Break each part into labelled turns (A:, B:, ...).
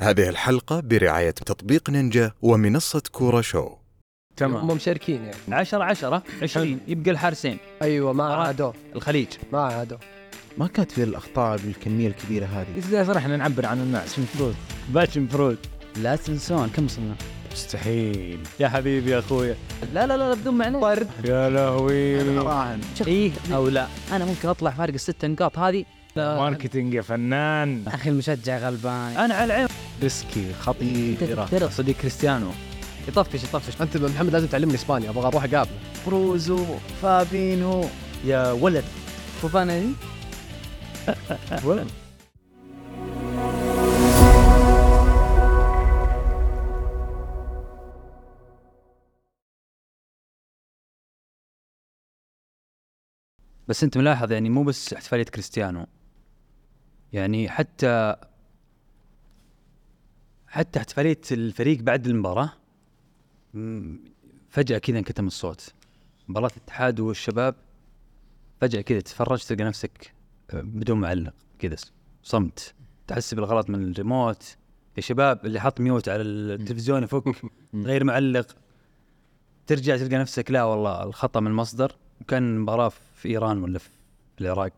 A: هذه الحلقة برعاية تطبيق نينجا ومنصة كورة شو
B: تمام
C: هم مشاركين يعني
B: 10 10 20 يبقى الحارسين
C: ايوه ما
B: آه.
C: عادوه
B: الخليج
C: ما عادوه
D: ما كانت في الاخطاء بالكميه الكبيره هذه
B: اذا صرحنا نعبر عن الناس المفروض باتش مفروض
E: لا تنسون كم وصلنا؟
B: مستحيل يا حبيبي يا اخويا
E: لا لا لا بدون معنى
C: طرد
B: يا لهوي
D: راهن
E: ايه
B: او لا
E: انا ممكن اطلع فارق الست نقاط هذه
B: ماركتينج يا فنان
E: اخي المشجع غلبان إيه،
B: انا على العين
D: ريسكي
E: انت
D: خطيره
E: ترى
B: صديق كريستيانو
E: يطفش يطفش
C: انت محمد لازم تعلمني اسبانيا ابغى اروح اقابله
D: بروزو فابينو يا ولد
E: فوفانا
B: بس انت ملاحظ يعني مو بس احتفاليه كريستيانو يعني حتى حتى احتفاليه الفريق بعد المباراه م- فجاه كذا انكتم الصوت مباراه الاتحاد والشباب فجاه كذا تتفرج تلقى نفسك آه، بدون معلق كذا س- صمت تحس بالغلط من الريموت يا شباب اللي حط ميوت على التلفزيون يفك غير معلق ترجع تلقى نفسك لا والله الخطا من المصدر وكان مباراه في ايران ولا في العراق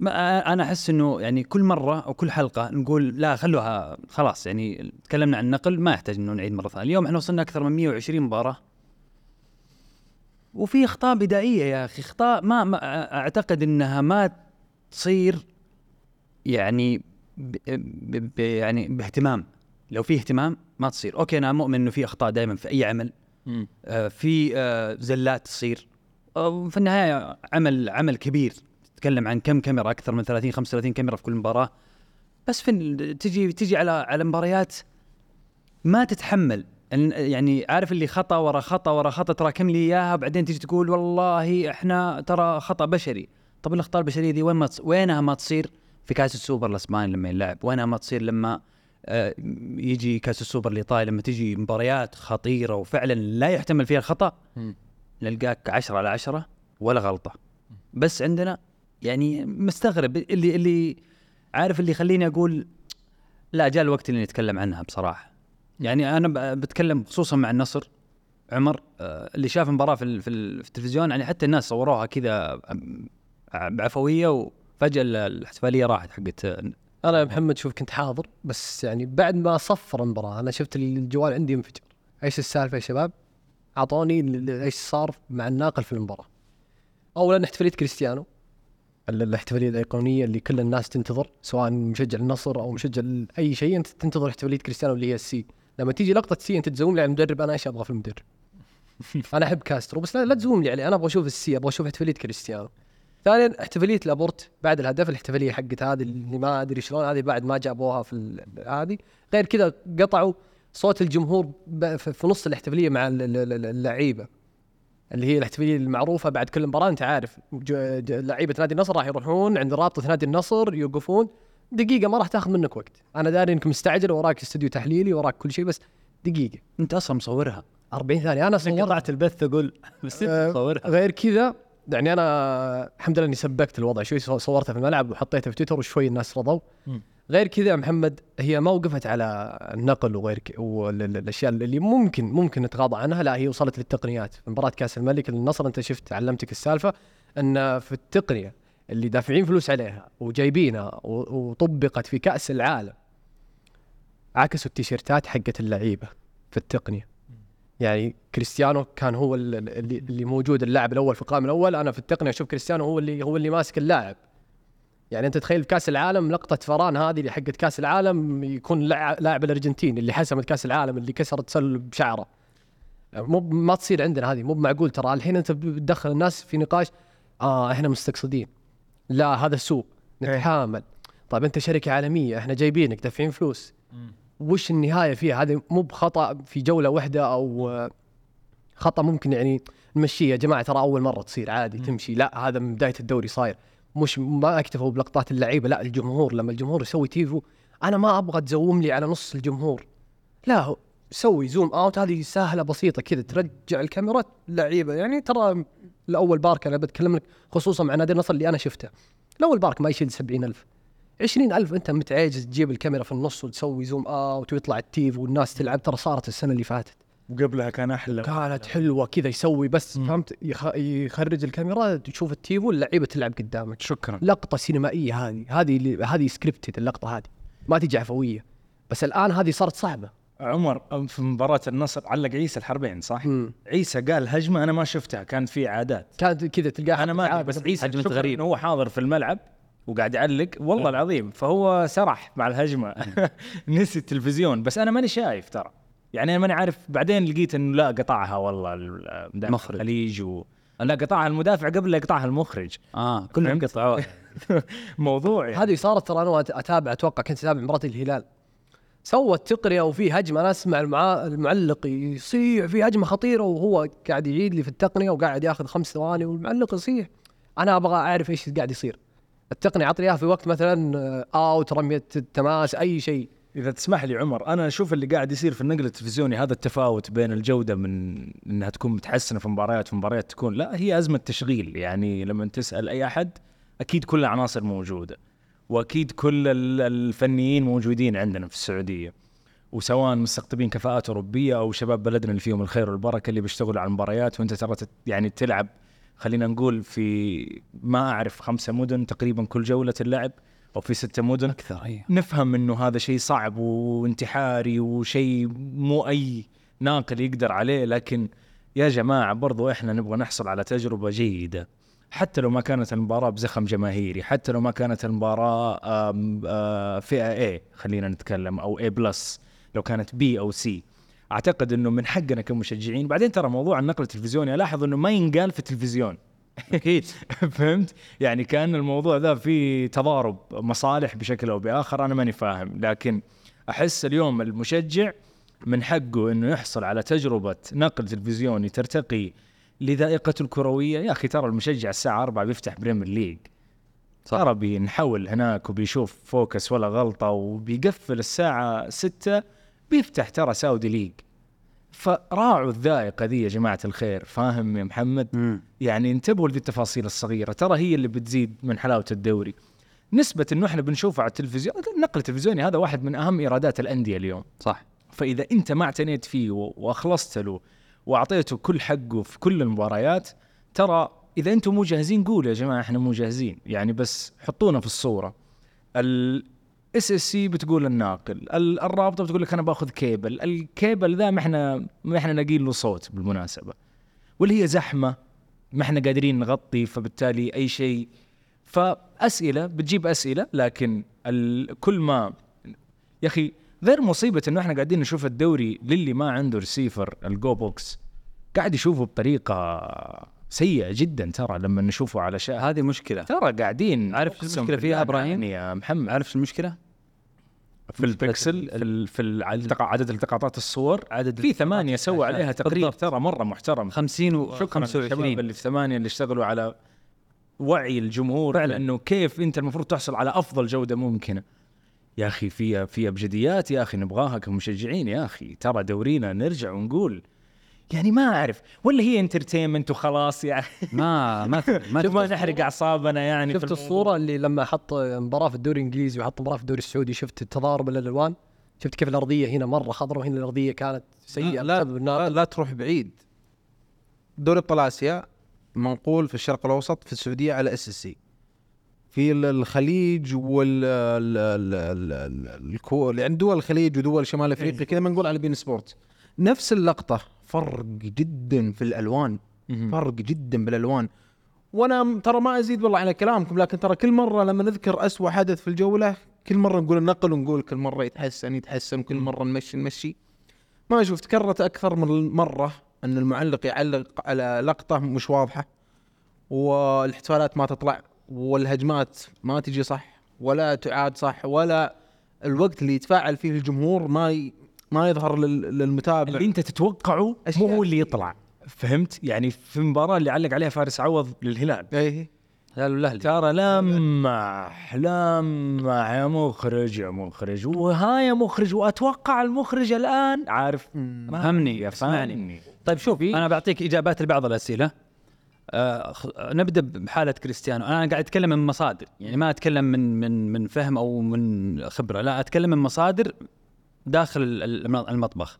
B: ما انا احس انه يعني كل مره او كل حلقه نقول لا خلوها خلاص يعني تكلمنا عن النقل ما يحتاج انه نعيد مره ثانيه اليوم احنا وصلنا اكثر من 120 مباراه وفي اخطاء بدائيه يا اخي اخطاء ما, ما اعتقد انها ما تصير يعني ب ب ب يعني باهتمام لو في اهتمام ما تصير اوكي انا مؤمن انه في اخطاء دائما في اي عمل آه، في آه، زلات تصير آه، في النهايه عمل عمل كبير تتكلم عن كم كاميرا اكثر من 30 35 كاميرا في كل مباراه بس في ال- تجي تجي على على مباريات ما تتحمل إن- يعني عارف اللي خطا ورا خطا ورا خطا تراكم لي اياها بعدين تجي تقول والله احنا ترى خطا بشري طب الاخطاء البشريه دي وين ما تص... وينها ما تصير في كاس السوبر الاسباني لما يلعب وينها ما تصير لما آه، يجي كاس السوبر الايطالي لما تجي مباريات خطيره وفعلا لا يحتمل فيها الخطا
C: مم.
B: نلقاك عشرة على عشرة ولا غلطه بس عندنا يعني مستغرب اللي اللي عارف اللي يخليني اقول لا جاء الوقت اللي نتكلم عنها بصراحه يعني انا ب- بتكلم خصوصا مع النصر عمر آه، اللي شاف المباراه في ال- في ال- في التلفزيون يعني حتى الناس صوروها كذا آم، بعفويه وفجاه ال- الاحتفاليه راحت حقت آه،
C: انا يا محمد شوف كنت حاضر بس يعني بعد ما صفر المباراه انا شفت الجوال عندي ينفجر ايش السالفه يا شباب؟ اعطوني ال- ال- ايش صار مع الناقل في المباراه. اولا احتفاليه كريستيانو ال- الاحتفاليه الايقونيه اللي كل الناس تنتظر سواء مشجع النصر او مشجع ال- اي شيء انت تنتظر احتفاليه كريستيانو اللي هي السي لما تيجي لقطه سي انت تزوم لي على المدرب انا ايش ابغى في المدرب؟ انا احب كاسترو بس لا, لا تزوم لي عليه انا ابغى اشوف السي ابغى اشوف احتفاليه كريستيانو. ثانيا احتفاليه لابورت بعد الهدف الاحتفاليه حقت هذه اللي ما ادري شلون هذه بعد ما جابوها في ال- هذه غير كذا قطعوا صوت الجمهور ب- في في نص الاحتفاليه مع ال- ال- ال- اللعيبه اللي هي الاحتفاليه المعروفه بعد كل مباراه انت عارف ج- ج- لعيبه نادي النصر راح يروحون عند رابطه نادي النصر يوقفون دقيقه ما راح تاخذ منك وقت انا داري انك مستعجل وراك استوديو تحليلي وراك كل شيء بس دقيقه
B: انت اصلا مصورها
C: 40 ثانيه انا صورت
B: قطعت البث اقول بس انت
C: أه،
B: مصورها
C: غير كذا يعني انا الحمد لله اني سبكت الوضع شوي صو- صورته في الملعب وحطيته في تويتر وشوي الناس رضوا غير كذا يا محمد هي ما وقفت على النقل وغير ك... والاشياء اللي ممكن ممكن نتغاضى عنها لا هي وصلت للتقنيات في مباراه كاس الملك النصر انت شفت علمتك السالفه ان في التقنيه اللي دافعين فلوس عليها وجايبينها و... وطبقت في كاس العالم عكسوا التيشيرتات حقت اللعيبه في التقنيه يعني كريستيانو كان هو ال- ال- اللي, اللي موجود اللاعب الاول في القائمه الاول انا في التقنيه اشوف كريستيانو هو اللي هو اللي ماسك اللاعب يعني انت تخيل في كاس العالم لقطه فران هذه اللي حقت كاس العالم يكون لع- لاعب الارجنتين اللي حسمت كاس العالم اللي كسر تسلل بشعره يعني مو ب- ما تصير عندنا هذه مو معقول ترى الحين انت بتدخل الناس في نقاش اه احنا مستقصدين لا هذا سوء نتحامل طيب انت شركه عالميه احنا جايبينك دافعين فلوس وش النهايه فيها هذا مو بخطا في جوله واحده او آه، خطا ممكن يعني نمشيه يا جماعه ترى اول مره تصير عادي تمشي لا هذا من بدايه الدوري صاير مش ما اكتفوا بلقطات اللعيبه لا الجمهور لما الجمهور يسوي تيفو انا ما ابغى تزوم لي على نص الجمهور لا هو سوي زوم اوت هذه سهله بسيطه كذا ترجع الكاميرا اللعيبه يعني ترى الاول بارك انا بتكلم لك خصوصا مع نادي النصر اللي انا شفته الاول بارك ما يشيل 70000 20000 انت متعاجز تجيب الكاميرا في النص وتسوي زوم اوت ويطلع التيف والناس تلعب ترى صارت السنه اللي فاتت
F: وقبلها كان احلى
C: كانت حلوه كذا يسوي بس
F: نعم. مم.
C: فهمت يخ- يخرج الكاميرا تشوف التيف واللعيبه تلعب قدامك
F: شكرا
C: لقطه سينمائيه هذه هذه اللي- هذه سكريبتد اللقطه هذه ما تجي عفويه بس الان هذه صارت صعبه
F: عمر في مباراه النصر علق عيسى الحربين صح؟ عيسى قال هجمه انا ما شفتها كانت في عادات
C: كانت كذا تلقاها
F: انا ما ادري
C: عادة.
F: بس عيسى
B: هجمة
F: شكراً
B: غريب. إيه.
F: إنه هو حاضر في الملعب وقاعد يعلق والله العظيم فهو سرح مع الهجمه نسي التلفزيون بس انا ماني شايف ترى يعني انا ماني عارف بعدين لقيت انه لا قطعها والله المدافع
B: المخرج.
F: الخليج و... لا قطعها المدافع قبل لا يقطعها المخرج
B: اه كلهم
F: فهمت؟
B: قطعوه
F: موضوع يعني
C: هذه صارت ترى انا أت- اتابع اتوقع كنت اتابع مباراه الهلال سوت تقنيه وفي هجمه انا اسمع المع... المعلق يصيح في هجمه خطيره وهو قاعد يعيد لي في التقنيه وقاعد ياخذ خمس ثواني والمعلق يصيح انا ابغى اعرف ايش قاعد يصير التقنيه عطني اياها في وقت مثلا آه، اوت رميه التماس اي شيء
F: اذا تسمح لي عمر انا اشوف اللي قاعد يصير في النقل التلفزيوني هذا التفاوت بين الجوده من انها تكون متحسنه في مباريات في مباريات تكون لا هي ازمه تشغيل يعني لما تسال اي احد اكيد كل العناصر موجوده واكيد كل ال- الفنيين موجودين عندنا في السعوديه وسواء مستقطبين كفاءات اوروبيه او شباب بلدنا اللي فيهم الخير والبركه اللي بيشتغلوا على المباريات وانت ترى تت- يعني تلعب خلينا نقول في ما اعرف خمسه مدن تقريبا كل جوله تلعب او في سته مدن
B: اكثر هي
F: نفهم انه هذا شيء صعب وانتحاري وشيء مو اي ناقل يقدر عليه لكن يا جماعه برضو احنا نبغى نحصل على تجربه جيده حتى لو ما كانت المباراه بزخم جماهيري حتى لو ما كانت المباراه آم، آه، فئه اي خلينا نتكلم او اي بلس لو كانت بي او سي اعتقد انه من حقنا كمشجعين بعدين ترى موضوع النقل التلفزيوني الاحظ انه ما ينقال في التلفزيون
B: اكيد
F: فهمت؟ يعني كان الموضوع ذا فيه تضارب مصالح بشكل او باخر انا ماني فاهم لكن احس اليوم المشجع من حقه انه يحصل على تجربه نقل تلفزيوني ترتقي لذائقته الكرويه يا اخي ترى المشجع الساعه 4 بيفتح بريمير ليج
B: صح.
F: ترى بينحول هناك وبيشوف فوكس ولا غلطه وبيقفل الساعه 6 بيفتح ترى ساودي ليج فراعوا الذائقه ذي يا جماعه الخير فاهم يا محمد يعني انتبهوا لذي التفاصيل الصغيره ترى هي اللي بتزيد من حلاوه الدوري نسبه انه احنا بنشوفه على التلفزيون النقل التلفزيوني هذا واحد من اهم ايرادات الانديه اليوم
B: صح
F: فاذا انت ما اعتنيت فيه و- واخلصت له واعطيته كل حقه في كل المباريات ترى اذا انتم مو جاهزين قولوا يا جماعه احنا مو جاهزين يعني بس حطونا في الصوره الاس اس سي بتقول الناقل ال- الرابطه بتقول لك انا باخذ كيبل الكيبل ذا ما احنا ما احنا لاقيين له صوت بالمناسبه واللي هي زحمه ما احنا قادرين نغطي فبالتالي اي شيء فاسئله بتجيب اسئله لكن ال- كل ما يا اخي غير مصيبه انه احنا قاعدين نشوف الدوري للي ما عنده رسيفر الجو بوكس قاعد يشوفه بطريقه سيئه جدا ترى لما نشوفه على شاهد
B: هذه مشكله
F: ترى قاعدين
B: عارف شو
F: أقسم
B: المشكلة فيها
F: بالله يعني
B: إبراهيم؟
F: يا محمد
B: عارف شو المشكله؟
F: في البكسل في, ال- في ال- التقا- عدد التقاطات الصور عدد في ثمانيه سووا عليها تقرير
B: بالضبط.
F: ترى مره محترم
B: 50 و
F: شكرا للشباب
B: 25
F: اللي في ثمانيه اللي اشتغلوا على وعي الجمهور فعلا انه كيف انت المفروض تحصل على افضل جوده ممكنه يا اخي فيها فيها ابجديات يا اخي نبغاها كمشجعين يا اخي ترى دورينا نرجع ونقول يعني ما اعرف ولا هي انترتينمنت وخلاص يعني
B: ما ما ما
F: ما, نحرق اعصابنا يعني في
C: شفت
F: الموضوع.
C: الصوره اللي لما حط مباراه في الدوري الانجليزي وحط مباراه في الدوري السعودي شفت تضارب الالوان شفت كيف الارضيه هنا مره خضراء وهنا الارضيه كانت سيئه
D: لا
C: بسبب النار.
D: لا, لا تروح بعيد دوري ابطال اسيا منقول في الشرق الاوسط في السعوديه على اس اس سي في ال- الخليج وال ال- ال- ال- ال- الكو- يعني دول الخليج ودول شمال افريقيا كذا منقول على بين سبورت نفس اللقطه فرق جدا في الالوان
F: مهم.
D: فرق جدا بالالوان وانا م- ترى ما ازيد والله على كلامكم لكن ترى كل مره لما نذكر أسوأ حدث في الجوله كل مره نقول النقل ونقول كل مره يتحسن يتحسن كل مره نمشي نمشي ما اشوف تكررت اكثر من مره ان المعلق يعلق على لقطه مش واضحه والاحتفالات ما تطلع والهجمات ما تجي صح ولا تعاد صح ولا الوقت اللي يتفاعل فيه الجمهور ما ي... ما يظهر لل... للمتابع
F: اللي انت تتوقعه مو
D: أشياء.
F: هو اللي يطلع فهمت يعني في المباراه اللي علق عليها فارس عوض للهلال
D: ايه
B: هلال والاهلي
F: ترى لمح لمح يا مخرج يا مخرج وها يا مخرج واتوقع المخرج الان عارف
B: فهمني اسمعني
F: فاهمني.
B: طيب شوف انا بعطيك اجابات لبعض الاسئله آه، خ- نبدا بحاله كريستيانو انا قاعد اتكلم من مصادر يعني ما اتكلم من من من فهم او من خبره لا اتكلم من مصادر داخل ال- ال- المطبخ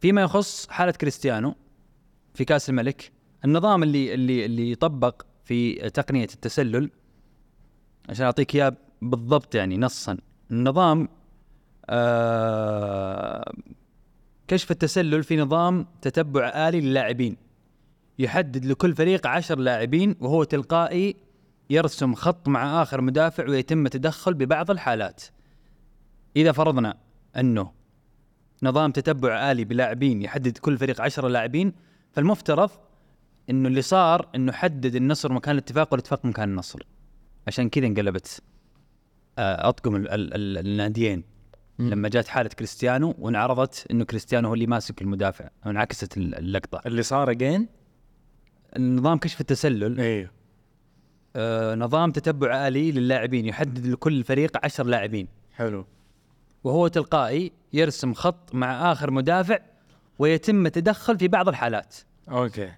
B: فيما يخص حاله كريستيانو في كاس الملك النظام اللي اللي اللي طبق في تقنيه التسلل عشان اعطيك اياه بالضبط يعني نصا النظام آه كشف التسلل في نظام تتبع آلي للاعبين يحدد لكل فريق عشر لاعبين وهو تلقائي يرسم خط مع آخر مدافع ويتم التدخل ببعض الحالات إذا فرضنا أنه نظام تتبع آلي بلاعبين يحدد كل فريق عشرة لاعبين فالمفترض أنه اللي صار أنه حدد النصر مكان الاتفاق والاتفاق مكان النصر عشان كذا انقلبت آه، أطقم ال- ال- ال- الناديين لما جات حاله كريستيانو وانعرضت انه كريستيانو هو اللي ماسك المدافع وانعكست ال- اللقطه
F: اللي صار اجين
B: النظام كشف التسلل
F: ايوه
B: آه نظام تتبع الي للاعبين يحدد لكل فريق عشر لاعبين
F: حلو
B: وهو تلقائي يرسم خط مع اخر مدافع ويتم التدخل في بعض الحالات
F: اوكي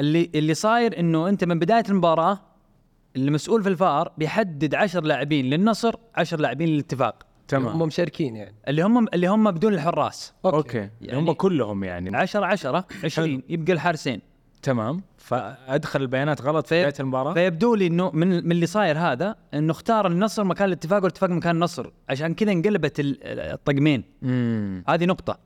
B: اللي اللي صاير انه انت من بدايه المباراه المسؤول في الفار بيحدد عشر لاعبين للنصر عشر لاعبين للاتفاق
F: تمام
C: هم مشاركين يعني
B: اللي هم اللي هم بدون الحراس
F: اوكي
B: يعني-
F: هم كلهم يعني
B: 10 10 20 يبقى الحارسين
F: تمام فادخل البيانات غلط في
B: في-
F: بدايه المباراه
B: فيبدو لي انه من من اللي صاير هذا انه اختار النصر مكان الاتفاق والاتفاق مكان النصر عشان كذا انقلبت ال- الطقمين
F: امم
B: هذه نقطه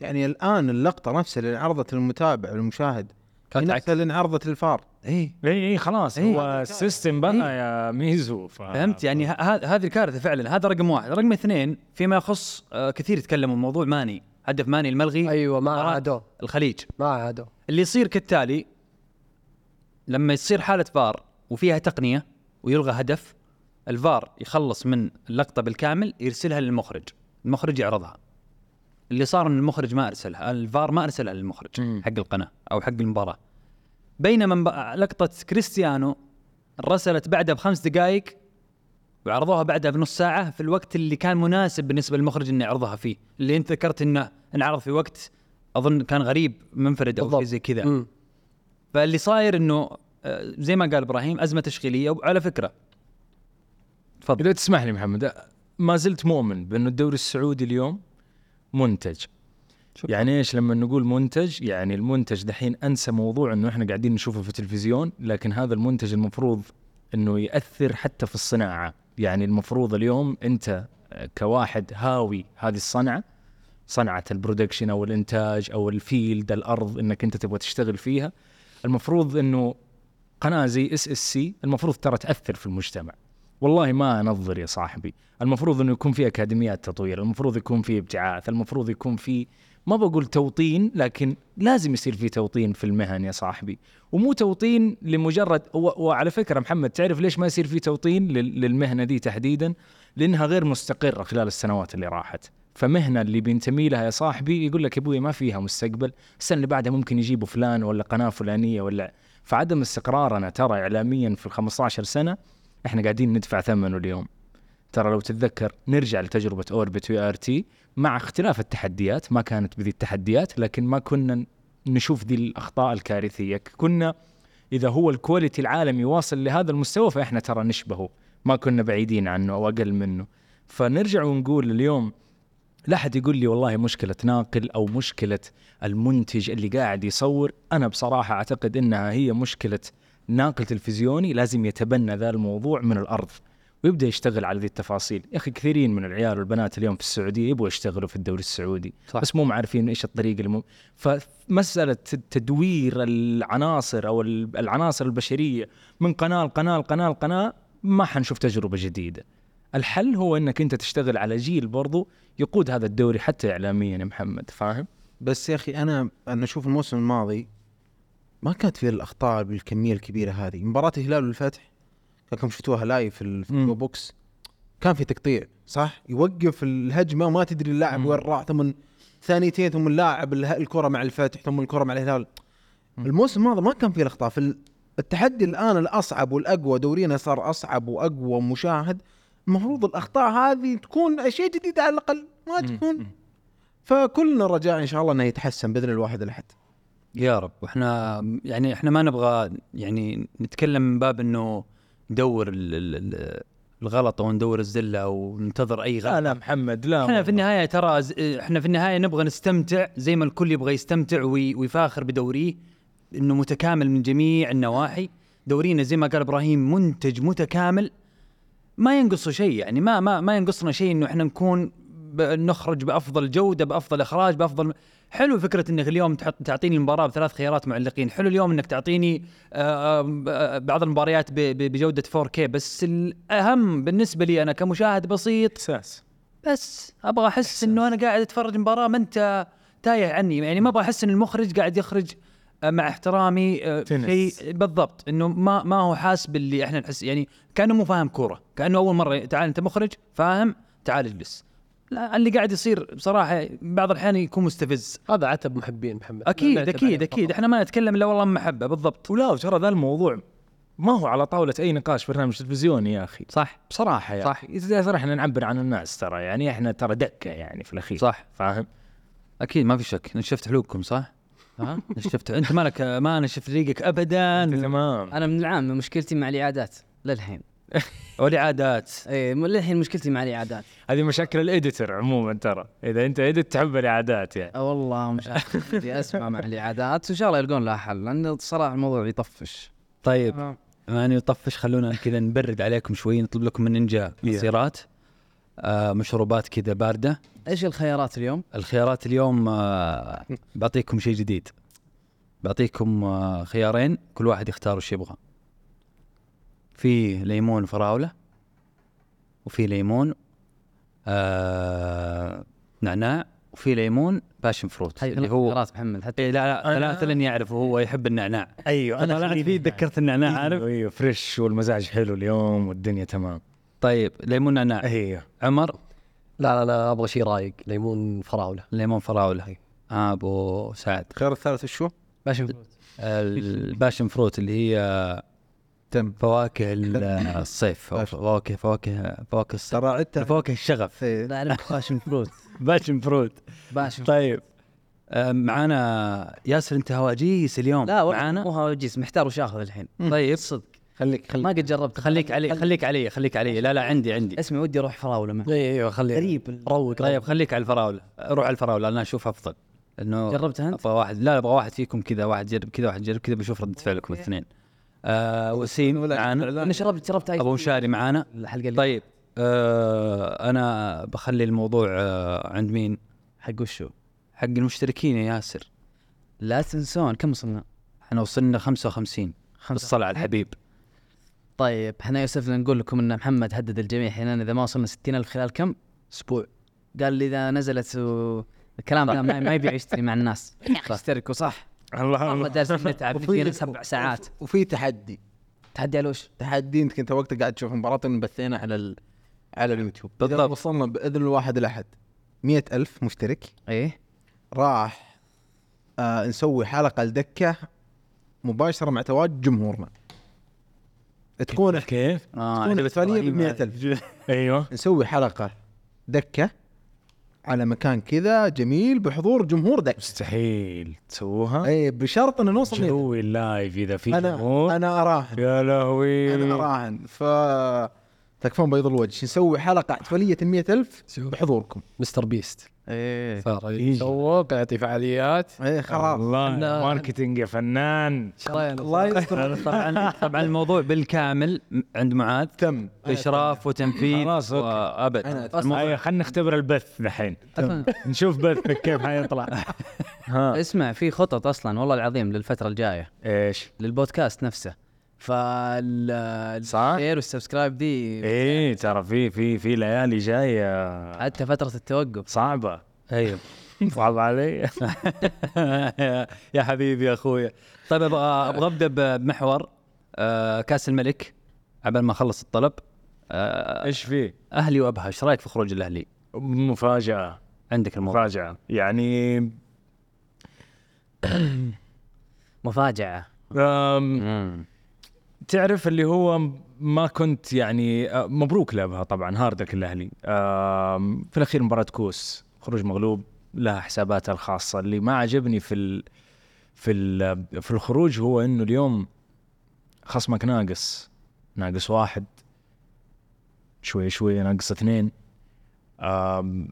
D: يعني الان اللقطه نفسها اللي انعرضت للمتابع والمشاهد هي
B: كانت
D: نفسها اللي انعرضت للفار
B: اي
F: اي اي خلاص
B: إيه.
F: هو السيستم بقى
B: إيه.
F: يا ميزو ف...
B: فهمت يعني ه- ه- هذه الكارثه فعلا هذا رقم واحد رقم اثنين فيما يخص آه، كثير يتكلموا عن موضوع ماني هدف ماني الملغي
C: ايوه ما
B: مباراة
C: عادوا
B: الخليج
C: ما عادوا
B: اللي يصير كالتالي لما يصير حالة فار وفيها تقنية ويلغى هدف الفار يخلص من اللقطة بالكامل يرسلها للمخرج المخرج يعرضها اللي صار ان المخرج ما ارسلها الفار ما ارسلها للمخرج
F: مم.
B: حق القناة او حق المباراة بينما مب- لقطة كريستيانو رسلت بعدها بخمس دقائق وعرضوها بعدها بنص ساعة في الوقت اللي كان مناسب بالنسبة للمخرج انه يعرضها فيه، اللي انت ذكرت انه انعرض في وقت اظن كان غريب منفرد او
C: بالضبط.
B: شيء زي كذا.
C: مم.
B: فاللي صاير انه آه، زي ما قال ابراهيم ازمه تشغيليه وعلى فكره تفضل
F: اذا تسمح لي محمد أ- ما زلت مؤمن بانه الدوري السعودي اليوم منتج
B: شكراً.
F: يعني ايش لما نقول منتج يعني المنتج دحين انسى موضوع انه احنا قاعدين نشوفه في التلفزيون لكن هذا المنتج المفروض انه ياثر حتى في الصناعه يعني المفروض اليوم انت آه، كواحد هاوي هذه الصنعه صنعه البرودكشن او الانتاج او الفيلد الارض انك انت تبغى تشتغل فيها المفروض انه قناه زي اس اس سي المفروض ترى تاثر في المجتمع والله ما انظر يا صاحبي المفروض انه يكون في اكاديميات تطوير المفروض يكون في ابتعاث المفروض يكون في ما بقول توطين لكن لازم يصير في توطين في المهن يا صاحبي ومو توطين لمجرد و- وعلى فكره محمد تعرف ليش ما يصير في توطين لل- للمهنه دي تحديدا لانها غير مستقره خلال السنوات اللي راحت فمهنه اللي بينتمي لها يا صاحبي يقول لك يا ابوي ما فيها مستقبل السنه اللي بعدها ممكن يجيبوا فلان ولا قناه فلانيه ولا فعدم استقرارنا ترى اعلاميا في ال 15 سنه احنا قاعدين ندفع ثمنه اليوم ترى لو تتذكر نرجع لتجربه اوربت وي ار تي مع اختلاف التحديات ما كانت بذي التحديات لكن ما كنا نشوف ذي الاخطاء الكارثيه كنا اذا هو الكواليتي العالمي واصل لهذا المستوى فاحنا ترى نشبهه ما كنا بعيدين عنه او اقل منه فنرجع ونقول اليوم لا احد يقول لي والله مشكله ناقل او مشكله المنتج اللي قاعد يصور انا بصراحه اعتقد انها هي مشكله ناقل تلفزيوني لازم يتبنى ذا الموضوع من الارض ويبدا يشتغل على ذي التفاصيل يا اخي كثيرين من العيال والبنات اليوم في السعوديه يبغوا يشتغلوا في الدوري السعودي
B: صح.
F: صح. بس مو عارفين ايش الطريقه الم... فمساله تدوير العناصر او ال- العناصر البشريه من قناه لقناه لقناه لقناه ما حنشوف تجربه جديده الحل هو انك انت تشتغل على جيل برضو يقود هذا الدوري حتى اعلاميا يا محمد فاهم
D: بس يا اخي انا انا اشوف الموسم الماضي ما كانت فيه الاخطاء بالكميه الكبيره هذه مباراه الهلال والفتح كانكم شفتوها لايف في
F: مم.
D: الفيديو بوكس كان في تقطيع صح يوقف الهجمه وما تدري اللاعب
F: مم.
D: وين راح ثم ثانيتين ثم اللاعب اله- الكره مع الفتح ثم الكره مع الهلال الموسم الماضي ما كان فيه الاخطاء في ال- التحدي الان الاصعب والاقوى دورينا صار اصعب واقوى مشاهد المفروض الاخطاء هذه تكون اشياء جديده على الاقل ما تكون فكلنا رجاء ان شاء الله انه يتحسن باذن الواحد الاحد
B: يا رب واحنا يعني احنا ما نبغى يعني نتكلم من باب انه ندور ال- ال- ال- الغلط او ندور الزله وننتظر اي غلط
F: لا لا محمد لا
B: احنا
F: والله.
B: في النهايه ترى ز- احنا في النهايه نبغى نستمتع زي ما الكل يبغى يستمتع وي- ويفاخر بدوريه انه متكامل من جميع النواحي دورينا زي ما قال ابراهيم منتج متكامل ما ينقصه شيء يعني ما ما ما ينقصنا شيء انه احنا نكون ب- نخرج بافضل جوده بافضل اخراج بافضل حلو فكره انك اليوم تحط تعطيني المباراه بثلاث خيارات معلقين حلو اليوم انك تعطيني آه، آه، بعض المباريات ب- ب- بجوده 4K بس الاهم بالنسبه لي انا كمشاهد بسيط
F: احساس
B: بس ابغى احس انه انا قاعد اتفرج مباراه ما انت تايه عني يعني ما ابغى احس ان المخرج قاعد يخرج آه، مع احترامي آه،
F: تنس.
B: شيء بالضبط انه ما ما هو حاسب اللي احنا نحس يعني كانه مو فاهم كوره كانه اول مره تعال انت مخرج فاهم تعال اجلس لا اللي قاعد يصير بصراحه بعض الاحيان يكون مستفز
C: هذا عتب محبين محمد
B: اكيد
C: نعتب
B: اكيد
C: عليه
B: اكيد
C: فقط.
B: احنا ما نتكلم الا والله من محبه بالضبط
F: ولا ترى ذا الموضوع ما هو على طاولة أي نقاش برنامج تلفزيوني يا أخي
B: صح
F: بصراحة يا
B: صح.
F: أخي إذا صراحة إحنا نعبر عن الناس ترى يعني إحنا ترى دكة يعني في الأخير
B: صح
F: فاهم؟
B: اكيد ما في شك نشفت حلوقكم صح؟ ها نشفت انت مالك ما نشفت ريقك ابدا
F: تمام
E: انا من العام مشكلتي مع الاعادات للحين إيه،
B: ولا عادات
E: اي م- للحين مشكلتي مع الاعادات
F: هذه مشاكل الإديتر عموما ترى إذا أنت إديت تحب الإعادات يعني
E: أه والله مش عارف بدي اسمع مع الاعادات وان شاء الله يلقون لها حل لان صراحه الموضوع يطفش
B: طيب يعني يطفش خلونا كذا نبرد عليكم شوي نطلب لكم من نينجا عصيرات آه مشروبات كذا بارده
E: ايش الخيارات اليوم؟
B: الخيارات اليوم آه بعطيكم شيء جديد بعطيكم آه خيارين كل واحد يختار وش يبغى في ليمون فراوله وفي ليمون آه نعناع وفي ليمون باشن فروت
E: هاي
B: اللي هو
E: خيارات محمد حتى
B: إيه لا لا ثلاثة لن يعرفه هو
E: إيه.
B: يحب النعناع ايوه
E: أيوة،
B: انا طلعت فيه تذكرت النعناع عارف
F: أيوه أيوه فريش والمزاج حلو اليوم والدنيا تمام
B: طيب ليمون نعناع
E: أيوة.
F: أيوه
B: عمر
C: لا لا انا ابغى شيء رايق ليمون فراوله
B: ليمون
E: أيوة.
B: فراوله اه ابو سعد
D: خير الثالث شو؟
E: باشن
B: الباشن فروت اللي هي
G: تم.
B: فواكه ال- الصيف أو فواكه فواكه فواكه الصيف
G: ترى عدتها إيه.
B: فواكه الشغف
E: لا اعرف باشن فروت
B: باشن فروت
E: باشن
B: طيب آه، معانا ياسر انت هواجيس اليوم
E: لا والله
B: معانا
E: مو هواجيس محتار وش اخذ الحين
B: طيب صدق
D: خليك خليك
E: ما قد جربت
B: خليك علي خليك علي خليك علي لا لا عندي عندي
E: اسمي ودي اروح فراوله معه
C: اي ايوه خلي
E: غريب
C: روق
B: طيب خليك على الفراوله روح على الفراوله انا اشوف افضل انه
E: جربتها انت؟
B: ابغى واحد لا ابغى واحد فيكم كذا واحد يجرب كذا واحد يجرب كذا بشوف رده فعلكم الاثنين آه وسيم معانا
E: انا شربت شربت اي
B: ابو مشاري معانا
E: الحلقه اللي
B: طيب آه انا بخلي الموضوع آه عند مين؟
E: حق وشو؟
B: حق المشتركين يا ياسر
E: لا تنسون كم وصلنا؟
B: احنا وصلنا 55
E: خمسة
B: الصلاه على الحبيب
E: طيب احنا يوسفنا نقول لكم ان محمد هدد الجميع حين اذا ما وصلنا 60 الف خلال كم؟ اسبوع قال لي اذا نزلت و... الكلام ده ما ما يبيع يشتري مع الناس اشتركوا صح
F: الله
E: والله
F: الله
E: جالسين نتعب فينا سبع ساعات
D: وفي تحدي
E: تحدي على وش؟
D: تحدي انت كنت وقتها قاعد تشوف مباراة اللي بثينا على ال... على اليوتيوب بالضبط
B: بالضبط.
D: وصلنا باذن الواحد الاحد مئة ألف مشترك
E: ايه
D: راح آه نسوي حلقة الدكة مباشرة مع تواجد جمهورنا تكون
F: كيف؟
B: آه
D: تكون ثانية ب 100000
F: أيوه
D: نسوي حلقة دكة على مكان كذا جميل بحضور جمهور دكة
F: مستحيل تسووها
D: اي بشرط انه نوصل مئة.
F: جوي اللايف إذا في
D: انا
F: جمهور
D: انا اراهن
F: يا لهوي
D: انا اراهن يعني ف تكفون بيض الوجه نسوي حلقة احتفالية المئة ألف بحضوركم
C: مستر بيست
D: ايه
B: آه.
C: صار يسوق يعطي فعاليات
D: ايه خلاص
F: الله
E: أنا-
F: ماركتينج يا فنان
D: الله يستر
B: طبعا طبعا الموضوع بالكامل عند معاذ
D: تم
B: اشراف وتنفيذ
F: خلاص، أوكي.
B: وابد
D: أنا
F: ايوه خلينا نختبر البث دحين
E: أصلاً
F: نشوف بثك كيف حيطلع ها
E: اسمع في خطط اصلا والله العظيم للفتره الجايه
F: ايش
E: للبودكاست نفسه فال
F: صح؟
E: الشير والسبسكرايب دي
F: ايه ترى في في في ليالي جايه
E: حتى فتره التوقف
F: صعبه
B: ايوه
F: صعب علي
B: يا حبيبي يا اخوي طيب ابغى ابغى ابدا ب- بمحور آه كاس الملك عبال ما اخلص الطلب آه
F: ايش في؟
B: اهلي وابها ايش رايك في خروج الاهلي؟
F: مفاجاه
B: عندك الموضوع
F: مفاجاه يعني
E: مفاجاه
F: أم تعرف اللي هو ما كنت يعني آه، مبروك لابها طبعا هاردك الاهلي آم، في الاخير مباراه كوس خروج مغلوب لها حساباتها الخاصه اللي ما عجبني في ال... في ال- في الخروج هو انه اليوم خصمك ناقص ناقص واحد شوي شوي ناقص اثنين آم،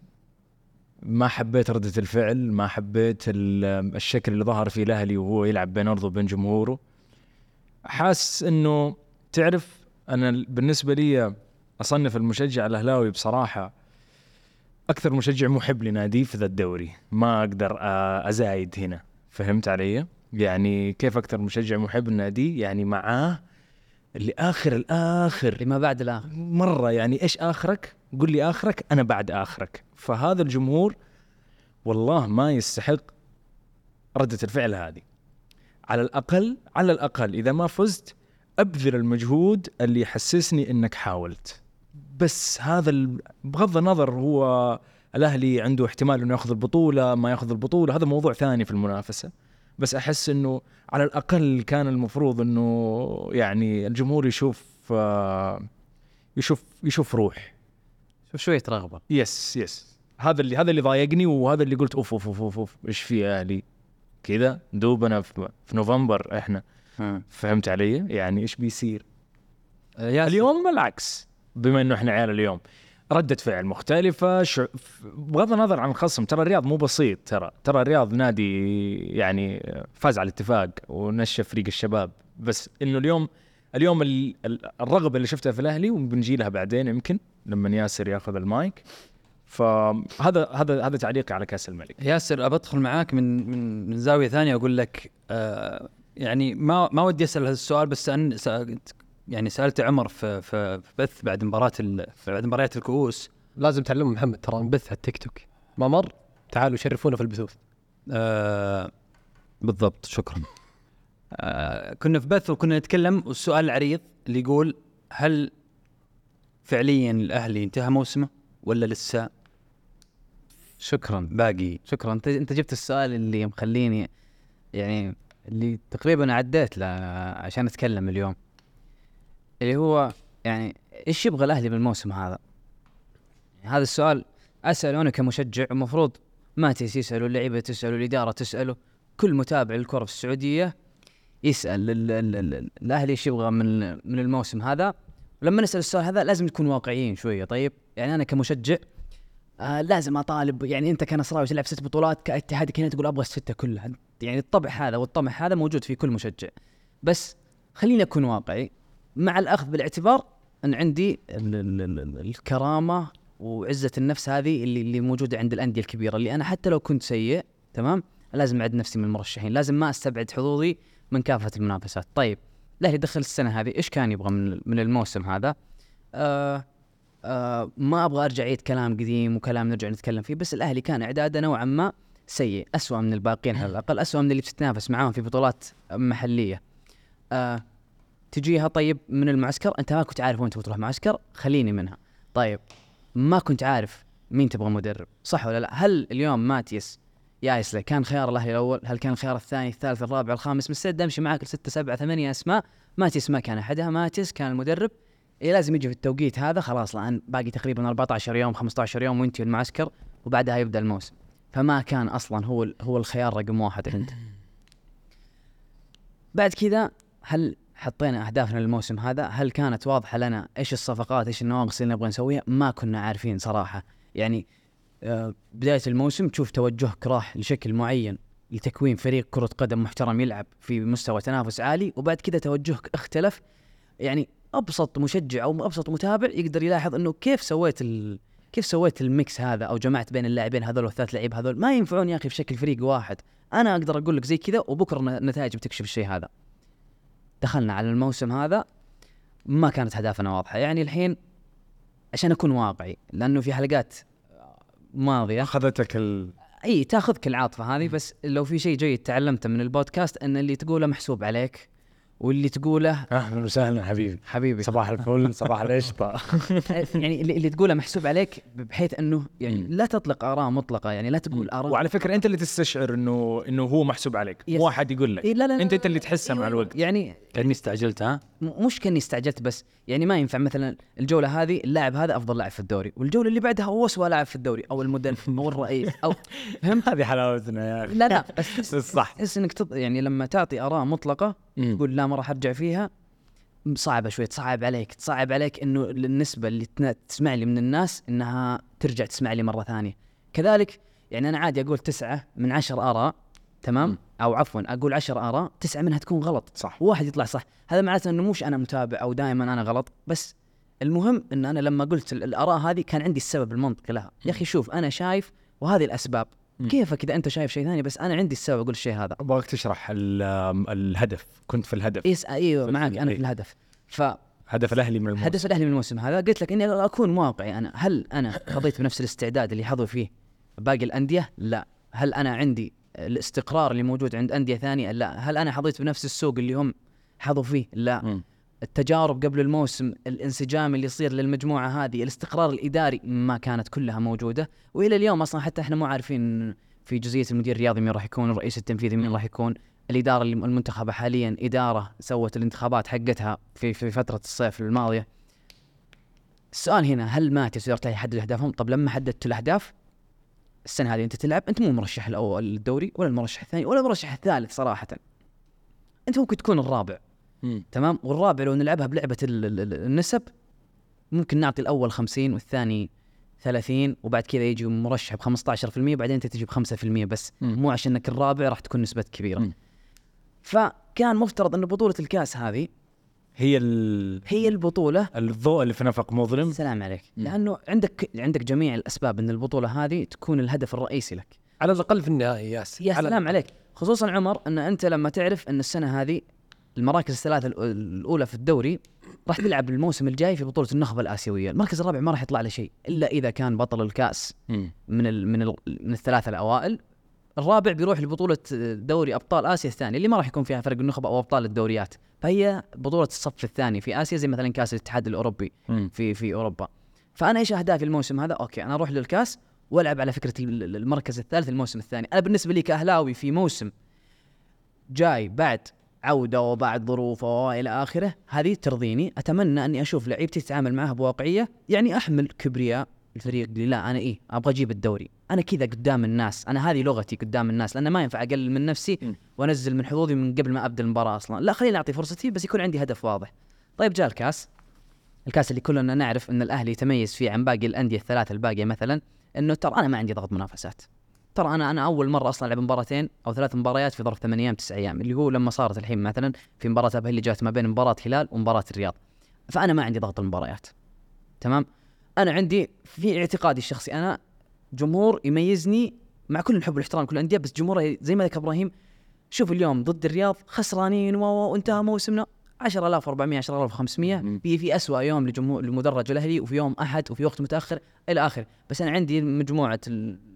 F: ما حبيت ردة الفعل ما حبيت ال- الشكل اللي ظهر فيه الأهلي وهو يلعب بين أرضه وبين جمهوره حاسس أنه تعرف أنا ال- بالنسبة لي أصنف المشجع الأهلاوي بصراحة أكثر مشجع محب لناديه في ذا الدوري ما أقدر آه، أزايد هنا فهمت علي؟ يعني كيف أكثر مشجع محب لناديه يعني معاه لآخر الآخر
B: لما بعد الاخر
F: مره يعني ايش اخرك؟ قل لي اخرك انا بعد اخرك، فهذا الجمهور والله ما يستحق رده الفعل هذه. على الاقل على الاقل اذا ما فزت ابذل المجهود اللي يحسسني انك حاولت. بس هذا ال- بغض النظر هو الاهلي عنده احتمال انه ياخذ البطوله ما ياخذ البطوله هذا موضوع ثاني في المنافسه. بس احس انه على الاقل كان المفروض انه يعني الجمهور يشوف آه يشوف يشوف روح
B: شوف شويه رغبه
F: يس يس هذا اللي هذا اللي ضايقني وهذا اللي قلت اوف اوف اوف اوف, أوف ايش في يا اهلي كذا دوبنا في, في نوفمبر احنا فهمت علي يعني ايش بيصير اليوم بالعكس بما انه احنا عيال اليوم ردة فعل مختلفة شع... ف- بغض النظر عن الخصم ترى الرياض مو بسيط ترى ترى الرياض نادي يعني فاز على الاتفاق ونشف فريق الشباب بس انه اليوم اليوم ال- ال- الرغبه اللي شفتها في الاهلي وبنجي لها بعدين يمكن لما ياسر ياخذ المايك فهذا هذا هذا تعليقي على كاس الملك
H: ياسر ابى ادخل معاك من من من زاويه ثانيه اقول لك آه يعني ما ما ودي اسال هذا السؤال بس أن سألت يعني سالت عمر في في في بث بعد مباراه ال- بعد مباريات الكؤوس
C: لازم تعلم محمد ترى نبثها التيك توك ما مر تعالوا شرفونا في البثوث
H: آه بالضبط شكرا آه كنا في بث وكنا نتكلم والسؤال العريض اللي يقول هل فعليا الاهلي انتهى موسمه ولا لسه
B: شكرا
H: باقي
B: شكرا انت انت جبت السؤال اللي مخليني يعني اللي تقريبا عديت له عشان اتكلم اليوم اللي هو يعني ايش يبغى الاهلي بالموسم هذا؟ يعني هذا السؤال اساله انا كمشجع المفروض ماتيس يساله اللعيبه تساله الاداره تساله كل متابع للكره في السعوديه يسال ال- ال- ال- الاهلي ايش يبغى من من الموسم هذا ولما نسال السؤال هذا لازم نكون واقعيين شويه طيب يعني انا كمشجع آه لازم اطالب يعني انت كنصراوي تلعب ست بطولات كاتحادك هنا تقول ابغى السته كلها يعني الطبع هذا والطمع هذا موجود في كل مشجع بس خليني اكون واقعي مع الاخذ بالاعتبار ان عندي ال ال ال ال الكرامه وعزه النفس هذه اللي اللي موجوده عند الانديه الكبيره اللي انا حتى لو كنت سيء تمام لازم اعد نفسي من المرشحين لازم ما استبعد حظوظي من كافه المنافسات طيب الاهلي دخل السنه هذه ايش كان يبغى من من الموسم هذا آه آه ما ابغى ارجع اعيد كلام قديم وكلام نرجع نتكلم فيه بس الاهلي كان اعداده نوعا ما سيء اسوأ من الباقيين على الاقل اسوأ من اللي بتتنافس معاهم في بطولات محليه آه تجيها طيب من المعسكر انت ما كنت عارف وين تبغى تروح معسكر خليني منها طيب ما كنت عارف مين تبغى مدرب صح ولا لا هل اليوم ماتيس يايسلي كان خيار الاهلي الاول هل كان خيار الثاني الثالث الرابع الخامس مستعد امشي معاك لستة سبعة ثمانية اسماء ماتيس ما كان احدها ماتيس كان المدرب إيه لازم يجي في التوقيت هذا خلاص الان باقي تقريبا 14 يوم 15 يوم وانتهي المعسكر وبعدها يبدا الموسم فما كان اصلا هو ال- هو الخيار رقم واحد عندي بعد كذا هل حطينا اهدافنا للموسم هذا؟ هل كانت واضحه لنا ايش الصفقات ايش النواقص اللي نبغى نسويها؟ ما كنا عارفين صراحه يعني آه، بدايه الموسم تشوف توجهك راح لشكل معين لتكوين فريق كره قدم محترم يلعب في مستوى تنافس عالي وبعد كذا توجهك اختلف يعني ابسط مشجع او ابسط متابع يقدر يلاحظ انه كيف سويت ال... كيف سويت الميكس هذا او جمعت بين اللاعبين هذول والثلاث لعيب هذول ما ينفعون يا اخي في شكل فريق واحد انا اقدر اقول لك زي كذا وبكره النتائج بتكشف الشيء هذا دخلنا على الموسم هذا ما كانت اهدافنا واضحه يعني الحين عشان اكون واقعي لانه في حلقات ماضيه
F: اخذتك ال...
B: اي تاخذك العاطفه هذه بس لو في شيء جيد تعلمته من البودكاست ان اللي تقوله محسوب عليك واللي تقوله
F: اهلا وسهلا حبيبي
B: حبيبي
F: صباح الفل صباح القشطه
B: يعني اللي اللي تقوله محسوب عليك بحيث انه يعني لا تطلق اراء مطلقه يعني لا تقول اراء
F: وعلى فكره انت اللي تستشعر انه انه هو محسوب عليك
B: يس.
F: مو احد يقول لك
B: إيه، لا لا لا
F: انت انت
B: لا،
F: اللي
B: لا،
F: تحسها مع
B: أيوة،
F: الوقت
B: يعني
I: كاني استعجلت ها
B: م- مش كاني استعجلت بس يعني ما ينفع مثلا الجوله هذه اللاعب هذا افضل لاعب في الدوري والجوله اللي بعدها هو اسوء لاعب في الدوري او المدرب او الرئيس او فهمت
F: هذه حلاوتنا يا اخي
B: لا لا بس
F: الصح
B: تحس انك تط... يعني لما تعطي اراء مطلقه
F: مم.
B: تقول لا ما راح ارجع فيها م- صعبه شوي تصعب عليك تصعب عليك انه النسبه اللي تنا- تسمع لي من الناس انها ترجع تسمع لي مره ثانيه كذلك يعني انا عادي اقول تسعة من عشر اراء تمام او عفوا اقول عشر اراء تسعة منها تكون غلط
F: صح.
B: واحد يطلع صح هذا معناته انه مش انا متابع او دائما انا غلط بس المهم ان انا لما قلت ال- الاراء هذه كان عندي السبب المنطقي لها يا اخي شوف انا شايف وهذه الاسباب كيفك اذا انت شايف شيء ثاني بس انا عندي السبب اقول الشيء هذا
F: ابغاك تشرح ال- آم، الهدف كنت في الهدف
B: يس ايوه
F: فكرة
B: معك انا
F: إيه.
B: في الهدف فهدف
F: هدف الاهلي من الموسم
B: الاهلي من الموسم هذا قلت لك اني اكون واقعي انا هل انا قضيت بنفس الاستعداد اللي حظوا فيه باقي الانديه؟ لا هل انا عندي الاستقرار اللي موجود عند انديه ثانيه؟ لا هل انا حظيت بنفس السوق اللي هم حظوا فيه؟ لا
F: مم.
B: التجارب قبل الموسم الانسجام اللي يصير للمجموعه هذه الاستقرار الاداري ما كانت كلها موجوده والى اليوم اصلا حتى احنا مو عارفين في جزئيه المدير الرياضي مين راح يكون الرئيس التنفيذي مين راح يكون الاداره اللي المنتخبه حاليا اداره سوت الانتخابات حقتها في في فتره الصيف الماضيه السؤال هنا هل ماتيوس ويرتاح يحدد اهدافهم طب لما حددت الاهداف السنه هذه انت تلعب انت مو المرشح الاول للدوري ولا المرشح الثاني ولا المرشح الثالث صراحه انت ممكن تكون الرابع
F: مم.
B: تمام والرابع لو نلعبها بلعبه ال- ال- ال- النسب ممكن نعطي الاول 50 والثاني 30 وبعد كذا يجي مرشح ب 15% بعدين انت تجي ب 5% بس
F: مم.
B: مو عشان انك الرابع راح تكون نسبتك كبيره
F: مم.
B: فكان مفترض ان بطوله الكاس هذه
F: هي ال-
B: هي البطوله
F: الضوء اللي في نفق مظلم
B: السلام عليك
F: مم.
B: لانه عندك عندك جميع الاسباب ان البطوله هذه تكون الهدف الرئيسي لك
C: على الاقل في النهائي ياس
B: يا
C: على-
B: سلام عليك خصوصا عمر ان انت لما تعرف ان السنه هذه المراكز الثلاثه الأو- الاولى في الدوري راح تلعب الموسم الجاي في بطوله النخبه الاسيويه المركز الرابع ما راح يطلع له شيء الا اذا كان بطل الكاس
F: مم.
B: من ال من ال من الثلاثه الاوائل الرابع بيروح لبطوله دوري ابطال اسيا الثاني اللي ما راح يكون فيها فرق النخبه او ابطال الدوريات فهي بطوله الصف الثاني في اسيا زي مثلا كاس الاتحاد الاوروبي
F: مم.
B: في في اوروبا فانا ايش اهدافي الموسم هذا اوكي انا اروح للكاس والعب على فكره ال- ال- المركز الثالث الموسم الثاني انا بالنسبه لي كاهلاوي في موسم جاي بعد عوده وبعد ظروف والى اخره هذه ترضيني اتمنى اني اشوف لعيبتي تتعامل معها بواقعيه يعني احمل كبرياء الفريق لي لا انا ايه ابغى اجيب الدوري انا كذا قدام الناس انا هذه لغتي قدام الناس لان ما ينفع اقلل من نفسي وانزل من حظوظي من قبل ما ابدا المباراه اصلا لا خليني اعطي فرصتي بس يكون عندي هدف واضح طيب جاء الكاس الكاس اللي كلنا نعرف ان الاهلي يتميز فيه عن باقي الانديه الثلاثه الباقيه مثلا انه ترى انا ما عندي ضغط منافسات ترى انا انا اول مره اصلا العب مباراتين او ثلاث مباريات في ظرف ثمان ايام تسع ايام اللي هو لما صارت الحين مثلا في مباراه ابها اللي جات ما بين مباراه هلال ومباراه الرياض فانا ما عندي ضغط المباريات تمام انا عندي في اعتقادي الشخصي انا جمهور يميزني مع كل الحب والاحترام كل الانديه بس جمهوره زي ما ذكر ابراهيم شوف اليوم ضد الرياض خسرانين و- و- وانتهى موسمنا 10400 10500 في في اسوء يوم لجمهور لمدرج الاهلي وفي يوم احد وفي وقت متاخر الى اخره بس انا عندي مجموعه ال-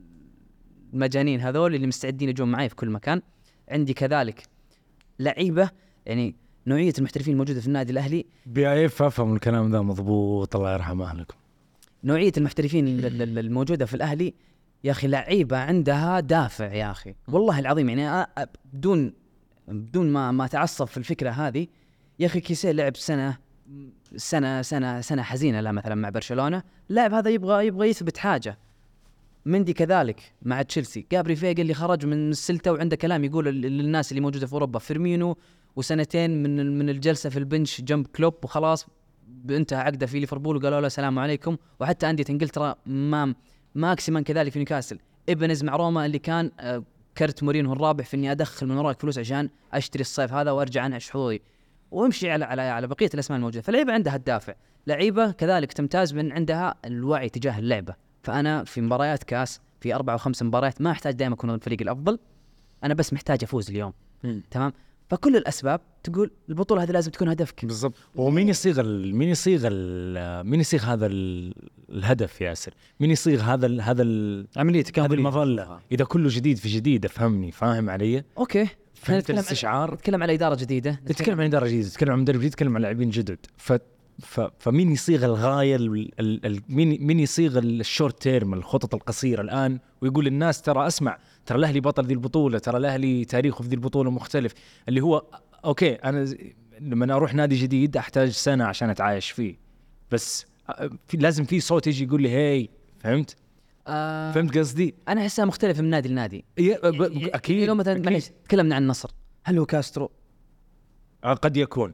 B: المجانين هذول اللي مستعدين يجون معي في كل مكان عندي كذلك لعيبه يعني نوعيه المحترفين الموجوده في النادي الاهلي
F: بيعرف افهم الكلام ذا مضبوط الله يرحم اهلكم
B: نوعيه المحترفين ال- ال- ال- الموجوده في الاهلي يا اخي لعيبه عندها دافع يا اخي والله العظيم يعني أنا أ- بدون بدون ما ما اتعصب في الفكره هذه يا اخي كيسيه لعب سنه سنه سنه سنه حزينه له مثلا مع برشلونه اللاعب هذا يبغى يبغى يثبت حاجه مندي كذلك مع تشيلسي جابري فيجا اللي خرج من السلته وعنده كلام يقول للناس اللي موجوده في اوروبا فيرمينو وسنتين من ال- من الجلسه في البنش جنب كلوب وخلاص انتهى عقده في ليفربول وقالوا له سلام عليكم وحتى انديه انجلترا ما ماكسيمان كذلك في نيوكاسل ابنز مع روما اللي كان آه، كرت مورينهو الرابح في اني ادخل من وراك فلوس عشان اشتري الصيف هذا وارجع انعش حظوظي وامشي على على على بقيه الاسماء الموجوده فاللعيبه عندها الدافع لعيبه كذلك تمتاز من عندها الوعي تجاه اللعبه فانا في مباريات كاس في اربع او خمس مباريات ما احتاج دائما اكون الفريق الافضل انا بس محتاج افوز اليوم
F: مم.
B: تمام فكل الاسباب تقول البطوله هذه لازم تكون هدفك
F: بالضبط ومين يصيغ ال- مين يصيغ ال- مين يصيغ هذا ال- الهدف ياسر مين يصيغ هذا ال- هذا ال-
I: عمليه
F: هذه
I: تكامل
F: المظله اذا كله جديد في جديد افهمني فاهم علي
B: اوكي
E: إحنا
F: فهمت
E: نتكلم عن-
F: الاستشعار
E: نتكلم على اداره جديده
F: تتكلم عن اداره جديده تتكلم عن مدرب جديد تتكلم عن لاعبين جدد ف ف فمين يصيغ الغايه ال... ال... ال... مين مين يصيغ الشورت تيرم الخطط القصيره الان ويقول للناس ترى اسمع ترى الاهلي بطل ذي البطوله ترى الاهلي تاريخه في ذي البطوله مختلف اللي هو اوكي انا ز- لما اروح نادي جديد احتاج سنه عشان اتعايش فيه بس أ- في لازم في صوت يجي يقول لي هاي فهمت؟
E: آه
F: فهمت قصدي؟
E: انا احسها مختلفه من نادي لنادي
F: يا- أه، ب- ب-
E: يعني-
F: اكيد
E: لو مثلا
F: أكيد.
E: معليش تكلمنا عن النصر هل هو كاسترو
F: آه، قد يكون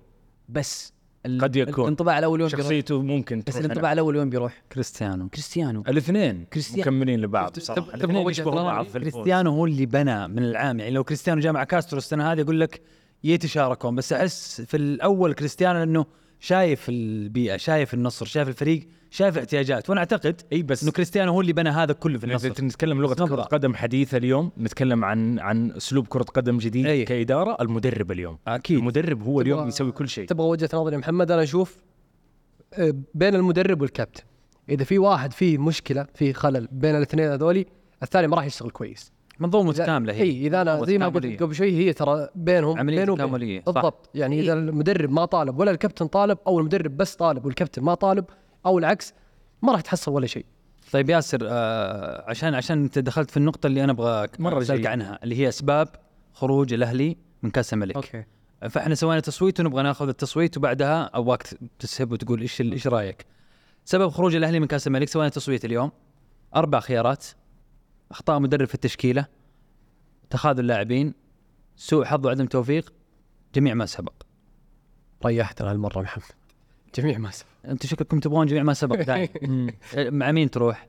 E: بس ال-
F: قد يكون.
E: الانطباع الاول يوم بيروح
F: شخصيته ممكن
E: بس
F: تروح هنا.
E: الانطباع الاول وين بيروح؟
B: كريستيانو
E: كريستيانو
F: الاثنين
E: كريستيان-
F: مكملين لبعض بصراحه
B: تب-
F: الاثنين
B: تبغى وجهة
F: يشبهوا
B: نظر؟
F: بعض في الفوز.
B: كريستيانو هو اللي بنى من العام يعني لو كريستيانو جاء مع كاسترو السنه هذه يقول لك يتشاركون بس احس في الاول كريستيانو لانه شايف البيئه شايف النصر شايف الفريق شايف الاحتياجات وانا اعتقد
F: اي بس
B: انه كريستيانو هو اللي بنى هذا كله في
F: إذا
B: النصر
F: نتكلم لغه
B: بالضبط.
F: كره قدم حديثه اليوم نتكلم عن عن اسلوب كره قدم جديد
B: أي.
F: كاداره المدرب اليوم
B: اكيد
F: المدرب هو اليوم
C: تبغى-
F: يسوي كل شيء
C: تبغى وجهه نظري يا محمد انا اشوف آه، بين المدرب والكابتن اذا في واحد فيه مشكله فيه خلل بين الاثنين هذولي الثاني ما راح يشتغل كويس
B: منظومه
C: إذا-
B: متكامله هي
C: اي اذا انا زي ما
B: تكاملية.
C: قلت قبل شوي هي ترى بينهم
B: عملية
C: بينه وبين-
B: تكاملية، صح.
C: بالضبط يعني اذا المدرب ما طالب ولا الكابتن طالب او المدرب بس طالب والكابتن ما طالب او العكس ما راح تحصل ولا شيء
B: طيب ياسر آه عشان عشان انت دخلت في النقطه اللي انا ابغى
F: مرة
B: اسالك
F: جيد.
B: عنها اللي هي اسباب خروج الاهلي من كاس الملك
E: اوكي
B: فاحنا سوينا تصويت ونبغى ناخذ التصويت وبعدها ابغاك تسهب وتقول ايش ال- ايش رايك؟ سبب خروج الاهلي من كاس الملك سوينا تصويت اليوم اربع خيارات اخطاء مدرب في التشكيله تخاذل اللاعبين سوء حظ وعدم توفيق جميع ما سبق
C: ريحتنا هالمره محمد جميع ما سبق
B: انتم شكلكم تبغون جميع ما سبق دايم مع مين تروح؟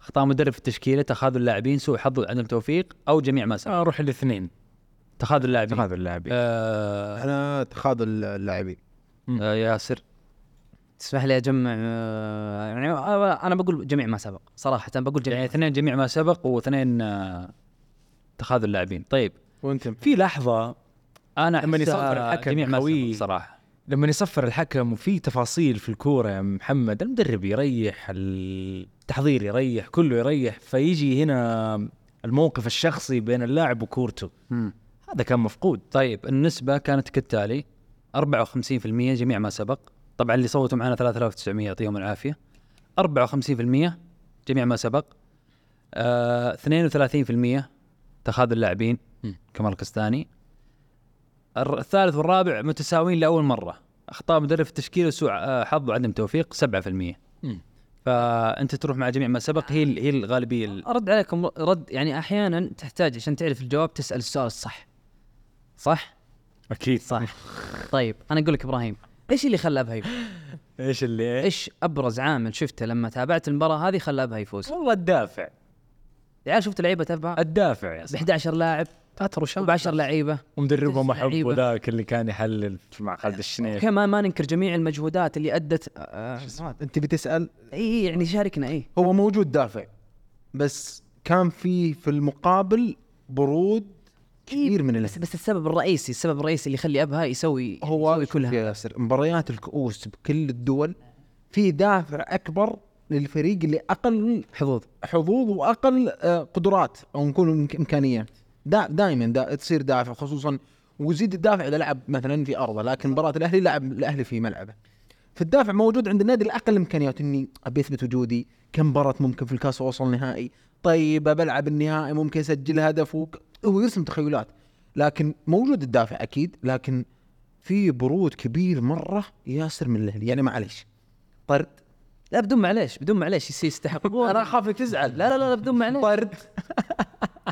B: اخطاء مدرب في التشكيله تخاذل اللاعبين سوء حظ وعدم توفيق او جميع ما سبق
F: اروح آه، الاثنين
B: تخاذل اللاعبين
F: هذا اللاعبين
B: آه
D: انا تخاذل اللاعبين
B: آه ياسر
E: تسمح لي اجمع آه، يعني آه، انا بقول جميع ما سبق صراحه بقول
B: يعني
E: جميع
B: اثنين جميع ما سبق واثنين آه، تخاذل اللاعبين طيب
D: وانت
F: في لحظه
B: انا
F: لما
B: لما
F: يصفر
B: يصفر
F: الحكم
B: جميع ما
F: قوي.
B: سبق صراحه
F: لما يصفر الحكم وفي تفاصيل في الكوره يا محمد المدرب يريح التحضير يريح كله يريح فيجي هنا الموقف الشخصي بين اللاعب وكورته
B: مم.
F: هذا كان مفقود
B: طيب النسبه كانت كالتالي 54% جميع ما سبق طبعا اللي صوتوا معنا 3900 يعطيهم العافيه 54% جميع ما سبق آه 32% تخاذل اللاعبين
F: مم.
B: كمال القسطاني الر- الثالث والرابع متساويين لاول مره اخطاء مدرب في التشكيل وسوء آه، حظ وعدم توفيق 7%
F: مم.
B: فانت تروح مع جميع ما سبق هي ال- هي الغالبيه ال-
E: ارد عليكم رد يعني احيانا تحتاج عشان تعرف الجواب تسال السؤال الصح صح
F: اكيد
E: صح طيب انا اقول لك ابراهيم ايش اللي خلى ابها يفوز؟
F: ايش اللي
E: ايش ابرز عامل شفته لما تابعت المباراه هذه خلى ابها يفوز؟
F: والله الدافع
E: العيال شفت لعيبه ابها
F: الدافع يا
E: ب
F: صاحبي
E: 11 لاعب
C: تاتر وشام
E: ب 10 لعيبه
F: ومدربهم
E: تسع
F: احب
E: لعيبة.
F: ذاك اللي كان يحلل مع خالد الشنيف
E: اوكي ما, ما ننكر جميع المجهودات اللي ادت آه،
D: انت بتسال
E: اي يعني شاركنا اي
D: هو موجود دافع بس كان في في المقابل برود كبير من
E: بس
D: الاهلي
E: بس السبب الرئيسي السبب الرئيسي اللي يخلي ابها يسوي
D: هو
E: يسوي
D: كلها
E: كلها
D: يا يعني ياسر مباريات الكؤوس بكل الدول في دافع اكبر للفريق اللي اقل
E: حظوظ
D: حظوظ واقل آه، قدرات او نكون إمك- امكانيه دا دائما دا تصير دافع خصوصا ويزيد الدافع اذا لعب مثلا في ارضه لكن مباراه الاهلي لعب الاهلي في ملعبه فالدافع موجود عند النادي الاقل امكانيات اني ابي اثبت وجودي كم مباراه ممكن في الكاس اوصل نهائي طيب بلعب النهائي ممكن اسجل هدف وك... هو يرسم تخيلات لكن موجود الدافع اكيد لكن في برود كبير مره ياسر من الاهلي يعني معليش طرد
E: لا بدون معليش بدون معليش يس- يستحق
D: انا اخاف انك تزعل
E: لا لا لا بدون معليش
D: طرد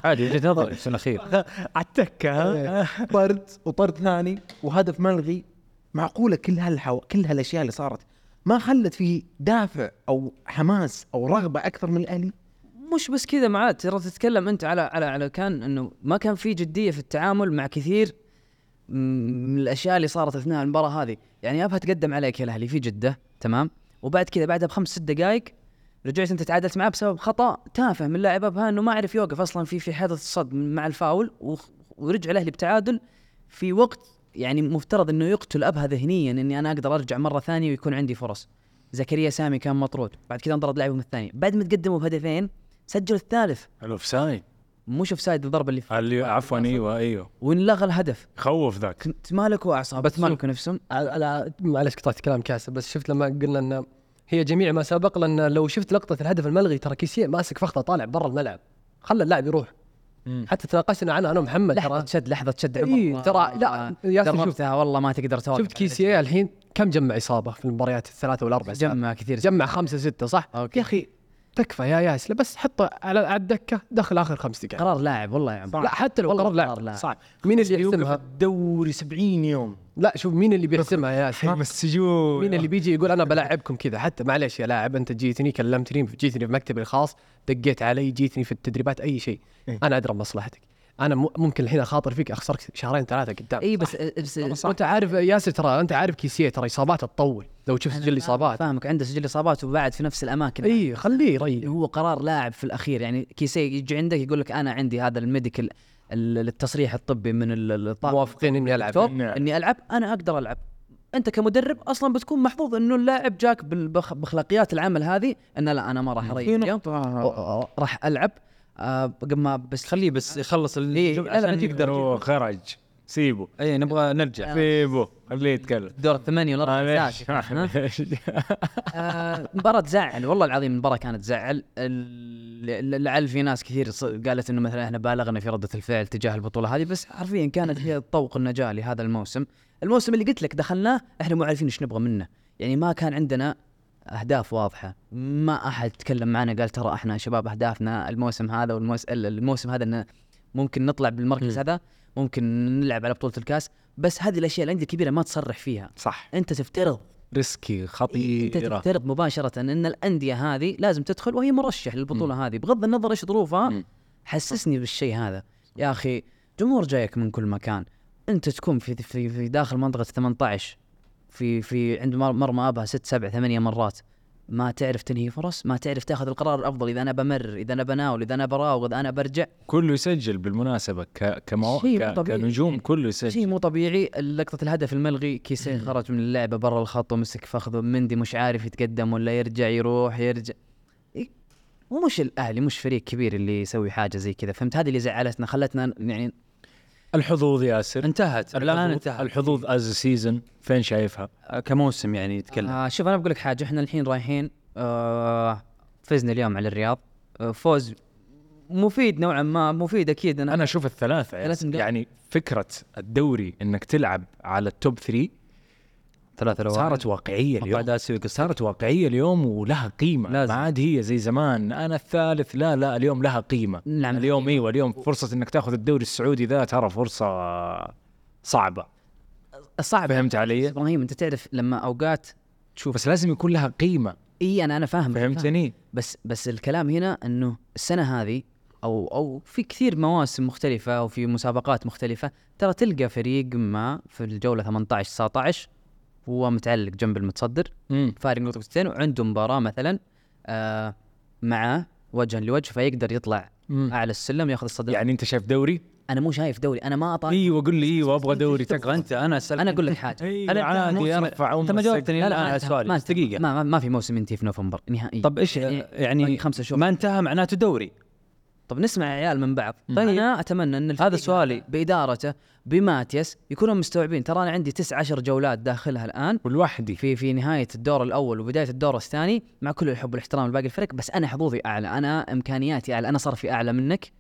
B: عادي وجهه نظري في الاخير
F: عالتكه
D: آه، طرد وطرد ثاني وهدف ملغي معقوله كل هالحو... كل هالاشياء اللي صارت ما خلت فيه دافع او حماس او رغبه اكثر من الاهلي
E: مش بس كذا معاه ترى تتكلم انت على على على كان انه ما كان في جديه في التعامل مع كثير م- من الاشياء اللي صارت اثناء المباراه هذه يعني ابها تقدم عليك يا الاهلي في جده تمام وبعد كذا بعدها بخمس ست دقائق رجعت انت تعادلت معاه بسبب خطا تافه من لاعب ابها انه ما عرف يوقف اصلا في في حدث الصد مع الفاول وخ- ورجع الاهلي بتعادل في وقت يعني مفترض انه يقتل ابها ذهنيا اني انا اقدر ارجع مره ثانيه ويكون عندي فرص زكريا سامي كان مطرود بعد كذا انطرد لاعبهم الثاني بعد ما تقدموا بهدفين سجلوا الثالث
F: الاوفسايد
E: مش اوف سايد الضربه اللي فيه
F: اللي عفوا ايوه ايوه
E: وانلغى الهدف
F: خوف ذاك
E: تمالكوا اعصاب
C: بس
E: تمالكوا نفسهم
C: على- على- معلش قطعت كلام كاسب بس شفت لما قلنا ان هي جميع ما سبق لان لو شفت لقطه الهدف الملغي ترى كيسيه ماسك فخطه طالع برا الملعب خلى اللاعب يروح
F: مم.
C: حتى تناقشنا عنها انا ومحمد
E: لحظه
C: ترى
E: تشد لحظه تشد عمر
C: إيه، ترى- لا، ياسر شوف.
E: دربتها والله ما تقدر توقف
C: شفت كيسيه الحين كم جمع اصابه في المباريات الثلاثه والاربعه
E: جمع كثير
C: جمع خمسه سته صح؟
E: أوكي.
C: يا اخي تكفى يا ياسر بس حطه على على الدكه دخل اخر خمس دقائق
E: قرار لاعب والله يعني. يا عمر
C: لا حتى لو قرار
E: قرار
C: لاعب
E: لاعب.
C: صعب مين اللي
F: يوقف
C: يحسمها؟
F: الدوري 70 يوم
C: لا شوف مين اللي بيحسمها يا ياسر؟
F: حرم السجون
C: مين اللي بيجي يقول انا بلاعبكم كذا حتى معلش يا لاعب انت جيتني كلمتني جيتني في مكتبي الخاص دقيت علي جيتني في التدريبات اي شيء
F: إيه.
C: انا ادرى مصلحتك انا م- ممكن الحين اخاطر فيك اخسرك شهرين ثلاثه قدام
E: اي بس بس
C: وانت عارف يا ياسر ترى انت عارف كيسيه ترى اصاباته تطول لو تشوف سجل الاصابات
E: فاهمك عنده سجل اصابات وبعد في نفس الاماكن
C: اي إيه، خليه يريح
E: هو قرار لاعب في الاخير يعني كيسي يجي عندك يقول لك انا عندي هذا الميديكال ال- التصريح الطبي من ال- الطاقم
C: موافقين اني العب
E: فوق
F: نعم.
E: اني العب انا اقدر العب انت كمدرب اصلا بتكون محظوظ انه اللاعب جاك بالبخ- باخلاقيات العمل هذه انه لا انا ما راح اريح
D: في
E: اليوم
D: نقطة
E: أو- أو- راح العب آه، قبل ما بس
B: خليه بس يخلص
E: إيه،
B: الجو-
E: لا، لا،
B: عشان
E: نجيب-
B: يقدر
F: هو خرج سيبه آه.
B: اي نبغى نرجع
F: سيبه خليه يتكلم آه،
E: دور الثمانية ولا الأربعة
F: معليش
E: ساعة. ها؟
F: معليش.
E: آه، مباراة تزعل والله العظيم المباراة كانت تزعل ال- ال- لعل في ناس كثير ص- قالت انه مثلا احنا بالغنا في ردة الفعل تجاه البطولة هذه بس حرفيا كانت هي طوق النجاة لهذا الموسم الموسم اللي قلت لك دخلناه احنا مو عارفين ايش نبغى منه يعني ما كان عندنا اهداف واضحة ما احد تكلم معنا قال ترى احنا يا شباب اهدافنا الموسم هذا والموسم الموسم هذا انه ممكن نطلع بالمركز هذا ممكن نلعب على بطولة الكاس بس هذه الاشياء الاندية الكبيرة ما تصرح فيها
F: صح
E: انت تفترض
F: ريسكي
E: انت
F: خطيره
E: تفترض مباشره ان الانديه هذه لازم تدخل وهي مرشح للبطوله هذه بغض النظر ايش ظروفها
F: مم.
E: حسسني بالشيء هذا يا اخي جمهور جايك من كل مكان انت تكون في في, في داخل منطقه 18 في في عند مر- مرمى ابها ست سبع ثمانية مرات ما تعرف تنهي فرص ما تعرف تاخذ القرار الافضل اذا انا بمرر اذا انا بناول اذا انا براوغ اذا انا برجع
F: كله يسجل بالمناسبه ك... كمو...
E: شيء
F: ك...
E: طبيعي.
F: كنجوم كله
E: شيء
F: يسجل
E: مو طبيعي لقطه الهدف الملغي كيسين خرج من اللعبه برا الخط ومسك فخذه مندي مش عارف يتقدم ولا يرجع يروح يرجع إي، ومش الاهلي مش فريق كبير اللي يسوي حاجه زي كذا فهمت هذه اللي زعلتنا خلتنا يعني
F: الحظوظ ياسر
B: انتهت الان
F: الحظوظ-
B: انتهت
F: الحظوظ از سيزون فين شايفها؟
B: آه، كموسم يعني يتكلم
E: آه شوف انا بقول لك حاجه احنا الحين رايحين آه فزنا اليوم على الرياض آه فوز مفيد نوعا ما مفيد اكيد انا,
F: انا اشوف الثلاثه يعني,
E: ثلاث نقاط.
F: يعني فكره الدوري انك تلعب على التوب 3
B: ثلاثة لو
F: صارت واقعيه اليوم
B: مقعدات سوي قصة
F: صارت واقعيه اليوم ولها قيمه
B: لازم.
F: ما عاد هي زي زمان انا الثالث لا لا اليوم لها قيمه
E: نعم.
F: اليوم ايوه اليوم فرصه انك تاخذ الدوري السعودي ذا ترى فرصه صعبه
E: صعب
F: فهمت علي؟
E: ابراهيم انت تعرف لما اوقات
F: شوف بس لازم يكون لها قيمه
E: اي انا انا فاهم
F: فهمتني؟
E: بس بس الكلام هنا انه السنه هذه او او في كثير مواسم مختلفه او في مسابقات مختلفه ترى تلقى فريق ما في الجوله 18 19 هو متعلق جنب المتصدر
F: امم
E: فارق نقطتين وعنده مباراه مثلا آه معاه وجها لوجه فيقدر يطلع
F: مم.
E: اعلى السلم ياخذ الصدر يعني
F: يعني انت شايف دوري؟
E: انا مو شايف دوري انا ما اطالع
F: ايوه قول لي
B: أيوة،
F: ايوه ابغى دوري
B: تبغى انت انا اسالك
E: انا اقول لك حاجه
F: ايوه
B: أنا-
F: عادي ارفع
B: انت ما جاوبتني
E: لا لا
B: الان على
E: طيب، ما
B: سؤالي
E: ما
B: بس دقيقة
E: ما, ما, ما في موسم ينتهي في نوفمبر نهائيا
B: طب ايش
E: يعني-
B: يعني
E: باقي خمسة شهور.
B: ما انتهى معناته دوري
E: طب نسمع يا عيال من بعض طيب انا اتمنى ان الفريق
B: هذا سؤالي.
E: بادارته بماتيس يكونوا مستوعبين ترى انا عندي تسع عشر جولات داخلها الان
F: ولوحدي
E: في في نهايه الدور الاول وبدايه الدور الثاني مع كل الحب والاحترام لباقي الفريق بس انا حظوظي اعلى انا امكانياتي اعلى انا صرفي اعلى منك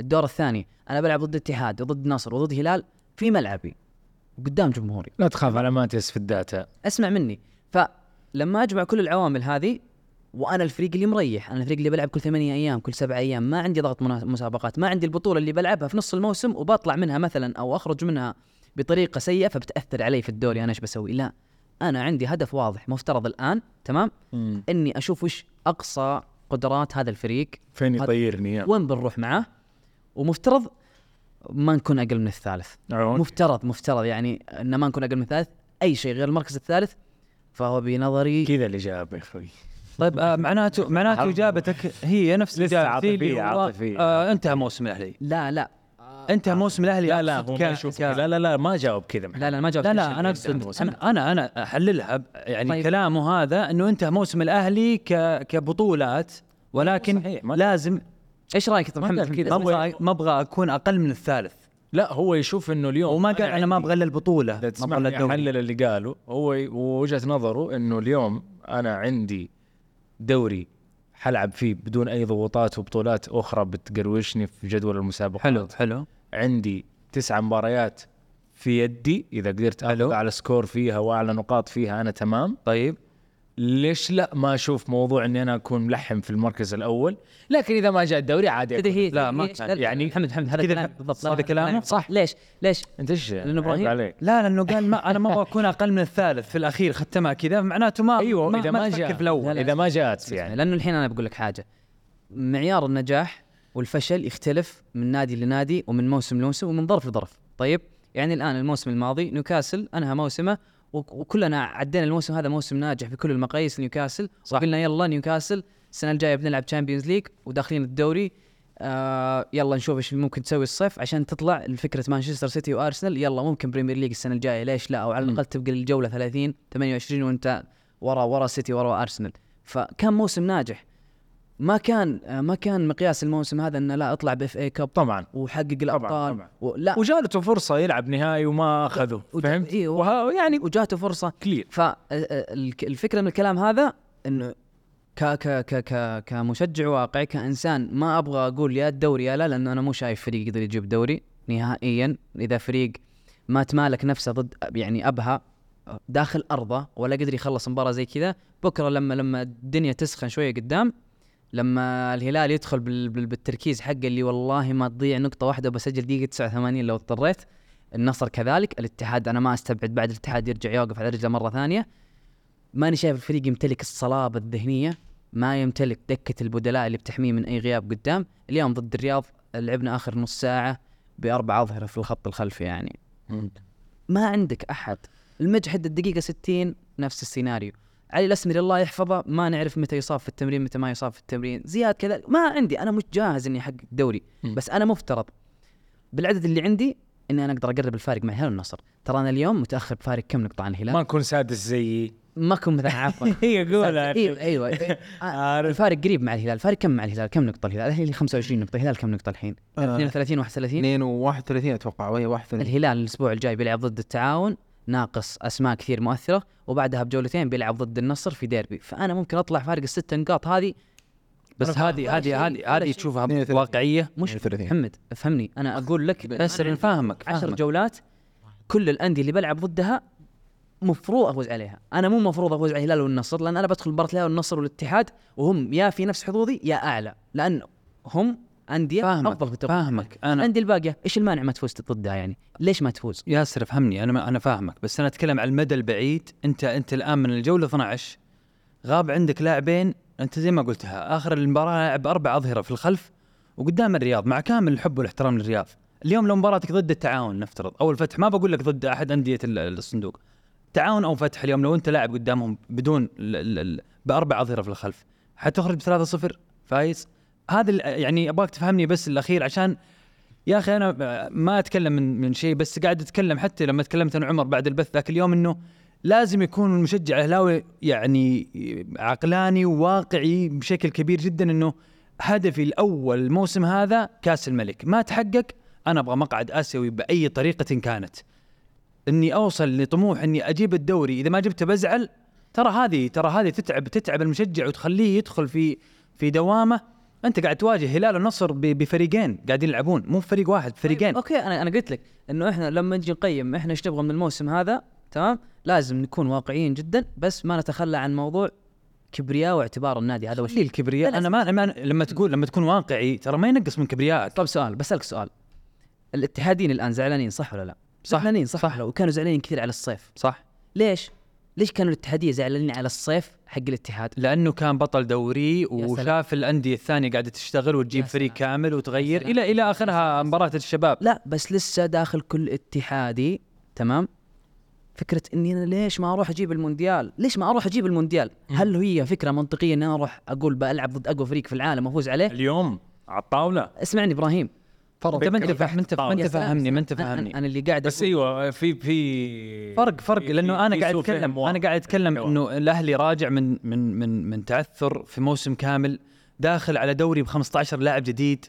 E: الدور الثاني انا بلعب ضد اتحاد وضد نصر وضد هلال في ملعبي قدام جمهوري
F: لا تخاف على ماتيس في الداتا
E: اسمع مني فلما اجمع كل العوامل هذه وانا الفريق اللي مريح انا الفريق اللي بلعب كل ثمانية ايام كل سبعة ايام ما عندي ضغط منا- مسابقات ما عندي البطوله اللي بلعبها في نص الموسم وبطلع منها مثلا او اخرج منها بطريقه سيئه فبتاثر علي في الدوري انا ايش بسوي لا انا عندي هدف واضح مفترض الان تمام
F: مم.
E: اني اشوف وش اقصى قدرات هذا الفريق
F: فين
E: هذا-
F: يطيرني يعني.
E: وين بنروح معاه ومفترض ما نكون اقل من الثالث
F: أوكي.
E: مفترض مفترض يعني ان ما نكون اقل من الثالث اي شيء غير المركز الثالث فهو بنظري
F: كذا اللي جاب يا اخوي
B: طيب آه معناته معناته اجابتك هي نفس
F: لسه
B: إجابتي اللي
F: عاطفية-
B: هو،
F: عاطفية. آه.
B: آه انتهى موسم الاهلي
E: لا لا
B: انتهى موسم الاهلي
F: لا لا
B: أقصد
F: هو
B: ك-
F: ما يشوف
B: ك-
F: لا لا لا ما جاوب كذا محمد.
E: لا لا ما جاوبت
B: لا
E: ليش
B: لا انا
E: الأندية
B: اقصد
E: الموسم؟
B: انا انا انا احللها ب- يعني
E: طيب.
B: طيب. كلامه هذا انه انتهى موسم الاهلي ك كبطولات ولكن
F: صحيح، ما-
B: لازم
E: ايش رايك يا محمد
F: قال كذا.
E: في
B: ما
E: الاسم؟
B: ابغى ما ابغى اكون اقل من الثالث
F: لا هو يشوف انه اليوم
B: وما قال انا ما ابغى الا البطوله
F: اذا
B: ما ابغى
F: تسمعني
B: الا الدوري
F: احلل اللي قاله هو ي- وجهه نظره انه اليوم انا عندي دوري حلعب فيه بدون اي ضغوطات وبطولات اخرى بتقروشني في جدول المسابقات
B: حلو حلو
F: عندي تسع مباريات في يدي اذا قدرت ألو. على سكور فيها واعلى نقاط فيها انا تمام
B: طيب
F: ليش لا ما اشوف موضوع اني انا اكون ملحم في المركز الاول لكن اذا ما جاء الدوري عادي
E: تدري
F: أكون.
E: هي
B: لا، ما
E: هي-
B: كان.
F: يعني-
E: محمد محمد هذا
B: كذا
E: كلام بالضبط لا،
B: هذا
E: لا،
B: كلامه؟
E: لا،
B: صح.
E: ليش ليش
F: انت ايش
E: لأنه إبراهيم-
F: عيب عليك
B: لا لانه قال ما انا ما ابغى اكون اقل من الثالث في الاخير ختمها كذا معناته ما
F: ايوه اذا ما
B: تفكر
F: جاء
B: في الاول
F: اذا ما جاءت يعني
E: يعني لانه الحين انا بقول لك حاجه معيار النجاح والفشل يختلف من نادي لنادي ومن موسم لموسم ومن ظرف لظرف طيب يعني الان الموسم الماضي نيوكاسل انهى موسمه وك- وكلنا عدينا الموسم هذا موسم ناجح بكل المقاييس نيوكاسل وقلنا يلا نيوكاسل السنه الجايه بنلعب تشامبيونز ليج وداخلين الدوري آه يلا نشوف ايش ممكن تسوي الصيف عشان تطلع لفكره مانشستر سيتي وارسنال يلا ممكن بريمير ليج السنه الجايه ليش لا او على الاقل تبقى الجوله 30 28 وانت ورا ورا سيتي ورا ارسنال فكان موسم ناجح ما كان آه، ما كان مقياس الموسم هذا انه لا اطلع باف اي كاب
F: طبعا
E: وحقق الابطال
F: طبعاً.
E: ولا
F: وجالته فرصه يلعب نهائي وما اخذه
E: وج-
F: فهمت؟
E: إيه، و-
F: وها يعني
E: وجاته فرصه
F: كلير
E: فالفكره من الكلام هذا انه ك ك ك ك كمشجع واقعي كانسان ما ابغى اقول يا الدوري يا لا لانه انا مو شايف فريق يقدر يجيب دوري نهائيا اذا فريق ما تمالك نفسه ضد يعني ابها داخل ارضه ولا قدر يخلص مباراه زي كذا بكره لما لما الدنيا تسخن شويه قدام لما الهلال يدخل بال- بال- بالتركيز حقه اللي والله ما تضيع نقطه واحده وبسجل دقيقه 89 لو اضطريت النصر كذلك الاتحاد انا ما استبعد بعد الاتحاد يرجع يوقف على رجله مره ثانيه ماني شايف الفريق يمتلك الصلابه الذهنيه ما يمتلك دكه البدلاء اللي بتحميه من اي غياب قدام اليوم ضد الرياض لعبنا اخر نص ساعه باربع اظهره في الخط الخلفي يعني ما عندك احد المجحد الدقيقه 60 نفس السيناريو علي الاسمري الله يحفظه ما نعرف متى يصاب في التمرين متى ما يصاب في التمرين زياد كذا ما عندي انا مش جاهز اني احقق دوري بس انا مفترض بالعدد اللي عندي اني انا اقدر اقرب الفارق مع الهلال والنصر ترى انا اليوم متاخر بفارق كم نقطه عن الهلال
F: ما نكون سادس زيي
E: ما كنت مثلا عفوا
F: هي قولها
E: ايوه ايوه آه، الفارق قريب مع الهلال الفارق كم مع الهلال كم نقطه الهلال الهلال 25 نقطه الهلال كم نقطه الحين 32 31
D: 2 و31 اتوقع وهي 31
E: الهلال الاسبوع الجاي بيلعب ضد التعاون ناقص اسماء كثير مؤثره وبعدها بجولتين بيلعب ضد النصر في ديربي فانا ممكن اطلع فارق الست نقاط هذه
B: بس هذه هذه هذه هذه تشوفها واقعيه
E: مش
D: 32.
E: محمد افهمني انا اقول لك
B: بس
E: أنا
B: أنا فاهمك
E: عشر
B: فاهمك.
E: جولات كل الانديه اللي بلعب ضدها مفروض افوز عليها انا مو مفروض افوز على الهلال والنصر لان انا بدخل مباراه الهلال والنصر والاتحاد وهم يا في نفس حظوظي يا اعلى لان هم انديه
B: فاهمك،
E: افضل في التوقيت.
B: فاهمك. أنا-
E: الانديه الباقيه ايش المانع ما تفوز ضدها يعني ليش ما تفوز
B: ياسر فهمني انا انا فاهمك بس انا اتكلم على المدى البعيد انت انت الان من الجوله 12 غاب عندك لاعبين انت زي ما قلتها اخر المباراه لعب اربع اظهره في الخلف وقدام الرياض مع كامل الحب والاحترام للرياض اليوم لو مباراتك ضد التعاون نفترض او الفتح ما بقول لك ضد احد انديه ال- الصندوق تعاون او فتح اليوم لو انت لاعب قدامهم بدون ال ال ال باربع اظهره في الخلف حتخرج ب 3-0 فايز هذا ال- يعني ابغاك تفهمني بس الاخير عشان يا اخي انا ما اتكلم من من شيء بس قاعد اتكلم حتى لما تكلمت انا وعمر بعد البث ذاك اليوم انه لازم يكون المشجع الاهلاوي يعني عقلاني وواقعي بشكل كبير جدا انه هدفي الاول الموسم هذا كاس الملك ما تحقق انا ابغى مقعد اسيوي باي طريقه كانت اني اوصل لطموح اني اجيب الدوري اذا ما جبته بزعل ترى هذه ترى هذه تتعب تتعب المشجع وتخليه يدخل في في دوامه انت قاعد تواجه هلال والنصر ب- بفريقين قاعدين يلعبون مو فريق واحد فريقين
E: طيب، اوكي انا انا قلت لك انه احنا لما نجي نقيم احنا ايش نبغى من الموسم هذا تمام لازم نكون واقعيين جدا بس ما نتخلى عن موضوع كبرياء واعتبار النادي هذا وش
B: خلي الكبرياء انا ما, ما لما تقول لما تكون واقعي ترى ما ينقص من كبريائك
E: طب سؤال بسالك سؤال الاتحادين الان زعلانين صح ولا لا؟ صح زعلانين صح, صح. وكانوا زعلانين كثير على الصيف
B: صح
E: ليش؟ ليش كانوا الاتحاديه زعلانين على الصيف حق الاتحاد؟
B: لانه كان بطل دوري
E: سلام.
B: وشاف الانديه الثانيه قاعده تشتغل وتجيب
E: يا
B: فريق
E: سلام.
B: كامل وتغير
E: سلام.
B: الى الى اخرها مباراه الشباب
E: لا بس لسه داخل كل اتحادي تمام فكرة اني انا ليش ما اروح اجيب المونديال؟ ليش ما اروح اجيب المونديال؟ هل هي فكرة منطقية اني أنا اروح اقول بلعب ضد اقوى فريق في العالم وافوز عليه؟
F: اليوم على الطاوله
E: اسمعني ابراهيم
B: انت ما انت فاهم- ما انت ما
E: يا
B: انت
E: سلام،
B: فاهمني ما انت
E: أنا- أنا-
B: فاهمني
E: انا اللي قاعد
F: بس
E: أقول-
F: ايوه في في
B: فرق فرق
F: في-
B: لانه انا
F: في
B: قاعد
F: سوء فهم
B: اتكلم
F: واضح.
E: أيوة.
B: انا قاعد اتكلم
F: أيوة.
B: انه الاهلي راجع من من من من تعثر في موسم كامل داخل على دوري ب 15 لاعب جديد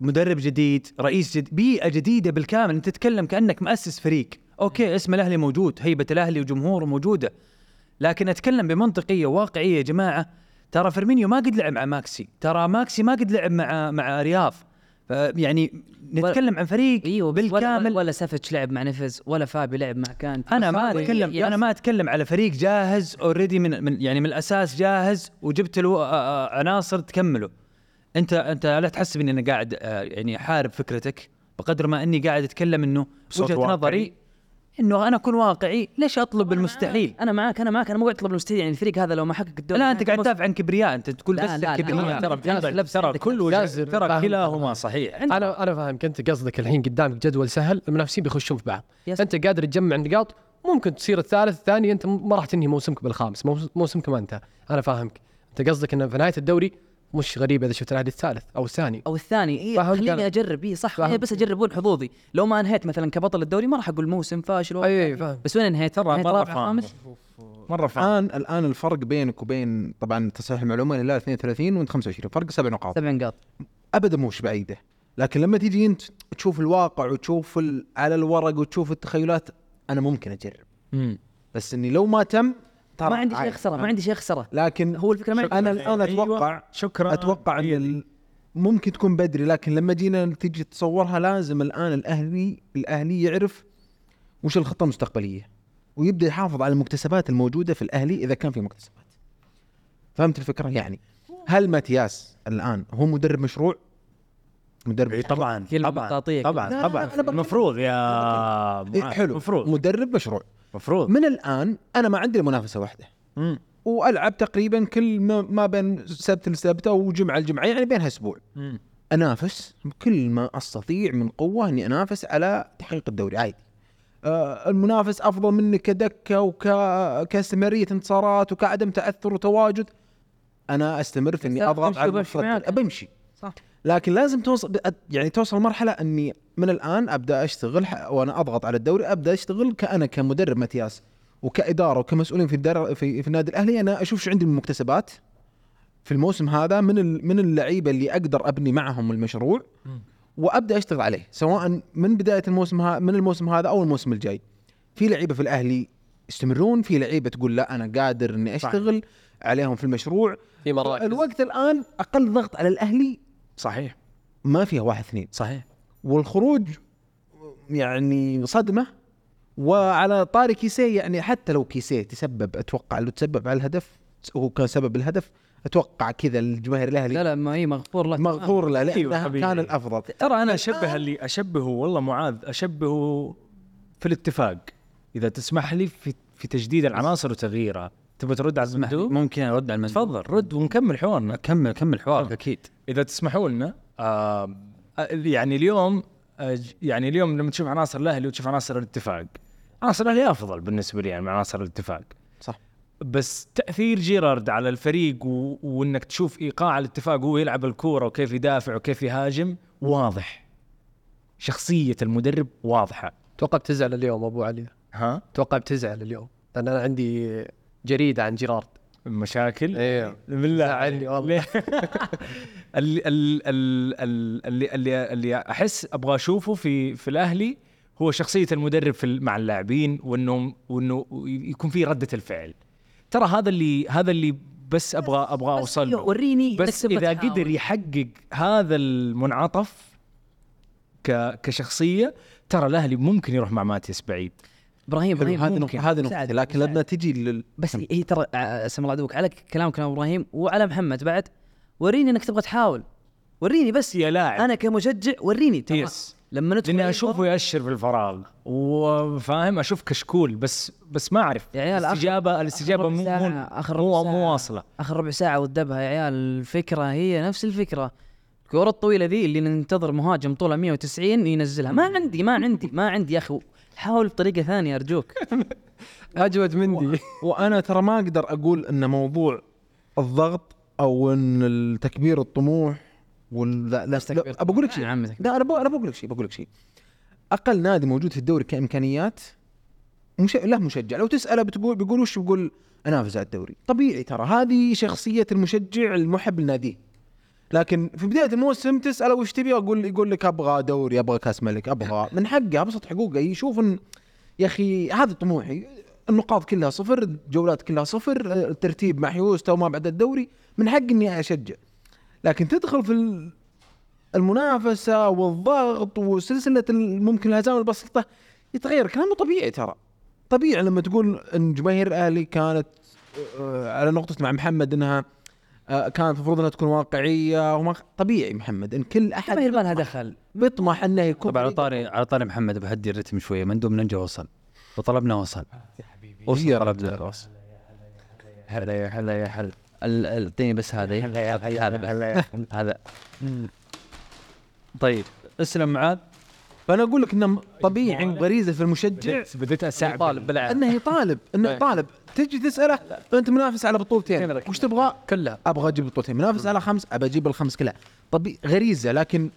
B: مدرب جديد رئيس جديد بيئه جديده بالكامل انت تتكلم كانك مؤسس فريق اوكي اسم الاهلي موجود هيبه الاهلي وجمهوره موجوده لكن اتكلم بمنطقيه واقعيه يا جماعه ترى فيرمينيو ما قد لعب مع ماكسي ترى ماكسي ما قد لعب مع مع رياض ف- يعني نتكلم عن فريق
E: ايوه بس
B: بالكامل
E: ولا, ولا سافيتش لعب مع نفس ولا فابي لعب مع كانت
B: انا ما
E: بس هو
B: اتكلم
E: ي-
B: انا ما اتكلم على فريق جاهز اوريدي من, من يعني من الاساس جاهز وجبت له آه، آه، عناصر تكمله انت انت لا تحسب اني انا قاعد آه، يعني احارب فكرتك بقدر ما اني قاعد اتكلم انه
F: بصوت
B: وجهه
F: واقعي.
B: نظري انه انا اكون واقعي ليش اطلب المستحيل
E: انا معاك انا معاك انا مو قاعد اطلب المستحيل يعني الفريق هذا لو ما حقق الدوري
B: لا انت قاعد تدافع عن كبرياء انت تقول
E: لا،
B: بس
E: لا، لا.
B: كبرياء
E: ترى
F: ترى ترى كل وجه-
C: جازر
F: ترى
C: فاهم.
F: كلاهما صحيح
C: انا انا فاهمك انت قصدك الحين قدامك جدول سهل المنافسين بيخشون في بعض
E: يس.
C: انت قادر تجمع نقاط ممكن تصير الثالث الثاني انت ما راح تنهي موسمك بالخامس موس- موسمك ما انتهى انا فاهمك انت قصدك انه في نهايه الدوري مش غريب اذا شفت الاهلي الثالث او الثاني
E: او الثاني إيه
C: فاهم
E: خليني
C: قال-
E: اجرب اي صح
C: فاهم.
E: إيه بس اجربون حظوظي لو ما انهيت مثلا كبطل الدوري ما راح اقول موسم فاشل
C: اي اي فاهم
E: بس وين انهيت؟
F: ترى
E: انهيت
F: مرة
E: رابع
F: فاهم.
E: خامس
F: مره فاهم
D: الان الان الفرق بينك وبين طبعا تصحيح المعلومه لا 32 وانت 25 فرق سبع نقاط
E: سبع نقاط
D: ابدا مش بعيده لكن لما تيجي انت تشوف الواقع وتشوف ال- على الورق وتشوف التخيلات انا ممكن اجرب
F: مم.
D: بس اني لو ما تم ترى
E: ما عندي شيء
D: عادي.
E: اخسره ما عندي شيء اخسره
D: لكن
E: هو الفكره ما أيوة. عندي
D: انا الان اتوقع
F: شكرا
D: اتوقع ان ال- ممكن تكون بدري لكن لما جينا تيجي تصورها لازم الان الاهلي الاهلي يعرف وش الخطه المستقبليه ويبدا يحافظ على المكتسبات الموجوده في الاهلي اذا كان في مكتسبات فهمت الفكره يعني هل ماتياس الان هو مدرب مشروع مدرب
F: إي
D: مشروع.
F: طبعا
E: كلمة
F: طبعا
E: تعطيك.
D: لا،
F: طبعا
D: لا،
F: طبعا
D: أنا بتكلم-
F: المفروض يا
D: إيه،
F: معاذ.
D: حلو
F: المفروض
D: مدرب مشروع
F: المفروض
D: من الان انا ما عندي منافسه واحده
F: مم.
D: والعب تقريبا كل ما- ما بين سبت لسبته وجمعه لجمعه يعني بينها اسبوع
F: مم.
D: انافس بكل ما استطيع من قوه اني انافس على تحقيق الدوري عادي. آه المنافس افضل مني كدكه وك كاستمراريه انتصارات وكعدم تاثر وتواجد انا استمر في اني
E: بس
D: اضغط
E: أمشي
D: على
E: وبمشي
D: المفرد.
E: معاك.
D: بمشي
E: صح.
D: لكن لازم توصل يعني توصل مرحله اني من الان ابدا اشتغل ح- وانا اضغط على الدوري ابدا اشتغل كانا كمدرب متياس وكاداره وكمسؤولين في الدار في, في النادي الاهلي انا اشوف شو عندي من مكتسبات في الموسم هذا من ال- من اللعيبه اللي اقدر ابني معهم المشروع وابدا اشتغل عليه سواء من بدايه الموسم ها من الموسم هذا او الموسم الجاي. في لعيبه في الاهلي يستمرون في لعيبه تقول لا انا قادر اني اشتغل عليهم في المشروع
C: في مراكز
D: الوقت الان اقل ضغط على الاهلي
F: صحيح
D: ما فيها واحد اثنين
F: صحيح
D: والخروج يعني صدمه وعلى طاري كيسيه يعني حتى لو كيسيه تسبب اتوقع لو تسبب على الهدف هو كان سبب الهدف اتوقع كذا الجماهير
E: لا
D: الاهلي
E: لا ما هي مغفور لك
D: مغفور له لانه
F: أيوة حبيبي.
D: كان الافضل
F: ترى انا اشبه اللي اشبهه والله معاذ اشبهه في الاتفاق اذا تسمح لي في في تجديد العناصر وتغييرها تبغى ترد على المندوب
B: ممكن ارد على المندوب
F: تفضل رد ونكمل حوارنا
B: كمل كمل حوارك اكيد
F: اذا تسمحوا لنا آه يعني اليوم آه يعني اليوم لما تشوف عناصر الاهلي وتشوف عناصر الاتفاق عناصر الاهلي افضل بالنسبه لي يعني من عناصر الاتفاق
D: صح.
F: بس تاثير جيرارد على الفريق و... وانك تشوف ايقاع الاتفاق وهو يلعب الكوره وكيف يدافع وكيف يهاجم واضح شخصيه المدرب واضحه
C: اتوقع بتزعل اليوم ابو علي
F: ها
C: اتوقع بتزعل اليوم لان انا عندي جريده عن جيرارد
F: مشاكل
C: ايوه
F: بالله
C: زعلني والله.
F: ليه؟ اللي ال- ال- ال- اللي اللي اللي احس ابغى اشوفه في في الاهلي هو شخصيه المدرب في ال- مع اللاعبين وانه وانه يكون في رده الفعل ترى هذا اللي هذا اللي بس ابغى ابغى
E: بس
F: اوصل
E: أيوة،
F: له
E: وريني
F: بس
E: إنك
F: اذا
E: بتحاول.
F: قدر يحقق هذا المنعطف ك كشخصيه ترى الاهلي ممكن يروح مع ماتيس بعيد
E: ابراهيم
D: حلو،
E: ابراهيم
D: هذه
E: ممكن.
D: نقطة هذه نقطة
E: ساعد-
D: لكن
E: ساعد.
D: لما تجي لل
E: بس هي ترى آه، سم الله عدوك على كلام كلام ابراهيم وعلى محمد بعد وريني انك تبغى تحاول وريني بس
F: يا لاعب
E: انا كمشجع وريني ترى
F: يس.
E: لما ندخل إيه،
F: لاني
E: أي
F: اشوفه
E: ضغط-
F: ياشر في الفراغ وفاهم اشوف كشكول بس بس ما اعرف
E: يا عيال، آخر-
F: الاستجابه الاستجابه
E: ربع
F: مو مو
E: ساعة، آخر
F: مو,
E: ربع
F: مو
E: ساعة.
F: واصله
E: اخر ربع ساعه ودبها يا عيال الفكره هي نفس الفكره الكرة الطويلة ذي اللي ننتظر مهاجم طوله 190 ينزلها ما عندي ما عندي ما عندي يا اخي حاول بطريقة ثانية ارجوك
C: اجود مندي
D: وانا ترى ما اقدر اقول ان موضوع الضغط او ان تكبير الطموح وال لا لا, لا
E: تكبير
D: أبى اقول لك
E: يا
D: شيء
E: عمي تكبير.
D: لا انا بقول- انا بقول لك شيء بقول لك شيء اقل نادي موجود في الدوري كامكانيات مش... له مشجع لو تساله بتقول بيقول وش بيقول انافس على الدوري طبيعي ترى هذه شخصيه المشجع المحب لناديه لكن في بدايه الموسم تساله وش تبي اقول يقول لك ابغى دوري ابغى كاس ملك ابغى من حقه ابسط حقوقه يشوف ان يا اخي هذا طموحي النقاط كلها صفر الجولات كلها صفر الترتيب محيوس تو ما بعد الدوري من حق اني اشجع لكن تدخل في ال- المنافسه والضغط وسلسله ال- ممكن الهزائم البسيطه يتغير كلامه طبيعي ترى طبيعي لما تقول ان جماهير الاهلي كانت آه، على نقطة مع محمد انها آه، كانت المفروض انها تكون واقعيه وما طبيعي محمد ان
E: ما
D: كل
E: هي
D: احد
E: إيه، ما لها دخل
D: بيطمح انه يكون
B: طبعا على طاري على طاري محمد بهدي الرتم شويه مندوب ننجا وصل وطلبنا وصل
E: آه،
B: وصل طلبنا وصل
E: هلا يا هلا يا هلا ال- ال- اعطيني بس هذه هذا بس. هذا
B: طيب اسلم معاذ
D: فانا اقول لك انه طبيعي غريزه في المشجع
F: بديت اساعد
B: طالب بالعافيه
D: انه يطالب انه
C: طيب.
D: يطالب تجي تساله انت منافس على بطولتين وش تبغى؟
C: كلها
D: ابغى اجيب بطولتين منافس على خمس ابى اجيب الخمس كلها طبيعي غريزه لكن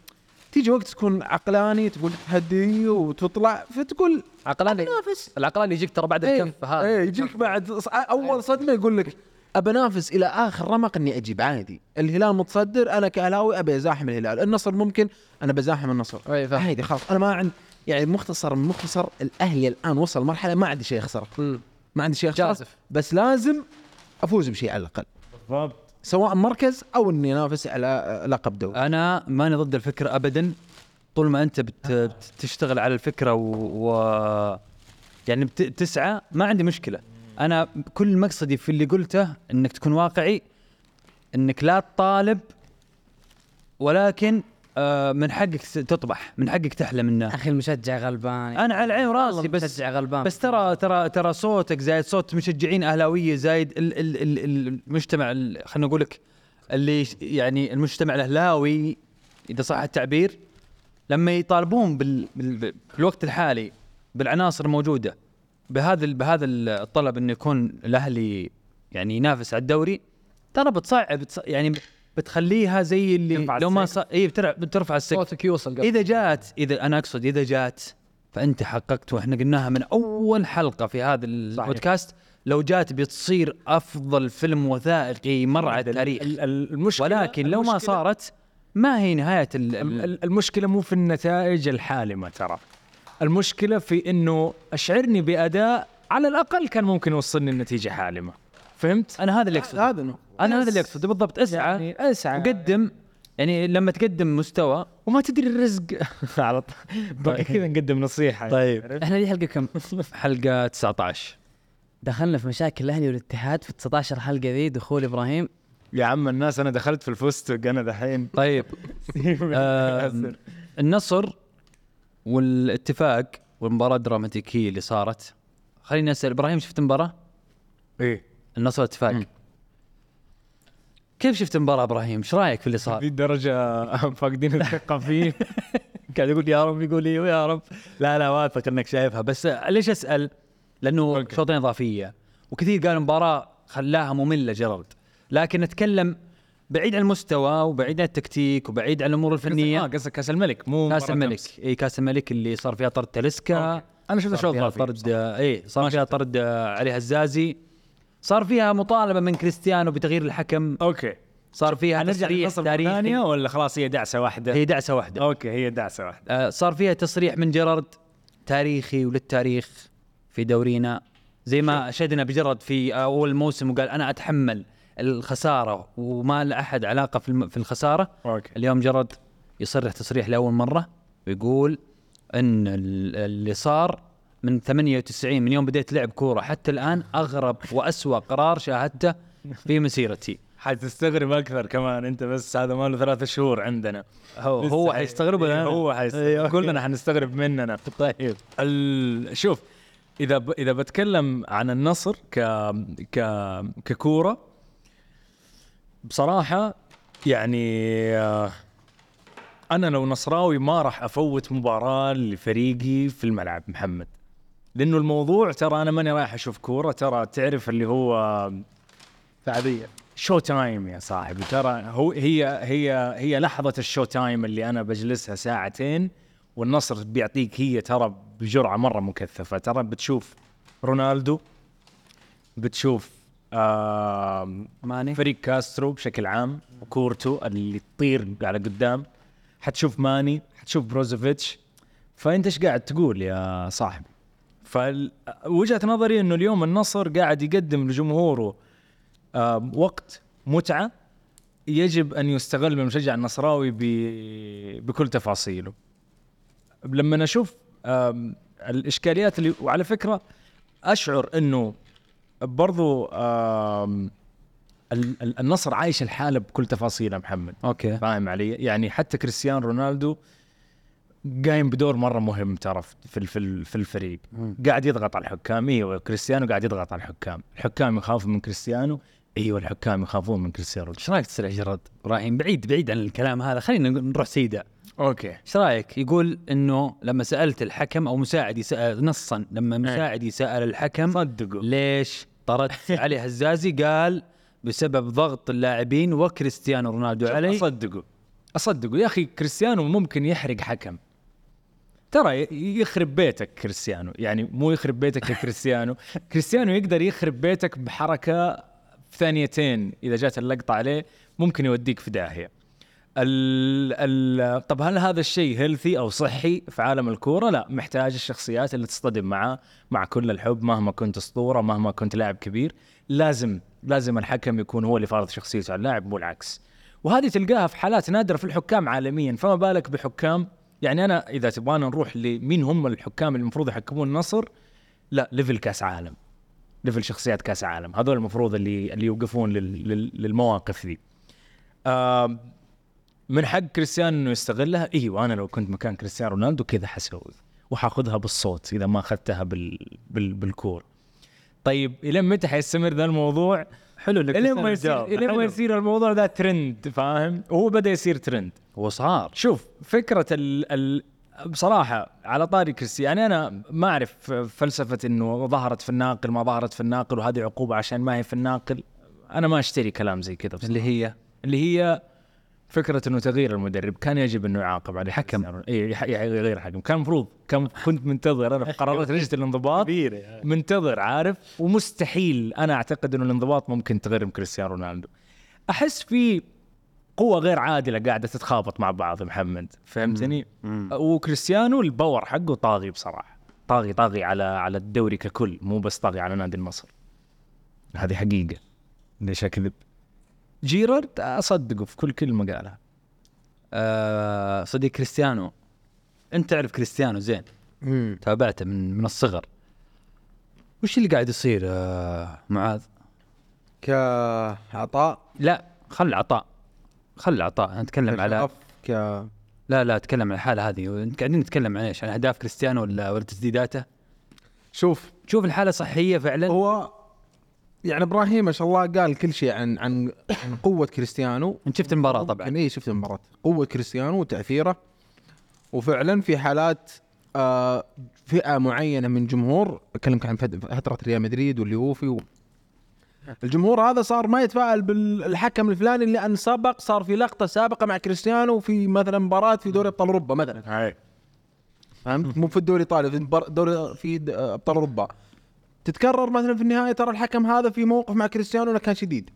D: تيجي وقت تكون عقلاني تقول هدي وتطلع فتقول
C: عقلاني
D: نافس
C: العقلاني يجيك ترى بعد
D: إيه.
C: الكف هذا
D: ايه يجيك بعد ص- اول صدمه يقول لك ابى انافس الى اخر رمق اني اجيب عادي الهلال متصدر انا كهلاوي ابي ازاحم الهلال النصر ممكن انا بزاحم النصر
C: اي إيه، فاهم
D: عادي خلاص انا ما عندي يعني مختصر من مختصر الاهلي الان وصل مرحله ما عندي شيء اخسره
C: مم.
D: ما عندي شيء اخسره
C: جازف
D: بس لازم افوز بشيء على الاقل
F: بالضبط
D: سواء مركز او اني انافس على آه، لقب دوري
B: انا ماني ضد الفكره ابدا طول ما انت بت- بتشتغل على الفكره و, و... يعني بت... تسعى ما عندي مشكله انا كل مقصدي في اللي قلته انك تكون واقعي انك لا تطالب ولكن آه، من حقك تطمح من حقك تحلم انه
E: اخي المشجع غلبان
B: انا على عين راسي
E: والله
B: بس
E: مشجع غلبان
B: بس ترى ترى ترى صوتك زايد صوت مشجعين اهلاويه زايد ال ال ال ال- المجتمع ال- خلينا نقول لك اللي ش- يعني المجتمع الاهلاوي اذا صح التعبير لما يطالبون بال بال بالوقت الحالي بالعناصر الموجوده بهذا ال- بهذا الطلب انه يكون الاهلي يعني ينافس على الدوري ترى بتصعب بتص- يعني بتخليها زي اللي
F: ترفع
B: لو ما
F: السقف.
B: ص... اي بترع- بترفع السقف
C: صوتك يوصل قبل
B: اذا جات اذا انا اقصد اذا جات فانت حققت واحنا قلناها من اول حلقه في هذا البودكاست لو جات بتصير افضل فيلم وثائقي مر على التاريخ
F: ال- ال- المشكله
B: ولكن لو ما
F: المشكلة-
B: صارت ما هي نهايه
F: ال-
B: ال ال
F: ال- المشكله مو في النتائج الحالمه ترى المشكله في انه اشعرني باداء على الاقل كان ممكن يوصلني لنتيجه حالمه فهمت
B: انا هذا اللي اقصده
D: هذا نوع.
B: انا هذا اللي اقصده بالضبط اسعى
F: يعني اسعى
B: وقدم يعني لما تقدم مستوى
F: وما تدري الرزق على
E: طيب.
F: طول كذا نقدم نصيحه
B: طيب.
E: احنا دي حلقه كم؟
B: حلقه 19
E: دخلنا في مشاكل الاهلي والاتحاد في 19 حلقه ذي دخول ابراهيم
F: يا عم الناس انا دخلت في الفستق انا دحين
B: طيب آم، النصر والاتفاق والمباراه الدراماتيكيه اللي صارت خليني اسال ابراهيم شفت المباراه؟
F: ايه
B: النصر والاتفاق كيف شفت المباراه ابراهيم؟ ايش رايك في اللي صار؟
F: ذي الدرجة آه، فاقدين الثقة فيه قاعد يقول يا رب يقول لي ويا رب
B: لا لا واثق انك شايفها بس ليش اسال؟ لانه
F: أوكي.
B: شوطين اضافيه وكثير قالوا المباراه خلاها ممله جيرالد لكن نتكلم بعيد عن المستوى وبعيد عن التكتيك وبعيد عن الامور
F: فنية
B: الفنيه
F: آه، قصدك كأس الملك مو
B: كاس
F: مباراة
B: الملك
F: أمس.
B: اي كاس الملك اللي صار فيها طرد تلسكا
F: أوكي. أنا شفت
B: صار
F: أشواط
B: فيها
F: إضافية
B: طرد اي صار فيها طرد آه، علي هزازي صار فيها مطالبه من كريستيانو بتغيير الحكم
F: اوكي
B: صار فيها
F: هنرجع
B: تصريح
F: للنصر ثانية
B: تاريخي
F: ولا خلاص هي دعسة واحدة
B: هي دعسه واحده
F: اوكي هي دعسة واحدة
B: آه، صار فيها تصريح من جيرارد تاريخي وللتاريخ في دورينا زي ما شهدنا بجيرارد في اول موسم وقال انا اتحمل الخساره وما لاحد علاقه في الم- في الخساره
F: اوكي
B: اليوم جيرارد يصرح تصريح لاول مره ويقول ان ال- اللي صار من 98 من يوم بديت لعب كوره حتى الان اغرب واسوا قرار شاهدته في مسيرتي
F: حتستغرب اكثر كمان انت بس هذا ماله ثلاثة شهور عندنا
B: هو أيوه.
F: لسه
B: هو
F: حي-
B: حيستغرب ولا
F: إيه،
B: أنا؟
F: هو حيستغرب كلنا حنستغرب مننا طيب ال... شوف اذا ب... اذا بتكلم عن النصر ك ك ككوره بصراحه يعني آه، انا لو نصراوي ما راح افوت مباراه لفريقي في الملعب محمد لانه الموضوع ترى انا ماني رايح اشوف كوره ترى تعرف اللي هو
C: تعبيه
F: شو تايم يا صاحبي ترى هو هي هي هي لحظة الشو تايم اللي أنا بجلسها ساعتين والنصر بيعطيك هي ترى بجرعة مرة مكثفة ترى بتشوف رونالدو بتشوف آم،
B: ماني
F: فريق كاسترو بشكل عام وكورتو اللي تطير على قدام حتشوف ماني حتشوف بروزوفيتش فانت ايش قاعد تقول يا صاحبي فوجهه نظري انه اليوم النصر قاعد يقدم لجمهوره آم، وقت متعه يجب ان يستغل من المشجع النصراوي ب... بكل تفاصيله لما اشوف آم، الاشكاليات اللي وعلى فكره اشعر انه برضو آم، ال- ال- النصر عايش الحاله بكل تفاصيلها محمد
B: اوكي
F: فاهم علي يعني حتى كريستيانو رونالدو قايم بدور مره مهم ترى في ال- في ال- في الفريق قاعد يضغط على الحكام ايوه كريستيانو قاعد يضغط على الحكام الحكام يخافوا من كريستيانو ايوه الحكام يخافون من كريستيانو
B: ايش رايك تصير جرد ابراهيم بعيد بعيد عن الكلام هذا خلينا نروح سيدا
F: اوكي
B: ايش رايك يقول انه لما سالت الحكم او مساعدي سال نصا لما مساعدي سال الحكم
F: صدقوا
B: ليش طردت علي هزازي قال بسبب ضغط اللاعبين وكريستيانو رونالدو علي
F: اصدقه اصدقه يا اخي كريستيانو ممكن يحرق حكم ترى ي- يخرب بيتك كريستيانو يعني مو يخرب بيتك يا كريستيانو كريستيانو يقدر يخرب بيتك بحركه في ثانيتين اذا جات اللقطه عليه ممكن يوديك في داهيه ال ال طب هل هذا الشيء هيلثي او صحي في عالم الكوره؟ لا محتاج الشخصيات اللي تصطدم معاه مع كل الحب مهما كنت اسطوره مهما كنت لاعب كبير لازم لازم الحكم يكون هو اللي فارض شخصيته على اللاعب مو العكس. وهذه تلقاها في حالات نادره في الحكام عالميا فما بالك بحكام يعني انا اذا تبغانا نروح لمين هم الحكام اللي المفروض يحكمون النصر لا ليفل كاس عالم ليفل شخصيات كاس عالم هذول المفروض اللي اللي يوقفون لل لل للمواقف ذي. آم، من حق كريستيانو انه يستغلها ايوه انا لو كنت مكان كريستيانو رونالدو كذا حسوي وحاخذها بالصوت اذا ما اخذتها بال... بال... بالكور طيب الى متى حيستمر ذا الموضوع؟
G: حلو اللي
F: الين
G: كريستيانو
F: ما يصير
G: جاوب.
F: الين ما
G: حلو.
F: يصير الموضوع ذا ترند فاهم؟ وهو بدا يصير ترند
B: وصار
F: شوف فكره ال... ال... بصراحه على طاري كريستيانو انا ما اعرف فلسفه انه ظهرت في الناقل ما ظهرت في الناقل وهذه عقوبه عشان ما هي في الناقل انا ما اشتري كلام زي كذا بصراحه
B: اللي هي
F: اللي هي فكره انه تغيير المدرب كان يجب انه يعاقب عليه حكم اي يح- يح- يغير حكم كان المفروض كان كنت منتظر انا في قرارات لجنه الانضباط
G: كبيره يعني.
F: منتظر عارف ومستحيل انا اعتقد انه الانضباط ممكن تغرم كريستيانو رونالدو احس في قوة غير عادلة قاعدة تتخابط مع بعض محمد فهمتني؟ وكريستيانو الباور حقه طاغي بصراحة طاغي طاغي على على الدوري ككل مو بس طاغي على نادي النصر هذه حقيقة ليش اكذب؟ جيرارد اصدقه في كل كلمة قالها
B: آه صديق كريستيانو انت تعرف كريستيانو زين تابعته من من الصغر وش اللي قاعد يصير آه معاذ؟
D: كعطاء
B: لا خل عطاء خل عطاء أنا اتكلم على
D: كشغف، ك
B: لا لا اتكلم عن الحاله هذه قاعدين نتكلم عن ايش؟ عن اهداف كريستيانو ولا ولا تسديداته؟
D: شوف
B: شوف الحاله صحيه فعلا
D: هو يعني ابراهيم ما شاء الله قال كل شيء عن عن عن قوه كريستيانو
B: انت شفت المباراه طبعا
D: يعني اي شفت المباراه قوه كريستيانو وتاثيره وفعلا في حالات آه فئه معينه من جمهور اكلمك عن فت- فتره ريال مدريد واليوفي و... الجمهور هذا صار ما يتفائل بالحكم الفلاني لان سبق صار في لقطه سابقه مع كريستيانو في مثلا مباراه في دوري ابطال اوروبا مثلا فهمت مو في الدوري الايطالي في البر- دوري في د- ابطال اوروبا تتكرر مثلا في النهايه ترى الحكم هذا في موقف مع كريستيانو انه كان شديد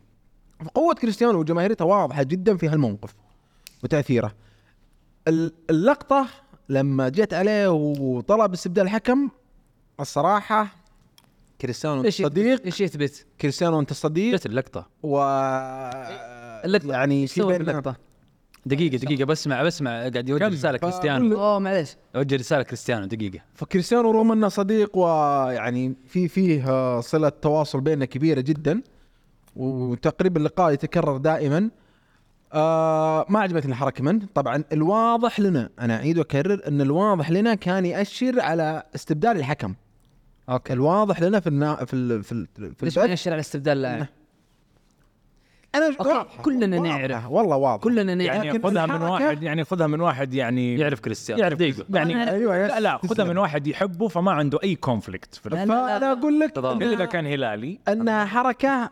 D: قوه كريستيانو وجماهيرته واضحه جدا في هالموقف وتاثيره ال- اللقطه لما جت عليه وطلب استبدال الحكم الصراحه كريستيانو
B: ايش
D: صديق
B: ايش يثبت؟
D: كريستيانو انت صديق
B: جت اللقطه
D: و
E: اللقطة.
D: يعني في
E: سوى
D: بيننا
E: اللقطة
B: دقيقه دقيقه بسمع بسمع قاعد يوجه رساله كريستيانو
E: اوه معليش
B: يوجه رساله كريستيانو دقيقه
D: فكريستيانو رغم انه صديق ويعني في فيه آه، صله تواصل بيننا كبيره جدا وتقريبا اللقاء يتكرر دائما آه ما عجبتني الحركه منه طبعا الواضح لنا انا اعيد واكرر ان الواضح لنا كان ياشر على استبدال الحكم اوكي الواضح لنا في النا... في ال... في ال... في
E: ليش
D: البث.
E: ما يشير على استبدال اللاعب؟
D: انا
E: أوكي،
D: واضحة،
E: كلنا
D: واضحة،
E: نعرف.
D: والله واضح
E: كلنا نعرف
F: يعني
D: لكن
F: خذها من
D: الحركة-
F: واحد يعني خذها من واحد يعني
B: يعرف كريستيانو
F: يعرف يعني
D: ايوه يا
F: لا لا خذها من واحد يحبه فما عنده اي كونفليكت في
E: لا، لا، لا.
D: فانا اقول لك
B: تضامن.
F: الا اذا
D: إنها-
F: كان هلالي
D: انها حركه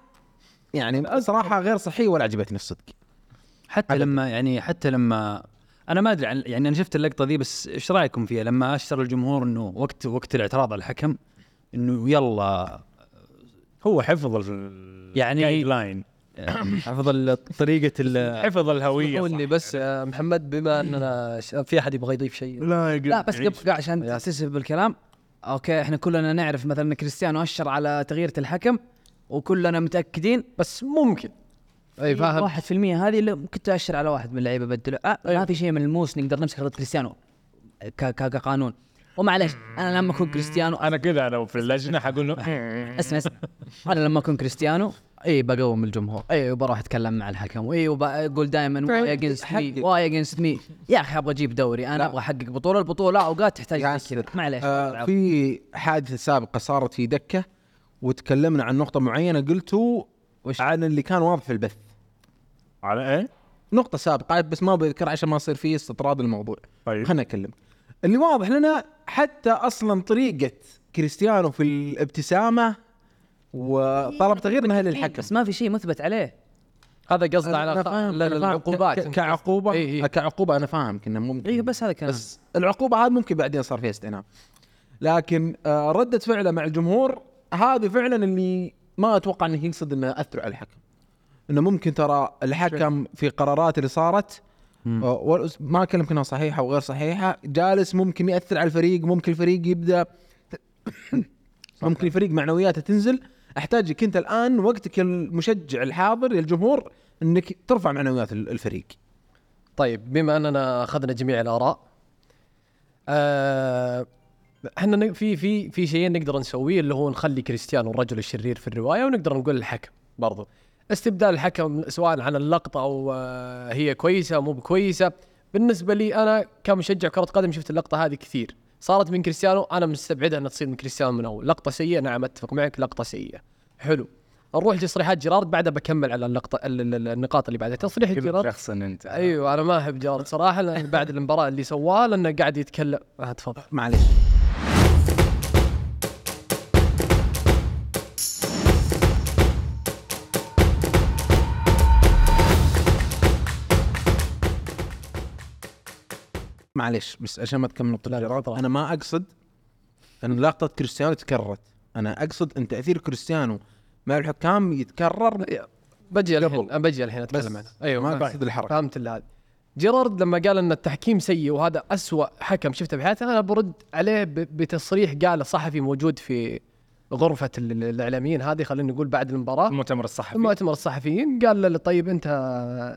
D: يعني صراحه غير صحيه ولا عجبتني الصدق
B: حتى لما يعني حتى لما انا ما ادري عن يعني انا شفت اللقطه دي بس ايش رايكم فيها لما اشتر الجمهور انه وقت وقت الاعتراض على الحكم انه يلا
F: هو حفظ ال
B: يعني-
F: لاين
B: حفظ طريقه ال
F: حفظ الهويه
C: اسمحوا لي آه. بس آه، محمد بما اننا ش- في احد يبغى يضيف شيء
F: لا يعني
E: لا بس قبل قاع عشان تسف بالكلام اوكي احنا كلنا نعرف مثلا كريستيانو اشر على تغيير الحكم وكلنا متاكدين
C: بس ممكن اي إيه، فاهم
E: 1% هذه اللي كنت اشر على واحد من اللعيبه بدله آه ما في شيء ملموس نقدر نمسك خطه كريستيانو ك- ك- كقانون ومعلش انا لما اكون كريستيانو
F: انا كذا انا في اللجنه حقول
C: آه.
F: له
E: اسمع اسمع انا لما اكون كريستيانو اي بقوم الجمهور اي وبروح اتكلم مع الحكم اي وبقول دائما واي اجينست مي واي اجينست مي يا اخي ابغى اجيب دوري انا ابغى احقق بطوله البطوله اوقات تحتاج
D: قاعد
E: زي كذا معليش
D: آه في حادثه سابقه صارت في دكه وتكلمنا عن نقطه معينه قلته
E: وش؟
D: عن اللي كان واضح في البث
F: على ايه؟
D: نقطه سابقه بس ما بذكر عشان ما يصير فيه استطراد الموضوع
F: طيب
D: خلنا نكلم اللي واضح لنا حتى اصلا طريقه كريستيانو في الابتسامه وطلب تغيير من اهل الحكم
E: بس ما في شيء مثبت عليه
C: هذا قصد
D: أنا- أنا
C: على خ-
D: فاهم،
C: ل-
D: أنا فاهم.
C: العقوبات
D: ك- ك- كعقوبه
C: إي إي.
D: كعقوبه انا فاهمك انه ممكن
E: ايوه بس هذا كلام
D: بس العقوبه هذه ممكن بعدين صار فيها استئناف لكن آه، رده فعله مع الجمهور هذه فعلا اللي ما اتوقع انه يقصد انه اثر على الحكم انه ممكن ترى الحكم في قرارات اللي صارت آه، والأس- ما اكلم انها صحيحه وغير صحيحه جالس ممكن ياثر على الفريق ممكن الفريق يبدا ممكن الفريق معنوياته تنزل احتاجك انت الان وقتك المشجع الحاضر للجمهور انك ترفع معنويات ال- الفريق
C: طيب بما اننا اخذنا جميع الاراء آه، احنا ن- في في في شيئين نقدر نسويه اللي هو نخلي كريستيانو الرجل الشرير في الروايه ونقدر نقول الحكم برضو استبدال الحكم سواء عن اللقطه او آه، هي كويسه أو مو كويسه بالنسبه لي انا كمشجع كره قدم شفت اللقطه هذه كثير صارت من كريستيانو انا مستبعدها انها تصير من كريستيانو من اول لقطه سيئه نعم اتفق معك لقطه سيئه حلو نروح لتصريحات جيرارد بعدها بكمل على اللقطه ال- ال- ال- النقاط اللي بعدها تصريح جيرارد
F: شخصا انت
C: ايوه انا ما احب جارد صراحه لأن بعد المباراه اللي سواه لانه قاعد يتكلم آه تفضل
D: معليش معليش بس عشان ما تكمل نقطة الجراد، انا ما اقصد ان لقطة كريستيانو تكررت انا اقصد ان تاثير كريستيانو مع الحكام يتكرر
C: بجي الحين أنا بجي الحين اتكلم
D: بس
C: عنه ايوه
D: ما
C: فاهم.
D: أقصد الحركة.
C: فهمت اللي هذا جيرارد لما قال ان التحكيم سيء وهذا أسوأ حكم شفته بحياتي انا برد عليه ب- بتصريح قاله صحفي موجود في غرفه ال- ال- الاعلاميين هذه خلينا نقول بعد المباراه
F: المؤتمر الصحفي
C: المؤتمر الصحفيين قال له طيب انت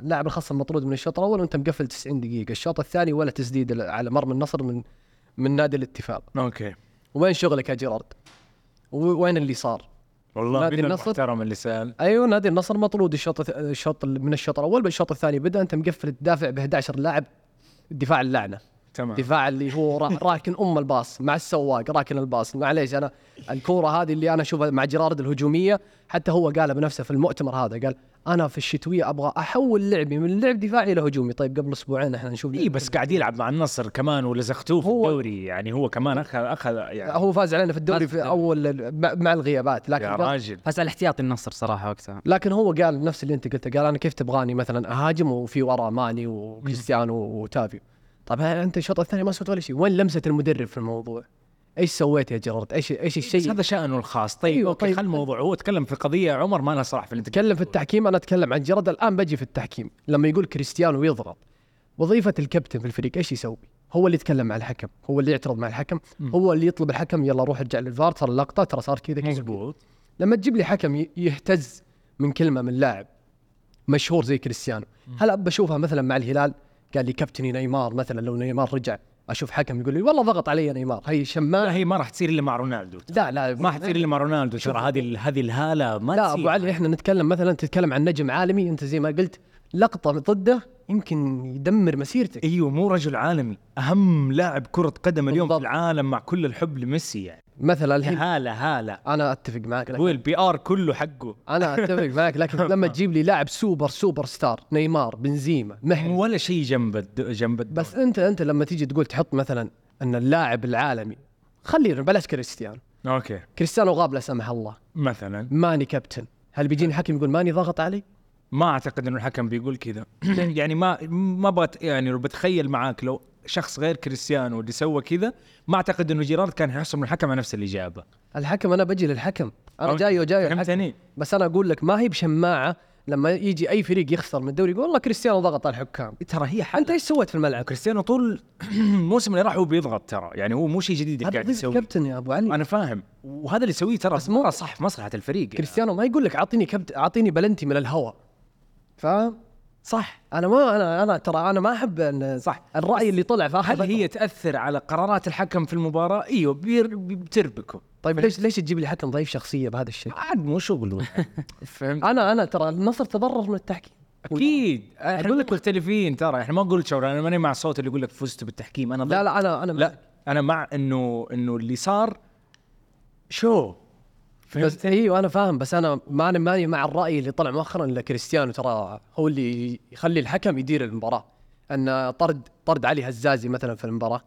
C: لاعب الخصم المطرود من الشوط الاول وانت مقفل 90 دقيقه الشوط الثاني ولا تسديد على مرمى النصر من من نادي الاتفاق
F: اوكي
C: وين شغلك يا جيرارد؟ و- وين اللي صار؟
F: والله
C: نادي
F: من
C: النصر.
F: المحترم اللي سال
C: ايوه نادي النصر مطرود الشوط الث- الشوط ال- من الشوط الاول بالشوط الثاني بدا انت مقفل تدافع ب 11 لاعب دفاع اللعنه،
F: تمام
C: دفاع اللي هو را- راكن ام الباص مع السواق راكن الباص معليش انا الكوره هذه اللي انا اشوفها مع جيرارد الهجوميه حتى هو قال بنفسه في المؤتمر هذا قال انا في الشتويه ابغى احول لعبي من لعب دفاعي الى هجومي طيب قبل اسبوعين احنا نشوف
F: اي إيه، بس قاعد يلعب مع النصر كمان ولا زختوه في
C: هو-
F: الدوري يعني هو كمان اخذ اخذ يعني
C: هو فاز علينا في الدوري في اول مع مع الغيابات لكن
F: يا
C: قبل-
F: راجل
E: بس على احتياطي النصر صراحه وقتها
C: لكن هو قال نفس اللي انت قلته قال انا كيف تبغاني مثلا اهاجم وفي ورا ماني وكريستيانو وتافيو طب ها- انت الشوط الثاني ما سويت ولا شيء وين لمسه المدرب في الموضوع ايش سويت يا جيرارد ايش ايش
F: بس
C: الشيء
F: هذا شانه الخاص طيب
C: أيوة،
F: اوكي
C: طيب.
F: خل الموضوع هو تكلم في قضيه عمر ما لها صلاح في اللي تكلم
C: تكلم في التحكيم انا اتكلم عن جيرارد الان بجي في التحكيم لما يقول كريستيانو يضغط وظيفه الكابتن في الفريق ايش يسوي هو اللي يتكلم مع الحكم هو اللي يعترض مع الحكم هو اللي يطلب الحكم يلا روح ارجع للفار ترى اللقطه ترى صار كذا كذا
F: مضبوط
C: لما تجيب لي حكم ي- يهتز من كلمه من لاعب مشهور زي كريستيانو هلا بشوفها مثلا مع الهلال قال لي كابتني نيمار مثلا لو نيمار رجع اشوف حكم يقول لي والله ضغط علي نيمار هي
F: لا
C: شماعه
F: هي ما راح تصير الا مع رونالدو
C: لا لا
F: ما راح تصير الا مع رونالدو ترى هذه ال- هذه الهاله ما
C: لا
F: تصير.
C: ابو علي احنا نتكلم مثلا تتكلم عن نجم عالمي انت زي ما قلت لقطه ضده يمكن يدمر مسيرتك
F: ايوه مو رجل عالمي اهم لاعب كره قدم اليوم
C: بالضبط. إيه.
F: في العالم مع كل الحب لميسي يعني
C: مثلا الحين
F: هاله هاله
C: انا اتفق معك لكن
F: هو البي ار كله حقه
C: انا اتفق معك لكن لما تجيب لي لاعب سوبر سوبر ستار نيمار بنزيما مهدي
F: ولا شيء جنب الد- جنب الدوري.
C: بس انت انت لما تيجي تقول تحط مثلا ان اللاعب العالمي خلينا بلاش كريستيانو
F: اوكي
C: كريستيانو غاب لا سمح الله
F: مثلا
C: ماني كابتن هل بيجيني حكم يقول ماني ضغط علي
F: ما اعتقد انه الحكم بيقول كذا يعني ما ما بت يعني لو بتخيل معاك لو شخص غير كريستيانو
C: إيه،
F: اللي سوى كذا ما اعتقد انه جيرارد كان حيحصل من الحكم على نفس الاجابه
C: الحكم انا بجي للحكم انا جاي وجاي حق-
F: فهمتني؟
C: بس انا اقول لك ما هي بشماعه لما يجي اي فريق يخسر من الدوري يقول والله كريستيانو ضغط على الحكام
F: ترى هي
C: انت ايش سويت في الملعب؟
F: كريستيانو طول الموسم اللي راح هو بيضغط ترى يعني هو مو شيء جديد
C: هذا
F: قاعد
C: ضيف
F: يسويه
C: كابتن يا ابو علي
F: انا فاهم وهذا اللي يسويه ترى
C: بس مو-
F: مو صح في مصلحه الفريق يعني.
C: كريستيانو ما يقول لك اعطيني كبت اعطيني بلنتي من الهواء فاهم؟
F: صح
C: انا ما انا انا ترى انا ما احب ان
F: صح.
C: الراي اللي طلع في اخر
F: هل هي تاثر على قرارات الحكم في المباراه؟ ايوه بير- بتربكه
C: طيب ليش ليش تجيب لي حكم ضعيف شخصيه بهذا الشيء؟
F: عاد مو شغله فهمت؟
C: انا انا ترى النصر تضرر من التحكيم
F: اكيد احنا
C: أقول
F: لك مختلفين ترى احنا ما قلت شعور انا ماني مع صوت اللي يقول لك فزت بالتحكيم انا
C: لا لا انا انا
F: طيب. لا انا مع انه انه اللي صار شو
C: بس ايوه انا فاهم بس انا ما انا ماني مع الراي اللي طلع مؤخرا ان كريستيانو ترى هو اللي يخلي الحكم يدير المباراه ان طرد طرد علي هزازي مثلا في المباراه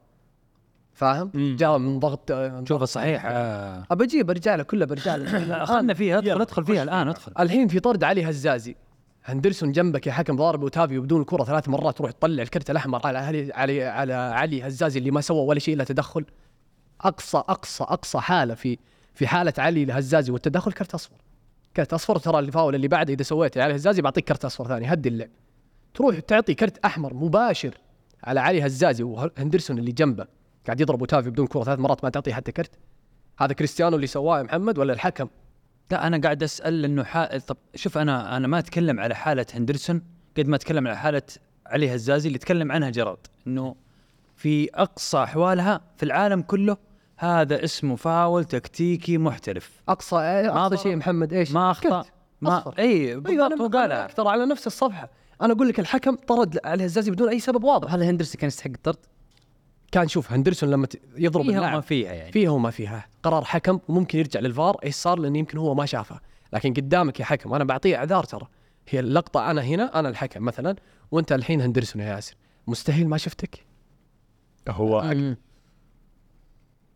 C: فاهم؟ جاء من ضغط
F: شوف صحيح آه.
C: ابى اجيب برجع له كله برجع له
B: اخذنا فيها ادخل ادخل فيها الان ادخل
C: الحين في طرد علي هزازي هندرسون جنبك يا حكم ضارب اوتافيو بدون الكره ثلاث مرات تروح تطلع الكرت الاحمر على علي علي على علي هزازي اللي ما سوى ولا شيء الا تدخل اقصى اقصى اقصى حاله في في حاله علي الهزازي والتدخل كرت اصفر كرت اصفر ترى الفاول اللي بعده اذا سويته علي هزازي بعطيك كرت اصفر ثاني هدي اللعب تروح تعطي كرت احمر مباشر على علي هزازي وهندرسون اللي جنبه قاعد يضرب اوتافيو بدون كره ثلاث مرات ما تعطيه حتى كرت هذا كريستيانو اللي سواه يا محمد ولا الحكم
B: لا انا قاعد اسال انه حا... طب شوف انا انا ما اتكلم على حاله هندرسون قد ما اتكلم على حاله علي هزازي اللي تكلم عنها جراد انه في اقصى احوالها في العالم كله هذا اسمه فاول تكتيكي محترف
C: اقصى اقصى شيء محمد ايش؟
B: ما اخطا
C: كرت.
B: ما
C: أصفر.
B: اي
E: أيوة،
C: ايوه
B: بالضبط
C: انا
B: وقالها
C: قالها ترى على نفس الصفحه انا اقول لك الحكم طرد على الهزازي بدون اي سبب واضح
E: هل هندرسون كان يستحق الطرد؟
C: كان شوف هندرسون لما ت- يضرب
B: فيها ما
C: اللاعب
B: فيها يعني
C: فيها وما فيها قرار حكم وممكن يرجع للفار ايش صار لان يمكن هو ما شافه لكن قدامك يا حكم انا بعطيه اعذار ترى هي اللقطه انا هنا انا الحكم مثلا وانت الحين هندرسون يا ياسر مستحيل ما شفتك
F: هو
E: مم.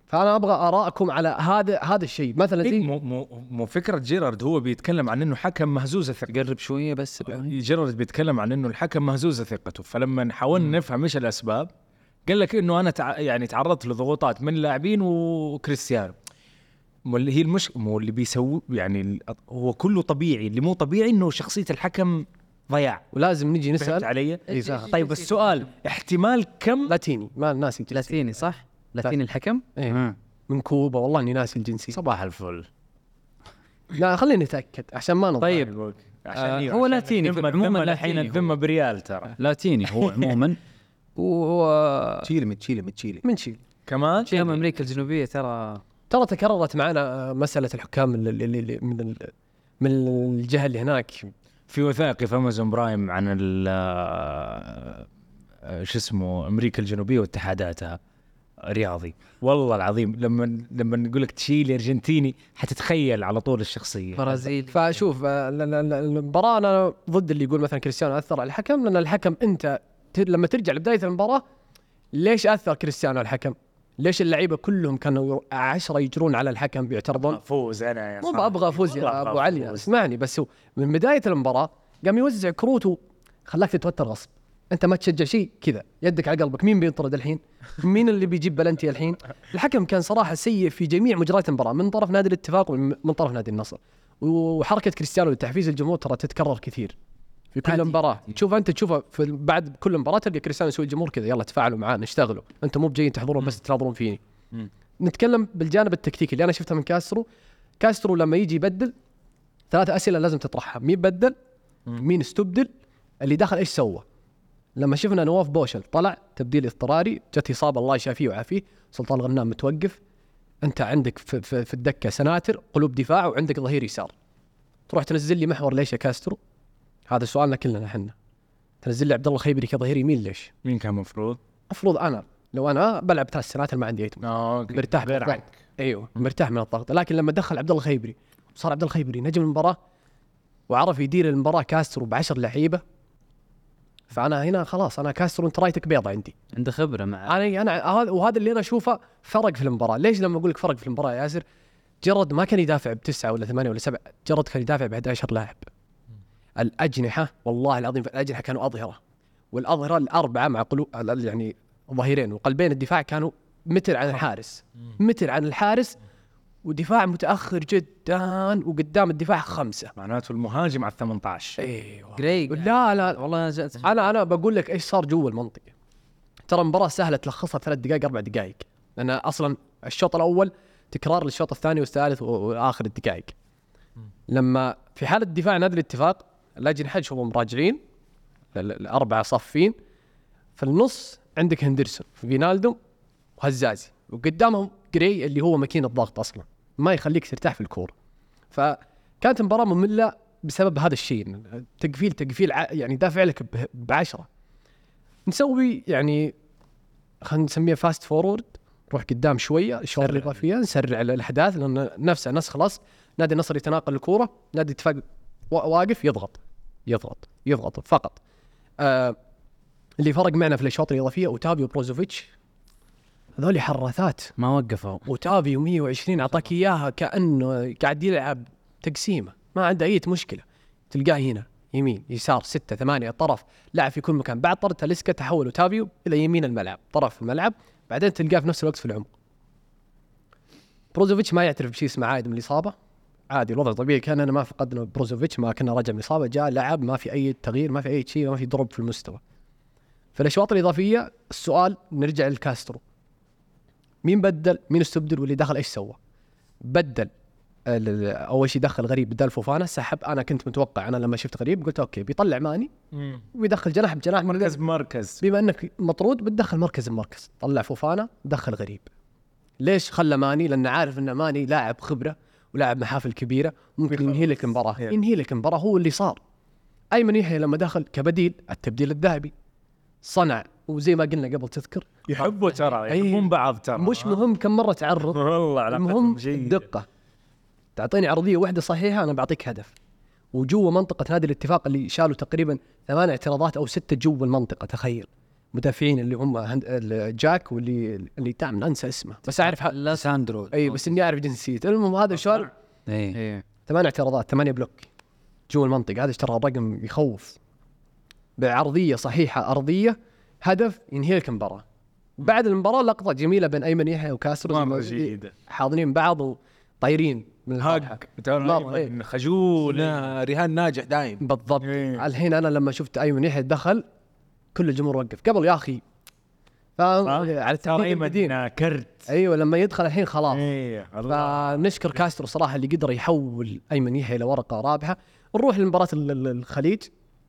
C: فانا ابغى ارائكم على هذا هذا الشيء مثلا زي
F: إيه، مو مو مو فكره جيرارد هو بيتكلم عن انه حكم مهزوز الثقه
B: قرب شويه بس
F: جيرارد بيتكلم عن انه الحكم مهزوزه ثقته فلما حاولنا نفهم ايش الاسباب قال لك انه انا تع... يعني تعرضت لضغوطات من لاعبين وكريستيانو مو اللي هي المش مو اللي بيسوي يعني ال- هو كله طبيعي اللي مو طبيعي انه شخصيه الحكم ضياع
C: ولازم نجي
F: فهمت
C: نسال
F: علي؟
C: إي صح.
F: طيب السؤال احتمال كم
C: لاتيني ما ناسي الجنسي
E: لاتيني صح؟ لاتيني الحكم؟
C: إيه.
E: مم.
C: من كوبا والله اني ناسي الجنسي
F: صباح الفل
C: لا خليني اتاكد عشان ما نضيع
F: طيب عشان
B: آه،
F: إيه،
B: هو
F: عشان
B: لاتيني،
F: الذمة-
B: عموماً
F: الذمة
B: لاتيني
F: الحين
B: هو.
F: الذمه بريال ترى
B: لاتيني هو عموما وهو
D: تشيلي من تشيلي من تشيلي
C: من شيل
F: كمان
E: شيء من امريكا الجنوبيه ترى
C: ترى تكررت معنا آه، مساله الحكام اللي اللي اللي من ال- من الجهه اللي هناك
F: في وثائقي في امازون برايم عن ال آه، شو اسمه امريكا الجنوبيه واتحاداتها رياضي والله العظيم لما لما نقول لك تشيلي ارجنتيني حتتخيل على طول الشخصيه
E: برازيل
C: فشوف آه، ال- ال- ال- المباراه انا ضد اللي يقول مثلا كريستيانو اثر على الحكم لان الحكم انت ت- لما ترجع لبدايه المباراه ليش اثر كريستيانو على الحكم؟ ليش اللعيبه كلهم كانوا عشرة يجرون على الحكم بيعترضون؟
F: فوز انا يا
C: مو
F: صاحبي.
C: ابغى افوز يا
F: والله
C: ابو
F: أبغى
C: علي
F: أفوز.
C: اسمعني بس هو من بدايه المباراه قام يوزع كروته خلاك تتوتر غصب انت ما تشجع شيء كذا يدك على قلبك مين بينطرد الحين مين اللي بيجيب بلنتي الحين الحكم كان صراحه سيء في جميع مجريات المباراه من طرف نادي الاتفاق ومن طرف نادي النصر وحركه كريستيانو لتحفيز الجمهور ترى تتكرر كثير في كل مباراه تشوف انت تشوفه في بعد كل مباراه تلقى كريستيانو يسوي الجمهور كذا يلا تفاعلوا معاه اشتغلوا انتم مو بجايين تحضرون بس تناظرون فيني نتكلم بالجانب التكتيكي اللي انا شفته من كاسترو كاسترو لما يجي يبدل ثلاث اسئله لازم تطرحها مين بدل مين استبدل اللي دخل ايش سوى لما شفنا نواف بوشل طلع تبديل اضطراري جت اصابه الله يشافيه ويعافيه سلطان غنام متوقف انت عندك في, في, في الدكه سناتر قلوب دفاع وعندك ظهير يسار تروح تنزل لي محور ليش يا كاسترو هذا سؤالنا كلنا احنا تنزل لي عبد الله الخيبري كظهير يمين ليش
F: مين كان مفروض؟
C: المفروض انا لو انا بلعب ثلاث سنوات ما عندي اي
F: آه،
C: مرتاح من الضغط ايوه مرتاح من الضغط لكن لما دخل عبد الله الخيبري صار عبد الله الخيبري نجم المباراه وعرف يدير المباراه كاسترو بعشر لعيبه فانا هنا خلاص انا كاسترو انت رايتك بيضة عندي
E: عنده خبره مع
C: انا انا هذا وهذا اللي انا اشوفه فرق في المباراه ليش لما اقول لك فرق في المباراه يا ياسر جرد ما كان يدافع بتسعه ولا ثمانيه ولا سبعه جرد كان يدافع ب 11 لاعب الاجنحه والله العظيم الاجنحه كانوا اظهره والاظهره الاربعه مع قلوب يعني ظهيرين وقلبين الدفاع كانوا متر عن الحارس متر عن الحارس ودفاع متاخر جدا وقدام الدفاع خمسه
F: معناته المهاجم على ال 18
C: ايوه
E: جري
C: لا لا
E: والله انا جات
C: انا انا بقول لك ايش صار جوا المنطقه ترى المباراه سهله تلخصها ثلاث دقائق اربع دقائق لان اصلا الشوط الاول تكرار للشوط الثاني والثالث و- واخر الدقائق لما في حاله دفاع نادي الاتفاق الاجنحه هم راجعين ال- الاربعه صافين في النص عندك هندرسون فينالدو وهزازي وقدامهم جري اللي هو ماكينه ضغط اصلا ما يخليك ترتاح في الكوره فكانت المباراه ممله بسبب هذا الشيء إن تقفيل تقفيل ع- يعني دافع لك ب- بعشره نسوي يعني خلينا نسميها فاست فورورد نروح قدام شويه الشوط الاضافيه نسرع الاحداث لان نفسه نفس خلاص نادي النصر يتناقل الكوره نادي اتفاق وا- واقف يضغط يضغط يضغط فقط آه اللي فرق معنا في الاشواط الاضافيه اوتافيو بروزوفيتش هذول حراثات
E: ما وقفوا
C: وتافيو 120 اعطاك اياها كانه قاعد يلعب تقسيمه ما عنده اي مشكله تلقاه هنا يمين يسار ستة ثمانية الطرف لاعب في كل مكان بعد طرد تاليسكا تحول اوتافيو الى يمين الملعب طرف الملعب بعدين تلقاه في نفس الوقت في العمق بروزوفيتش ما يعترف بشيء اسمه عائد من الاصابه عادي الوضع طبيعي كان انا ما فقدنا بروزوفيتش ما كنا راجع من الاصابه جاء لعب ما في اي تغيير ما في اي شيء ما في ضرب في المستوى في الاشواط الاضافيه السؤال نرجع لكاسترو مين بدل مين استبدل واللي دخل ايش سوى بدل ال- ال- اول شيء دخل غريب بدل فوفانا سحب انا كنت متوقع انا لما شفت غريب قلت اوكي بيطلع ماني ويدخل جناح بجناح
F: مركز بمركز
C: بما انك مطرود بتدخل مركز بمركز طلع فوفانا دخل غريب ليش خلى ماني لانه عارف ان ماني لاعب خبره ولاعب محافل كبيره ممكن ينهي لك المباراه
F: Yeah.
C: ينهي لك المباراه هو اللي صار ايمن يحيى لما دخل كبديل التبديل الذهبي صنع وزي ما قلنا قبل تذكر
F: يحبوا ترى
C: أي.
F: يحبون بعض ترى
C: مش
F: آه.
C: مهم كم مره تعرض
F: والله
C: المهم
F: علاقتهم جيدة
C: الدقة تعطيني عرضية واحدة صحيحة أنا بعطيك هدف وجوا منطقة نادي الاتفاق اللي شالوا تقريبا ثمان اعتراضات أو ستة جوا المنطقة تخيل مدافعين اللي هم هند... ال- جاك واللي اللي تعمل انسى اسمه بس اعرف ح...
B: لا ساندرو
C: اي بس اني اعرف جنسيته المهم هذا شال
B: اي
F: إيه.
E: ايه
C: ثمان اعتراضات ثمانية بلوك جوا المنطقة هذا ترى رقم يخوف بعرضية صحيحة أرضية هدف ينهي لك المباراة بعد المباراة لقطة جميلة بين أيمن يحيى وكاسر
F: مرة جيدة
C: حاضنين بعض وطايرين من إيه. الفرحه
F: هاج ترى
C: مرة،
F: أيمن خجول
D: لا، رهان ناجح دايم
C: بالضبط
F: إيه.
C: الحين انا لما شفت ايمن يحيى دخل كل الجمهور وقف قبل يا اخي فاهم
F: آه،
C: على
F: ترى
C: التعقيد
F: ايمن
C: المدين
F: ناكرت
C: ايوه لما يدخل الحين خلاص
F: ايه الله
C: فنشكر كاسترو صراحه اللي قدر يحول ايمن يحيى لورقه رابحه نروح لمباراه ال- ال- الخليج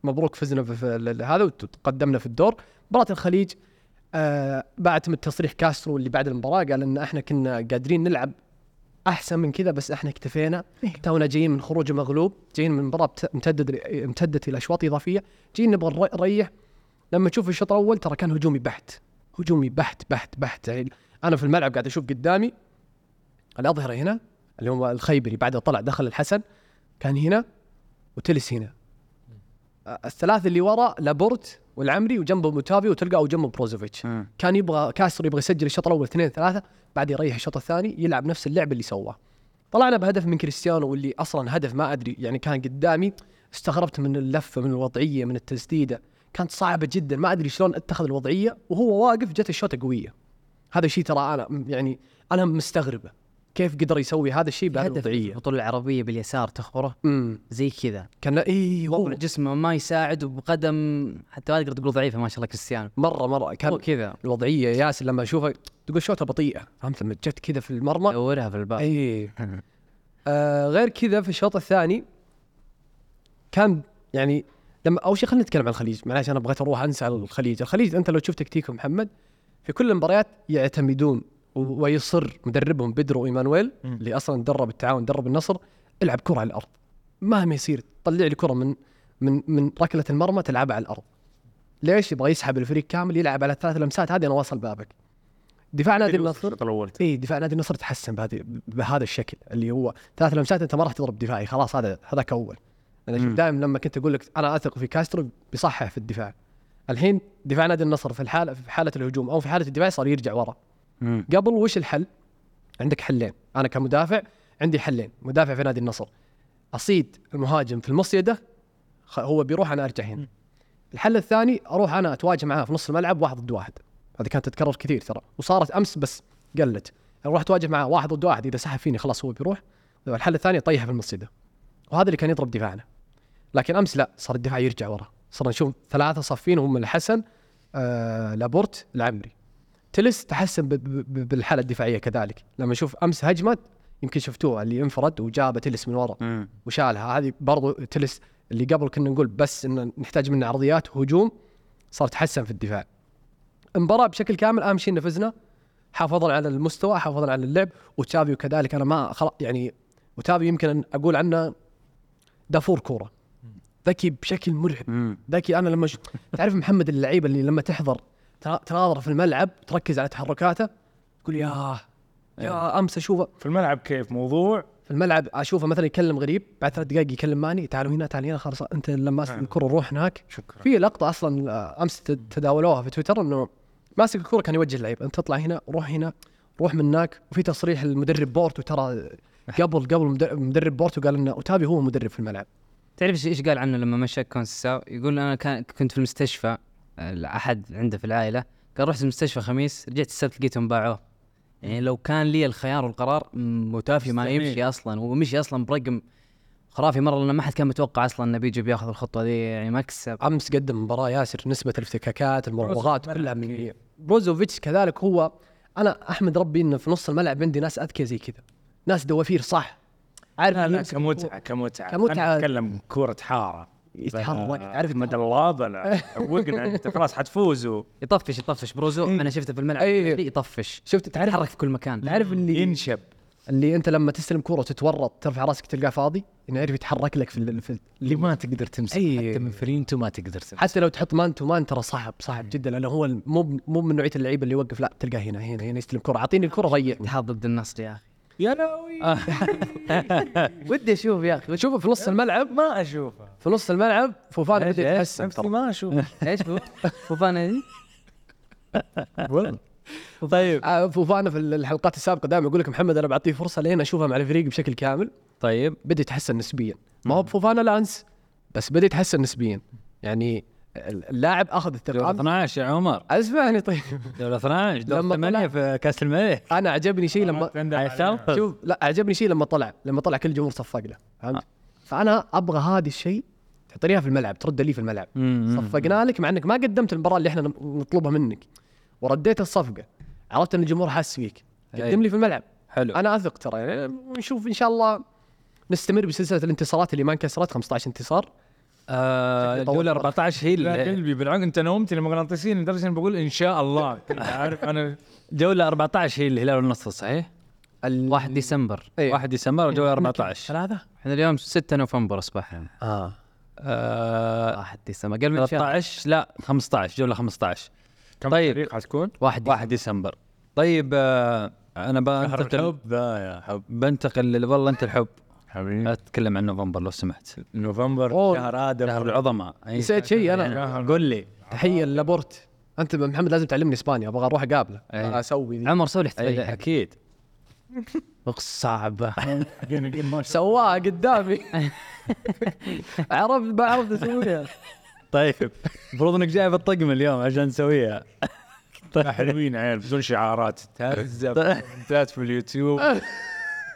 C: مبروك فزنا في- في ال- ال- هذا وتقدمنا في الدور مباراه الخليج آه بعد من تصريح كاسترو اللي بعد المباراه قال ان احنا كنا قادرين نلعب احسن من كذا بس احنا اكتفينا تونا جايين من خروج مغلوب جايين من مباراه بت- امتدت امتدت الى اشواط اضافيه جايين نبغى نر- نريح لما تشوف الشوط الاول ترى كان هجومي بحت هجومي بحت بحت بحت يعني انا في الملعب قاعد اشوف قدامي الاظهره هنا اللي هو الخيبري بعد طلع دخل الحسن كان هنا وتلس هنا أ- الثلاث اللي ورا لابورت والعمري وجنبه متافي وتلقى وجنبه بروزوفيتش
E: مم.
C: كان يبغى كاسر يبغى يسجل الشوط الاول اثنين ثلاثه بعد يريح الشوط الثاني يلعب نفس اللعب اللي سواه طلعنا بهدف من كريستيانو واللي اصلا هدف ما ادري يعني كان قدامي استغربت من اللفه من الوضعيه من التسديده كانت صعبه جدا ما ادري شلون اتخذ الوضعيه وهو واقف جت الشوطه قويه هذا الشيء ترى انا يعني انا مستغربه كيف قدر يسوي هذا الشيء بعد
E: هدف
C: الوضعيه
E: البطولة العربية باليسار تخبره
C: امم
E: زي كذا
C: كان إيه، اي
E: وضع
C: والله
E: جسمه ما يساعد وبقدم حتى ما تقدر تقول ضعيفة ما شاء الله كريستيانو
C: مره مره
E: هو
C: كان
E: كذا
C: الوضعيه ياسر لما اشوفها تقول شوطه بطيئه فهمت لما جت كذا في المرمى
E: دورها في الباب
C: اي آه غير كذا في الشوط الثاني كان يعني لما اول شيء خلينا نتكلم عن الخليج معلش انا بغيت اروح انسى على الخليج، الخليج انت لو تشوف تكتيكهم محمد في كل المباريات يعتمدون و- ويصر مدربهم بدرو ايمانويل
F: مم.
C: اللي اصلا درب التعاون درب النصر العب كره على الارض مهما يصير طلع لي كره من من من ركله المرمى تلعبها على الارض ليش يبغى يسحب الفريق كامل يلعب على ثلاث لمسات هذه انا واصل بابك دفاع نادي النصر
F: الشوط الاول
C: اي دفاع نادي النصر تحسن بهذه بهذا الشكل اللي هو ثلاث لمسات انت ما راح تضرب دفاعي خلاص هذا هذاك اول انا دائما لما كنت اقول لك انا اثق في كاسترو بيصحح في الدفاع الحين دفاع نادي النصر في الحاله في حاله الهجوم او في حاله الدفاع صار يرجع ورا
B: مم.
C: قبل وش الحل؟ عندك حلين انا كمدافع عندي حلين مدافع في نادي النصر اصيد المهاجم في المصيده خ- هو بيروح انا ارجع هنا الحل الثاني اروح انا اتواجه معاه في نص الملعب واحد ضد واحد هذه كانت تتكرر كثير ترى وصارت امس بس قلت لو رحت واجه معاه واحد ضد واحد اذا سحب فيني خلاص هو بيروح لو الحل الثاني طيحه في المصيده وهذا اللي كان يضرب دفاعنا لكن امس لا صار الدفاع يرجع ورا صرنا نشوف ثلاثه صفين هم الحسن آه لابورت العمري تلس تحسن ب- ب- ب- بالحاله الدفاعيه كذلك لما نشوف امس هجمه يمكن شفتوها اللي انفرد وجابه تلس من ورا
B: مم.
C: وشالها هذه برضو تلس اللي قبل كنا نقول بس ان نحتاج منه عرضيات وهجوم صار تحسن في الدفاع المباراه بشكل كامل اهم شيء نفذنا حافظنا على المستوى حافظنا على اللعب وتشافي كذلك انا ما خلاص يعني وتشافي يمكن أن اقول عنه دافور كوره ذكي بشكل مرعب
B: مم.
C: ذكي انا لما ش... تعرف محمد اللعيبه اللي لما تحضر ترا- تناظر في الملعب تركز على تحركاته تقول ياه يا امس اشوفه
F: في الملعب كيف موضوع
C: في الملعب اشوفه مثلا يكلم غريب بعد ثلاث دقائق يكلم ماني تعالوا هنا تعالوا هنا خلاص انت لما أسلم الكره روح هناك
F: شكرا
C: في لقطه اصلا آه، امس ت- تداولوها في تويتر انه ماسك الكره كان يوجه اللعيب انت تطلع هنا روح هنا روح من هناك وفي تصريح المدرب بورتو ترى قبل قبل مدر- مدرب بورتو قال انه اوتابي هو مدرب في الملعب
G: تعرف إيش- ايش قال عنه لما مشى كونساو يقول انا كان كنت في المستشفى آه، احد عنده في العائله قال رحت المستشفى خميس رجعت السبت لقيتهم باعوه يعني لو كان لي الخيار والقرار م- وتافي ما
F: مستحيل.
G: يمشي اصلا ومشي اصلا برقم خرافي مره لان ما حد كان متوقع اصلا انه بيجي بياخذ الخطوه دي يعني مكسب
C: امس قدم مباراه ياسر نسبه الافتكاكات المراوغات
F: بروزوفيتش
C: كلها من
F: أكيد.
C: بروزوفيتش كذلك هو انا احمد ربي انه في نص الملعب عندي ناس اذكياء زي كذا ناس دوافير صح عارف
F: لا لا
C: يمسك
F: كمتعه كمتعه
C: كمتعة.
F: خلينا نتكلم كوره حاره
C: يتحرك تعرف
F: مدى الغابه عوقنا انت خلاص حتفوزوا
G: يطفش يطفش بروزو
E: إيه.
G: انا شفته في الملعب
C: أي.
G: اللي يطفش
C: شفت تعرف
G: يتحرك في كل مكان
C: تعرف اللي
F: ينشب
C: اللي انت لما تستلم كوره تتورط ترفع راسك تلقاه فاضي انه يعرف يتحرك لك في, ال- في ال-
F: اللي ما تقدر تمسك
C: أي.
F: حتى من فرينتو ما تقدر تمسك
C: حتى لو تحط مان تو مان ترى صعب صعب جدا لانه هو مو مو من نوعيه اللعيبه اللي يوقف لا تلقاه هنا هنا هنا يستلم كره اعطيني الكره ضيعني
G: اتحاد ضد النصر يا اخي
F: يا لهوي
G: ودي اشوف يا اخي
C: شوف في نص الملعب
F: ما اشوفه
C: في نص الملعب فوفان بدا يتحسن
F: نفسي
C: ترى
F: ما اشوفه
G: ايش هو؟ فوفانا هذي؟
F: والله
C: طيب آه، فوفانا في الحلقات السابقه دائما اقول لك محمد انا بعطيه فرصه لين اشوفه مع الفريق بشكل كامل
B: طيب
C: بدا يتحسن نسبيا ما هو بفوفانا لانس بس بدا يتحسن نسبيا يعني اللاعب اخذ
B: دور
C: الثقه
B: 12 يا عمر
C: اسمعني طيب
B: دور 12 دور
C: لما
B: 8
C: طلع-
B: في كاس الملك
C: انا عجبني شيء لما
B: عشان
C: شوف لا عجبني شيء لما طلع لما طلع كل الجمهور صفق له فهمت؟ فانا ابغى هذا الشيء تعطينيها في الملعب ترد لي في الملعب صفقنا لك مع انك ما قدمت المباراه اللي احنا نطلبها منك ورديت الصفقه عرفت ان الجمهور حس فيك قدم لي في الملعب
B: حلو
C: انا اثق ترى يعني نشوف ان شاء الله نستمر بسلسله الانتصارات اللي ما انكسرت 15 انتصار
B: آه،
C: طول
B: الاولى 14 هي
F: لا
B: ال-
F: قلبي بالعقل انت نومتني مغناطيسيا لدرجه اني بقول ان شاء الله كنت عارف انا
B: جولة 14 هي الهلال والنصر صحيح؟
G: 1 ديسمبر
F: إيه.
B: 1 ديسمبر جولة 14
C: ثلاثه
G: احنا اليوم 6 نوفمبر اصبحنا
C: اه
B: آه،
G: 1 ديسمبر قبل من شهر
B: 13 لا 15 جولة 15 طيب.
F: فريق حتكون
G: 1
B: 1 ديسمبر طيب آه، انا بنتقل
F: ذا يا حب
B: بنتقل لل- والله انت الحب
F: حبيبي
B: اتكلم عن نوفمبر لو سمحت
F: نوفمبر
C: أوه.
F: شهر ادم
B: شهر العظماء أي.
C: نسيت شيء انا
F: شهر-
B: قل لي
C: تحيه لابورت انت محمد لازم تعلمني اسبانيا ابغى اروح اقابله
B: أي.
C: اسوي ذي.
G: عمر سوي
B: أي،
G: الاحتفاليه
B: اكيد
G: صعبه
C: سواها قدامي عرفت ما عرفت اسويها
B: طيب المفروض انك جايب الطقم اليوم عشان نسويها طيب.
F: حلوين عيال بدون شعارات تهزه بومنتات في اليوتيوب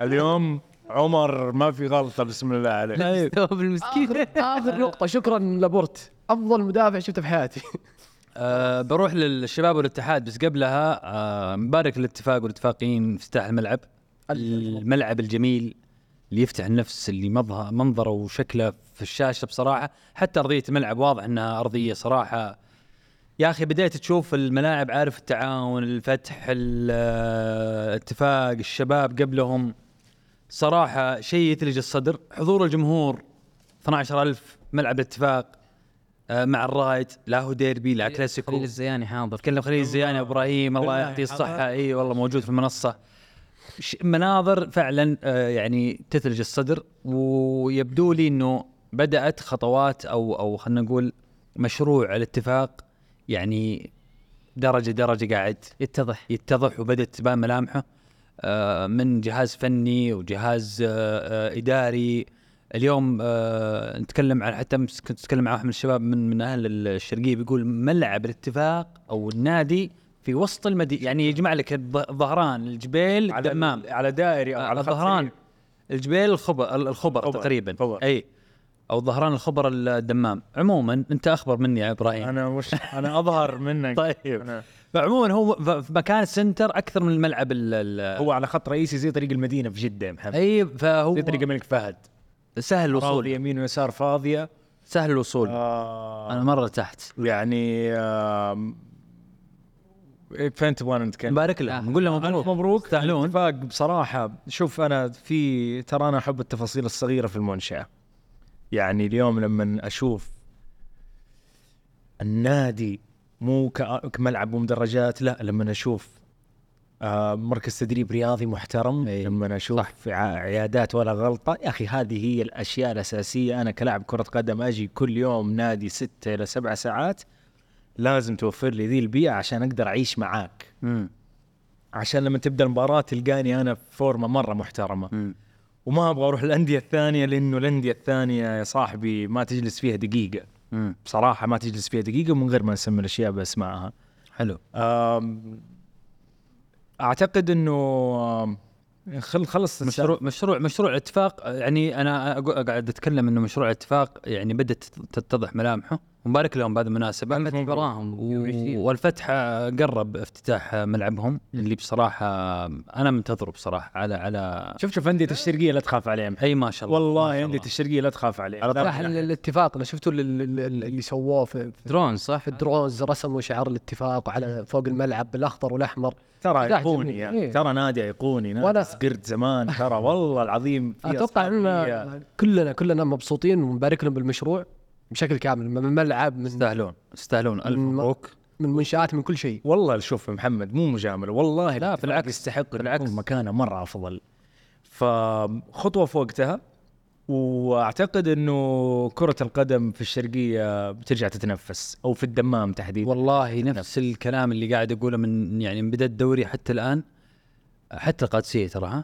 F: اليوم عمر ما في غلطه بسم الله عليك
B: طيب
G: ثوب المسكين
C: اخر نقطه شكرا لابورت افضل مدافع شفته في حياتي
B: آه بروح للشباب والاتحاد بس قبلها آه مبارك للاتفاق والاتفاقيين في افتتاح الملعب الملعب الجميل اللي يفتح النفس اللي مظهر منظره وشكله في الشاشه بصراحه حتى ارضيه الملعب واضح انها ارضيه صراحه يا اخي بديت تشوف الملاعب عارف التعاون الفتح ال- آه، الاتفاق الشباب قبلهم صراحه شيء يثلج الصدر حضور الجمهور 12000 ملعب الاتفاق آه، مع الرايد لا هو ديربي لا
G: خليل
B: كلاسيكو
G: الزياني حاضر
B: تكلم خليل الزياني ابراهيم الله يعطيه الصحه اي والله موجود في المنصه ش- مناظر فعلا آه، يعني تثلج الصدر ويبدو لي انه بدات خطوات او او خلينا نقول مشروع الاتفاق يعني درجه درجه قاعد
G: يتضح
B: يتضح وبدات تبان ملامحه آه، من جهاز فني وجهاز آه، آه، اداري اليوم آه، نتكلم عن حتى أمس كنت اتكلم مع واحد من الشباب من من اهل الشرقيه بيقول ملعب الاتفاق او النادي في وسط المدينه يعني يجمع لك الظ- الظهران الجبيل
F: على
B: الدمام
F: على دائري او على خط
B: آه، الظهران
F: سريع.
B: الجبيل الخبر الخبر
F: الخبر.
B: تقريبا
F: الخبر.
B: اي او ظهران الخبر الدمام عموما انت اخبر مني يا ابراهيم
F: انا وش انا اظهر منك
B: طيب
F: أنا-
B: فعموما هو ف- في مكان السنتر اكثر من الملعب ال- ال
F: هو على خط رئيسي زي طريق المدينه في جده يا محمد
B: اي فهو
F: زي طريق الملك فهد
B: سهل
F: راضي
B: الوصول
F: يمين ويسار فاضيه
B: سهل الوصول
F: آه
B: انا مره تحت
F: يعني آم، إيه، فين تبغانا نتكلم؟
B: نبارك له نقول له مبروك
F: مبروك
B: تستاهلون.
F: اتفاق بصراحه شوف انا في ترى انا احب التفاصيل الصغيره في المنشاه يعني اليوم لما اشوف النادي مو كأ- كملعب ومدرجات لا لما اشوف آه، مركز تدريب رياضي محترم لما اشوف صح. عيادات ولا غلطه يا اخي هذه هي الاشياء الاساسيه انا كلاعب كره قدم اجي كل يوم نادي ستة الى سبع ساعات لازم توفر لي ذي البيئه عشان اقدر اعيش معاك عشان لما تبدا المباراه تلقاني انا في فورمه مره محترمه وما ابغى اروح الانديه الثانيه لانه الانديه الثانيه يا صاحبي ما تجلس فيها دقيقه بصراحه ما تجلس فيها دقيقه من غير ما نسمي الاشياء باسمائها
B: حلو
F: أم، اعتقد انه أم، خل خلص
B: مشروع مشروع مشروع اتفاق يعني انا أقو- قاعد اتكلم انه مشروع اتفاق يعني بدات تتضح ملامحه ومبارك لهم بهذه المناسبه
E: فتح براهم
B: و- والفتح آه، قرب افتتاح آه، ملعبهم اللي بصراحه آه، انا منتظره بصراحه على على
F: شوف شوف انديه الشرقيه لا تخاف عليهم
B: اي ما شاء الله ما شاء
F: والله
B: الله.
F: انديه الشرقيه لا تخاف عليهم
C: صح ال- الاتفاق انا شفته اللي, اللي سووه في في-
E: درون صح؟
C: في الدروز رسموا شعار الاتفاق على فوق الملعب بالاخضر والاحمر
F: ترى
C: لا،
F: ايقوني
C: جميل.
F: يعني
C: إيه.
F: ترى نادي ايقوني
C: وأنا-
F: نادي قرد زمان ترى والله العظيم في
C: اتوقع
F: أصحابية.
C: ان كلنا كلنا مبسوطين ومبارك لهم بالمشروع بشكل كامل من ملعب من
B: يستاهلون يستاهلون الف
C: م-
B: مبروك
C: من منشات من كل شيء
F: والله شوف محمد مو مجامله والله لا بالعكس يستحق بالعكس مكانه مره افضل فخطوه في وقتها واعتقد انه كره القدم في الشرقيه بترجع تتنفس او في الدمام تحديدا
B: والله نفس الكلام اللي قاعد اقوله من يعني من بدا الدوري حتى الان حتى القادسيه ترى ها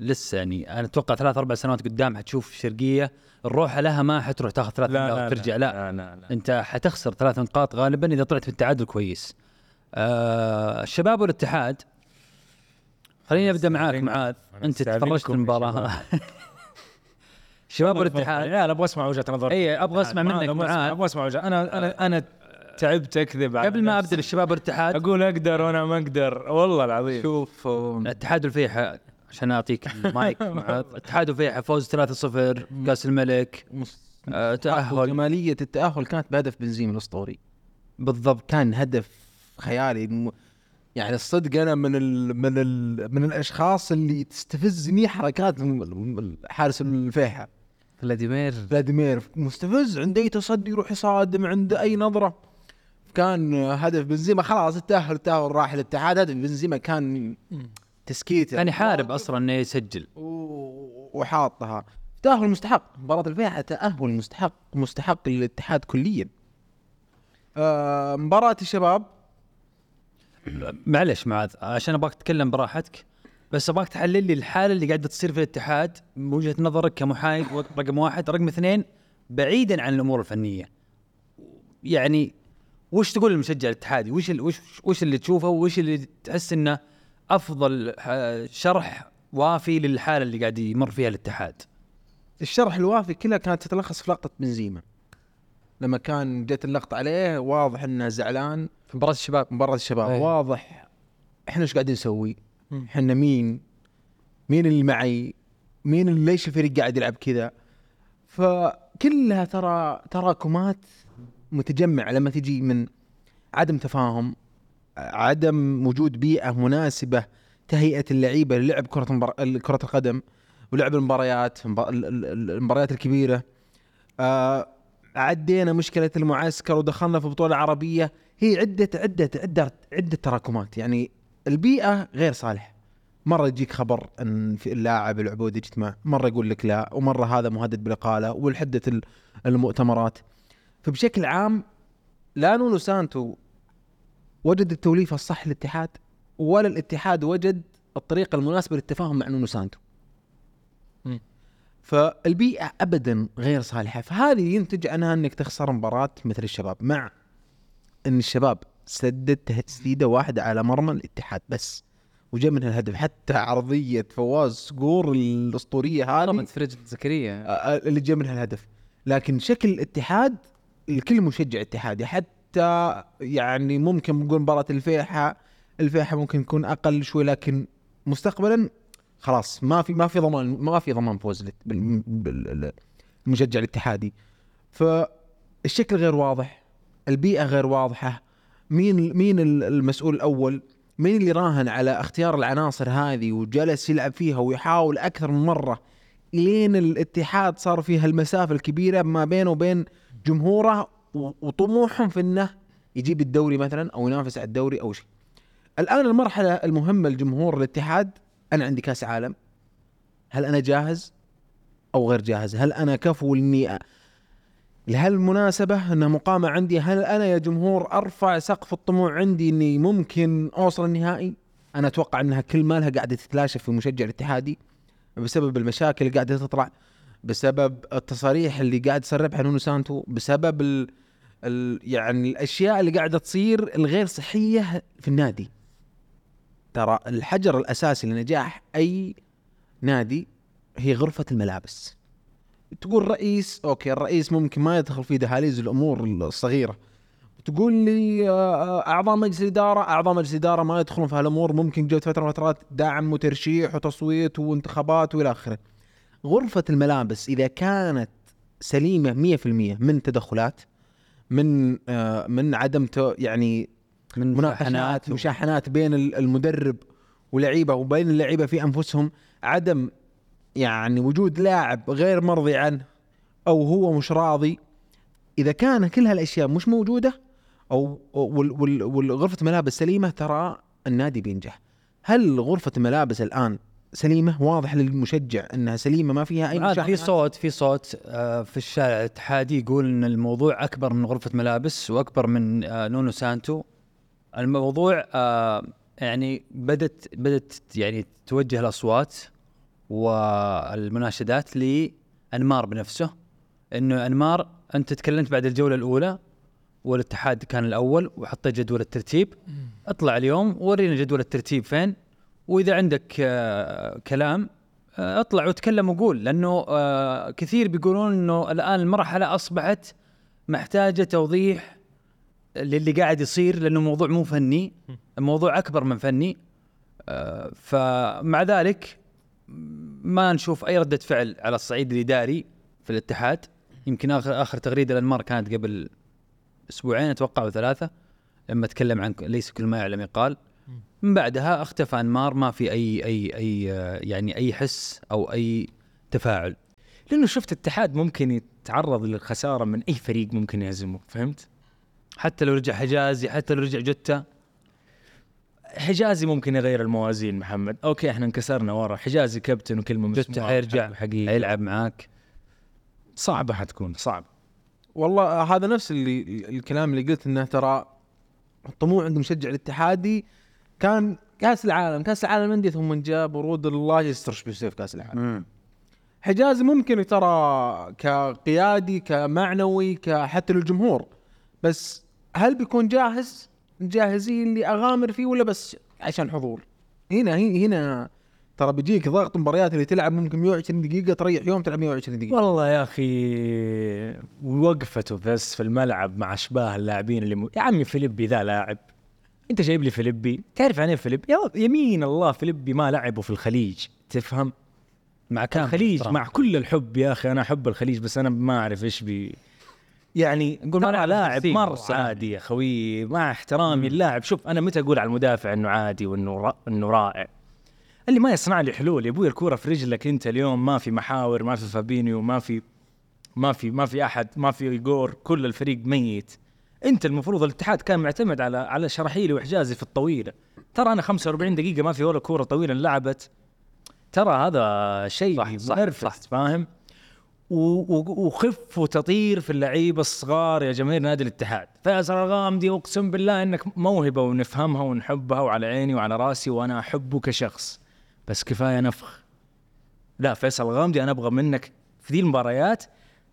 B: لسه يعني انا اتوقع ثلاث اربع سنوات قدام حتشوف الشرقيه الروح لها ما حتروح تاخذ ثلاث نقاط ترجع لا,
F: لا لا, لا.
B: انت حتخسر ثلاث نقاط غالبا اذا طلعت بالتعادل كويس آه الشباب والاتحاد خليني ابدا معاك معاذ انت
F: مستعجلكم
B: تفرجت
F: يا
B: المباراه الشباب والاتحاد
F: لا لا ابغى اسمع وجهه نظرك
B: اي ابغى اسمع
F: ما-
B: منك
F: إيه، أبغى أسمع-
B: معاذ
F: ابغى اسمع وجهه انا انا انا تعبت اكذب على
B: قبل ما
F: نفسي.
B: ابدا بالشباب والاتحاد
F: اقول اقدر وانا ما اقدر والله العظيم
B: شوف الاتحاد الفيحاء عشان اعطيك المايك معاذ الاتحاد الفيحاء فوز 3-0 كاس الملك آه، تاهل
D: جماليه التاهل كانت بهدف بنزيما الاسطوري
B: بالضبط
D: كان هدف خيالي م- يعني الصدق انا من ال من ال من الاشخاص اللي تستفزني حركات م- م- حارس الفيحاء
E: فلاديمير
D: فلاديمير مستفز عنده اي تصدي يروح يصادم عنده اي نظره كان هدف بنزيما خلاص التاهل التاهل راح للاتحاد هدف بنزيما كان تسكيته
B: كان يحارب اصلا انه يسجل
D: و- وحاطها تاهل مستحق مباراة الفيحاء تأهل مستحق مستحق للاتحاد كليا آه مباراة الشباب
B: معلش معاذ عشان ابغاك تتكلم براحتك بس ابغاك تحلل لي الحاله اللي قاعده تصير في الاتحاد من وجهه نظرك كمحايد و- رقم واحد رقم اثنين بعيدا عن الامور الفنيه يعني وش تقول للمشجع الاتحادي وش ال- وش وش اللي تشوفه وش اللي تحس انه افضل آه، شرح وافي للحاله اللي قاعد يمر فيها الاتحاد
D: الشرح الوافي كلها كانت تتلخص في لقطة بنزيما لما كان جت اللقطة عليه واضح انه زعلان
C: في مباراه الشباب
D: مباراة الشباب
C: أيه.
D: واضح احنا ايش قاعدين نسوي؟ احنا مين؟ مين اللي معي؟ مين اللي ليش الفريق قاعد يلعب كذا؟ فكلها ترى تراكمات متجمعة لما تجي من عدم تفاهم عدم وجود بيئة مناسبة تهيئة اللعيبة للعب كرة المبار... كرة القدم ولعب المباريات المب- ال- ال- المباريات الكبيرة آه عدينا مشكلة المعسكر ودخلنا في بطولة عربية هي عدة عدة عدة عدة تراكمات يعني البيئة غير صالحة مرة يجيك خبر ان في اللاعب العبودي اجتماع، مرة يقول لك لا، ومرة هذا مهدد بالاقالة، والحدة ال- المؤتمرات. فبشكل عام لا نونو سانتو وجد التوليفة الصح للاتحاد ولا الاتحاد وجد الطريقة المناسبة للتفاهم مع نونو سانتو. فالبيئة ابدا غير صالحة، فهذه ينتج عنها انك تخسر مباراة مثل الشباب مع ان الشباب سدد تسديده واحده على مرمى الاتحاد بس وجاء منها الهدف حتى عرضيه فواز سقور الاسطوريه هذه
E: ضربت في رجل زكريا
D: آه، اللي جاء منها الهدف لكن شكل الاتحاد الكل مشجع اتحادي حتى يعني ممكن نقول مباراة الفيحة الفيحة ممكن يكون اقل شوي لكن مستقبلا خلاص ما في ما في ضمان ما في ضمان فوز لل- بال- بال- المشجع الاتحادي فالشكل غير واضح البيئة غير واضحة مين مين ال- المسؤول الاول مين اللي راهن على اختيار العناصر هذه وجلس يلعب فيها ويحاول اكثر من مره لين الاتحاد صار في هالمسافه الكبيره ما بينه وبين جمهوره و- وطموحهم في انه يجيب الدوري مثلا او ينافس على الدوري او شيء. الان المرحله المهمه لجمهور الاتحاد انا عندي كاس عالم هل انا جاهز او غير جاهز؟ هل انا كفو اني أ- لهالمناسبة أنها مقامة عندي هل أنا يا جمهور أرفع سقف الطموح عندي أني ممكن أوصل النهائي أنا أتوقع أنها كل مالها قاعدة تتلاشى في مشجع الاتحادي بسبب المشاكل اللي قاعده تطلع بسبب التصاريح اللي قاعد يسربها نونو سانتو بسبب ال... ال... يعني الاشياء اللي قاعده تصير الغير صحيه في النادي ترى الحجر الاساسي لنجاح اي نادي هي غرفه الملابس تقول رئيس اوكي الرئيس ممكن ما يدخل في دهاليز الامور الصغيره تقول لي آه، اعضاء مجلس الاداره اعضاء مجلس الاداره ما يدخلون في هالامور ممكن جت فتره من الفترات دعم وترشيح وتصويت وانتخابات والى اخره. غرفه الملابس اذا كانت سليمه 100% من تدخلات من آه، من عدم ت- يعني
B: من
D: مناقشات مشاحنات بين ال- المدرب ولعيبه وبين اللعيبه في انفسهم عدم يعني وجود لاعب غير مرضي عنه او هو مش راضي اذا كان كل هالاشياء مش موجوده او وال- وال- والغرفه ملابس سليمه ترى النادي بينجح هل غرفه الملابس الان سليمه واضح للمشجع انها سليمه ما فيها اي
B: عاد في
D: مشاحنات
B: صوت في صوت آه، في الشارع الاتحادي يقول ان الموضوع اكبر من غرفه ملابس واكبر من آه، نونو سانتو الموضوع آه، يعني بدت بدت يعني توجه الاصوات والمناشدات لانمار بنفسه انه انمار انت تكلمت بعد الجوله الاولى والاتحاد كان الاول وحطيت جدول الترتيب اطلع اليوم ورينا جدول الترتيب فين واذا عندك آه، كلام آه، اطلع وتكلم وقول لانه آه، كثير بيقولون انه الان المرحله اصبحت محتاجه توضيح للي قاعد يصير لانه موضوع مو فني الموضوع اكبر من فني آه، فمع ذلك ما نشوف اي رده فعل على الصعيد الاداري في الاتحاد يمكن اخر اخر تغريده لانمار كانت قبل اسبوعين اتوقع او ثلاثه لما تكلم عن ليس كل ما يعلم يقال من بعدها اختفى انمار ما في اي اي اي آه، يعني اي حس او اي تفاعل
F: لانه شفت اتحاد ممكن يتعرض للخساره من اي فريق ممكن يهزمه فهمت؟
B: حتى لو رجع حجازي حتى لو رجع جته
F: حجازي ممكن يغير الموازين محمد اوكي احنا انكسرنا ورا حجازي كابتن وكلمه
B: جت
F: مسموعة
B: حيرجع.
F: حق- حقيقي
B: يلعب معاك
F: صعبه حتكون صعبه
D: والله آه، هذا نفس اللي الكلام اللي قلت انه ترى الطموح عند مشجع الاتحادي كان كاس العالم كاس العالم انديه ثم جاء برود الله يسترش بيصير كاس العالم حجازي ممكن ترى كقيادي كمعنوي كحتى للجمهور بس هل بيكون جاهز جاهزين اللي اغامر فيه ولا بس عشان حضور هنا هي- هنا ترى بيجيك ضغط مباريات اللي تلعب ممكن 120 دقيقه تريح يوم تلعب 120 دقيقه
F: والله يا اخي وقفته بس في الملعب مع اشباه اللاعبين اللي م... يا عمي فيليبي ذا لاعب انت جايب لي فيليبي تعرف عن ايه فيليبي يا- يمين الله فيليبي ما لعبه في الخليج تفهم
B: مع كام
F: الخليج
B: احترام.
F: مع كل الحب يا اخي انا احب الخليج بس انا ما اعرف ايش بي يعني نقول
B: ما
F: ما
B: لعب
F: لاعب
B: 50
F: مره
B: صراحة.
F: عادي يا خوي مع احترامي اللاعب شوف انا متى اقول على المدافع انه عادي وانه را... انه رائع اللي ما يصنع لي حلول يا ابوي الكوره في رجلك انت اليوم ما في محاور ما في فابينيو ما في ما في ما في احد ما في جور كل الفريق ميت انت المفروض الاتحاد كان معتمد على على شرحيلي وحجازي في الطويله ترى انا 45 دقيقه ما في ولا كوره طويله انلعبت ترى هذا شيء
B: صح، صح، صح.
F: منرفز فاهم و- و- وخف وتطير في اللعيبه الصغار يا جماهير نادي الاتحاد فيصل الغامدي اقسم بالله انك موهبه ونفهمها ونحبها وعلى عيني وعلى راسي وانا احبه كشخص بس كفايه نفخ لا فيصل الغامدي انا ابغى منك في ذي المباريات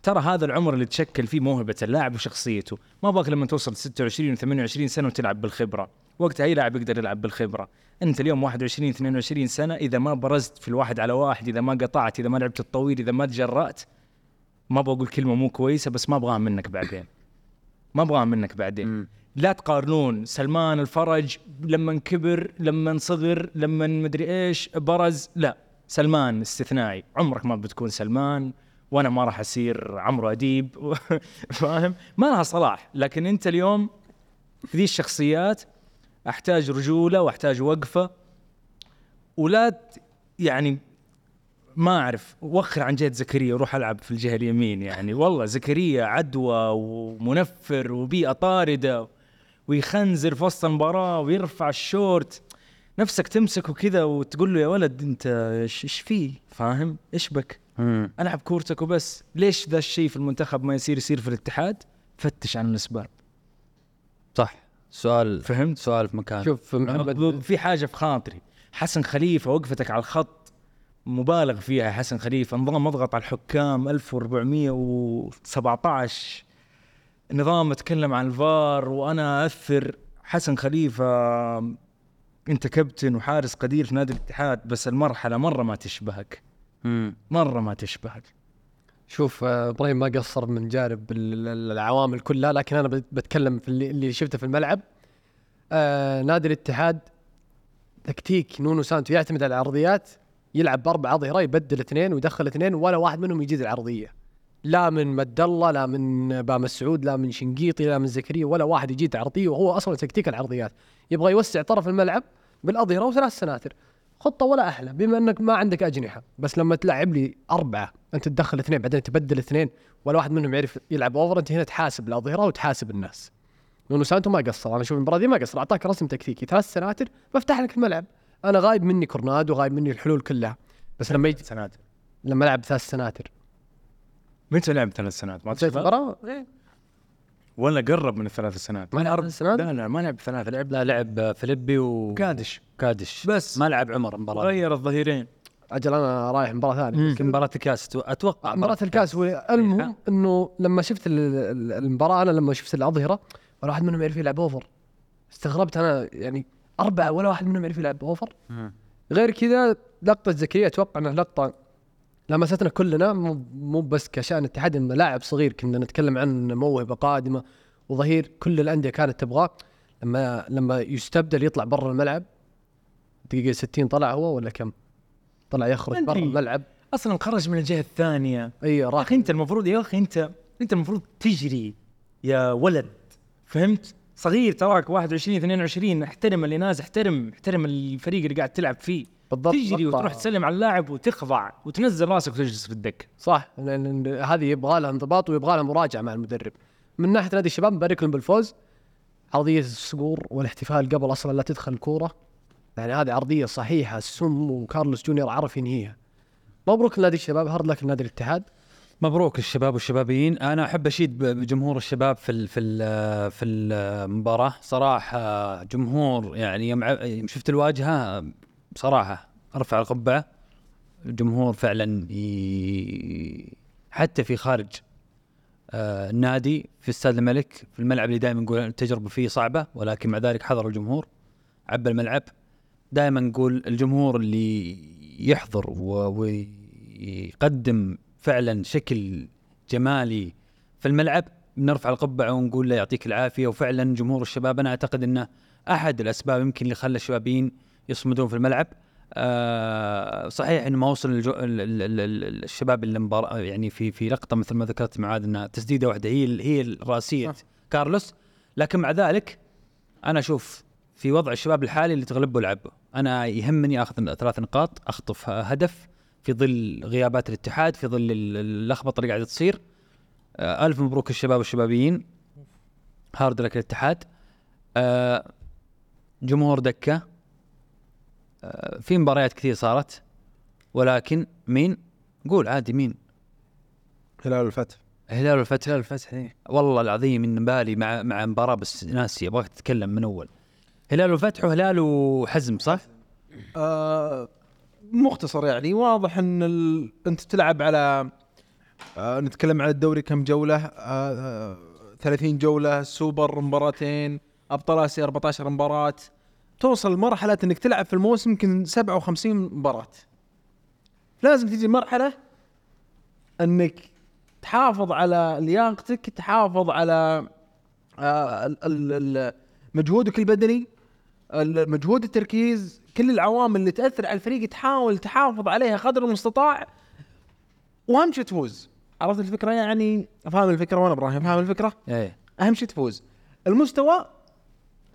F: ترى هذا العمر اللي تشكل فيه موهبه اللاعب وشخصيته ما باك لما توصل 26 و28 سنه وتلعب بالخبره وقتها اي لاعب يقدر يلعب بالخبره انت اليوم 21 22 سنه اذا ما برزت في الواحد على واحد اذا ما قطعت اذا ما لعبت الطويل اذا ما تجرأت ما بقول كلمه مو كويسه بس ما ابغاها منك بعدين ما ابغاها منك بعدين لا تقارنون سلمان الفرج لما كبر لما صغر لما مدري ايش برز لا سلمان استثنائي عمرك ما بتكون سلمان وانا ما راح اصير عمرو اديب فاهم ما لها صلاح لكن انت اليوم في ذي الشخصيات احتاج رجوله واحتاج وقفه ولا ت- يعني ما اعرف وخر عن جهه زكريا وروح العب في الجهه اليمين يعني والله زكريا عدوى ومنفر وبيئه طارده ويخنزر في وسط المباراه ويرفع الشورت نفسك تمسكه كذا وتقول له يا ولد انت ايش ايش فيه فاهم ايش بك العب كورتك وبس ليش ذا الشيء في المنتخب ما يصير يصير في الاتحاد فتش عن الاسباب
B: صح سؤال
F: فهمت
B: سؤال في مكان
C: شوف محمد
F: في حاجه في خاطري حسن خليفه وقفتك على الخط مبالغ فيها يا حسن خليفه نظام اضغط على الحكام 1417 نظام اتكلم عن الفار وانا اثر حسن خليفه انت كابتن وحارس قدير في نادي الاتحاد بس المرحله مره ما تشبهك مره ما تشبهك
C: شوف آه، ابراهيم ما قصر من جانب ال- ال- العوامل كلها لكن انا بت- بتكلم في اللي, اللي شفته في الملعب آه نادي الاتحاد تكتيك نونو سانتو يعتمد على العرضيات يلعب باربعه ظهيره يبدل اثنين ويدخل اثنين ولا واحد منهم يجيد العرضيه لا من مد الله لا من بام السعود لا من شنقيطي لا من زكريا ولا واحد يجيد عرضيه وهو اصلا تكتيك العرضيات يبغى يوسع طرف الملعب بالاظهره وثلاث سناتر خطه ولا احلى بما انك ما عندك اجنحه بس لما تلعب لي اربعه انت تدخل اثنين بعدين تبدل اثنين ولا واحد منهم يعرف يلعب اوفر انت هنا تحاسب الاظهره وتحاسب الناس لانه سانتو ما قصر انا اشوف المباراه دي ما قصر اعطاك رسم تكتيكي ثلاث سناتر بفتح لك الملعب انا غايب مني كورنادو غايب مني الحلول كلها بس لما يجي
F: سنوات
C: لما العب ثلاث سناتر
F: متى لعب ثلاث سنوات ما
C: بدايه
F: تشبه
C: المباراه إيه،
F: ولا قرب من الثلاث سنوات
C: ما لعب ثلاث سناتر
F: لا لا ما لعب ثلاث لعب
B: لا لعب فليبي
F: كادش
B: وكادش
F: بس
B: ما لعب عمر مباراه
F: غير الظهيرين
C: اجل انا رايح مباراه ثانيه
B: يمكن مباراه الكاس أتو- اتوقع
C: مباراة الكاس هو المهم انه لما شفت ال- ال- المباراة انا لما شفت الاظهرة ولا واحد منهم يعرف يلعب اوفر استغربت انا يعني اربعة ولا واحد منهم يعرف يلعب اوفر غير كذا لقطة زكريا اتوقع انها لقطة لمستنا كلنا مو مو بس كشان اتحاد انه لاعب صغير كنا نتكلم عن موهبة قادمة وظهير كل الاندية كانت تبغاه لما لما يستبدل يطلع برا الملعب دقيقة 60 طلع هو ولا كم؟ طلع يخرج برا
F: أدري.
C: الملعب
F: اصلا خرج من الجهه الثانيه
C: اي
F: يا
C: راح
F: اخي انت المفروض يا اخي انت انت المفروض تجري يا ولد فهمت صغير تراك 21 22 احترم اللي ناس احترم احترم الفريق اللي قاعد تلعب فيه
C: بالضبط
F: تجري
C: لقطة-
F: وتروح تسلم على اللاعب وتخضع وتنزل راسك وتجلس في الدكه
C: صح لان لأن هذه يبغى لها انضباط ويبغى لها مراجعه مع المدرب من ناحيه نادي الشباب مبارك لهم بالفوز عرضيه الصقور والاحتفال قبل اصلا لا تدخل الكوره يعني هذه عرضيه صحيحه سم وكارلوس جونيور عرف ينهيها مبروك لنادي الشباب هارد لك لنادي الاتحاد
B: مبروك الشباب والشبابيين انا احب اشيد ب- بجمهور الشباب في ال في ال في المباراه صراحه جمهور يعني يوم ع- يوم شفت الواجهه بصراحه ارفع القبعه الجمهور فعلا ي... حتى في خارج آه، النادي في استاد الملك في الملعب اللي دائما نقول التجربه فيه صعبه ولكن مع ذلك حضر الجمهور عبى الملعب دائما نقول الجمهور اللي يحضر و- ويقدم فعلا شكل جمالي في الملعب بنرفع القبعه ونقول له يعطيك العافيه وفعلا جمهور الشباب انا اعتقد انه احد الاسباب يمكن اللي خلى الشبابيين يصمدون في الملعب آه صحيح انه ما وصل الجو ال ال ال ال الشباب المباراة يعني في في لقطه مثل ما ذكرت معاذ انها تسديده واحده هي ال- هي الراسيه كارلوس لكن مع ذلك انا اشوف في وضع الشباب الحالي اللي تغلبه لعبه انا يهمني اخذ ثلاث نقاط اخطف هدف في ظل غيابات الاتحاد في ظل ال- اللخبطه اللي قاعده تصير آه، الف مبروك الشباب والشبابيين هارد لك الاتحاد آه، جمهور دكه آه، في مباريات كثير صارت ولكن مين قول عادي مين
D: هلال الفتح
B: الهلال والفتح الهلال والفتح إيه. والله العظيم ان بالي مع مع مباراه بس ناسي ابغاك تتكلم من اول هلال والفتح وهلال وحزم صح؟
D: آه مختصر يعني واضح ان ال... انت تلعب على آه نتكلم على الدوري كم جوله آه آه 30 جوله سوبر مباراتين ابطال اسيا 14 مباراه توصل لمرحله انك تلعب في الموسم يمكن 57 مباراه لازم تيجي مرحله انك تحافظ على لياقتك تحافظ على آه، ال- ال- ال- مجهودك البدني ال- مجهود التركيز كل العوامل اللي تاثر على الفريق تحاول تحافظ عليها قدر المستطاع واهم شيء تفوز عرفت الفكره يعني فاهم الفكره وانا ابراهيم فاهم الفكره
B: إيه.
F: ايه
D: اهم شيء تفوز المستوى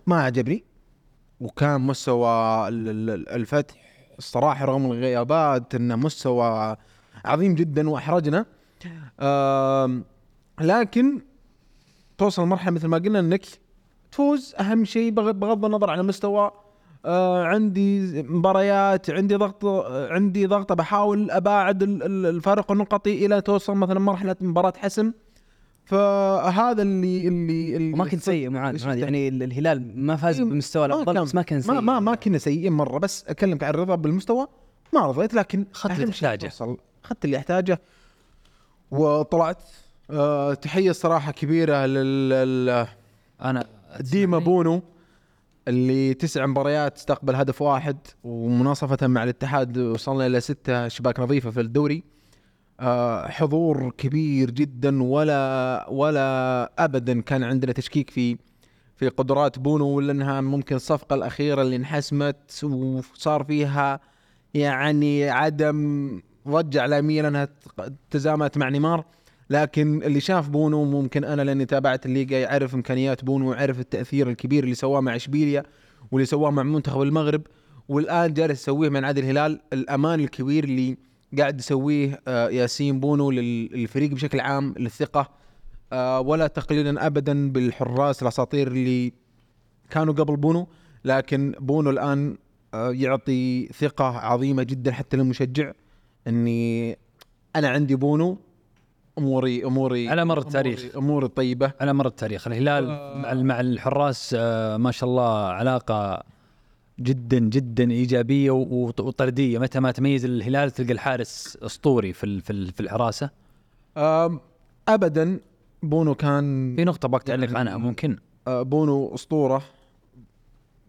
D: ما عجبني وكان مستوى ال- ال- ال- الفتح الصراحه رغم الغيابات انه مستوى عظيم جدا واحرجنا آم، لكن توصل مرحله مثل ما قلنا انك تفوز اهم شيء بغ- بغض النظر عن المستوى آه عندي مباريات عندي ضغط آه، عندي ضغط بحاول اباعد ال- ال- الفارق النقطي الى توصل مثلا مرحله مباراه حسم فهذا اللي اللي, اللي
E: وما كنت سيء معاذ
D: شفته.
E: معاذ، يعني ال- الهلال ما فاز
D: إيه،
E: بمستوى الافضل
D: كان-
E: بس ما كان سيء
D: ما ما ما كنا سيئين مره بس اكلمك عن الرضا بالمستوى ما رضيت لكن
E: أخذت اللي
D: أهم شيء
E: تحتاجه.
D: توصل. اخذت اللي احتاجه وطلعت آه تحيه صراحه كبيره لل- لل
B: انا
D: ديما بونو اللي تسع مباريات استقبل هدف واحد ومناصفة مع الاتحاد وصلنا إلى ستة شباك نظيفة في الدوري آه، حضور كبير جدا ولا ولا أبدا كان عندنا تشكيك في في قدرات بونو ولا انها ممكن الصفقة الأخيرة اللي انحسمت وصار فيها يعني عدم ضجة إعلامية لأنها تق- تزامت مع نيمار لكن اللي شاف بونو ممكن انا لاني تابعت الليجا يعرف امكانيات بونو ويعرف التاثير الكبير اللي سواه مع اشبيليا واللي سواه مع منتخب المغرب والان جالس يسويه من عاد الهلال الامان الكبير اللي قاعد يسويه آه، ياسين بونو لل- للفريق بشكل عام للثقه آه، ولا تقليلا ابدا بالحراس الاساطير اللي كانوا قبل بونو لكن بونو الان آه، يعطي ثقه عظيمه جدا حتى للمشجع اني انا عندي بونو اموري اموري
B: على مر التاريخ.
D: أموري- اموري طيبه
B: على مر التاريخ الهلال مع- مع الحراس آه، ما شاء الله علاقه جدا جدا ايجابيه و- وط- وطرديه متى ما تميز الهلال تلقى الحارس اسطوري في ال- في ال- في الحراسه
D: آم، ابدا بونو كان
B: في نقطه باك تعلق عنها ممكن
D: آه، بونو اسطوره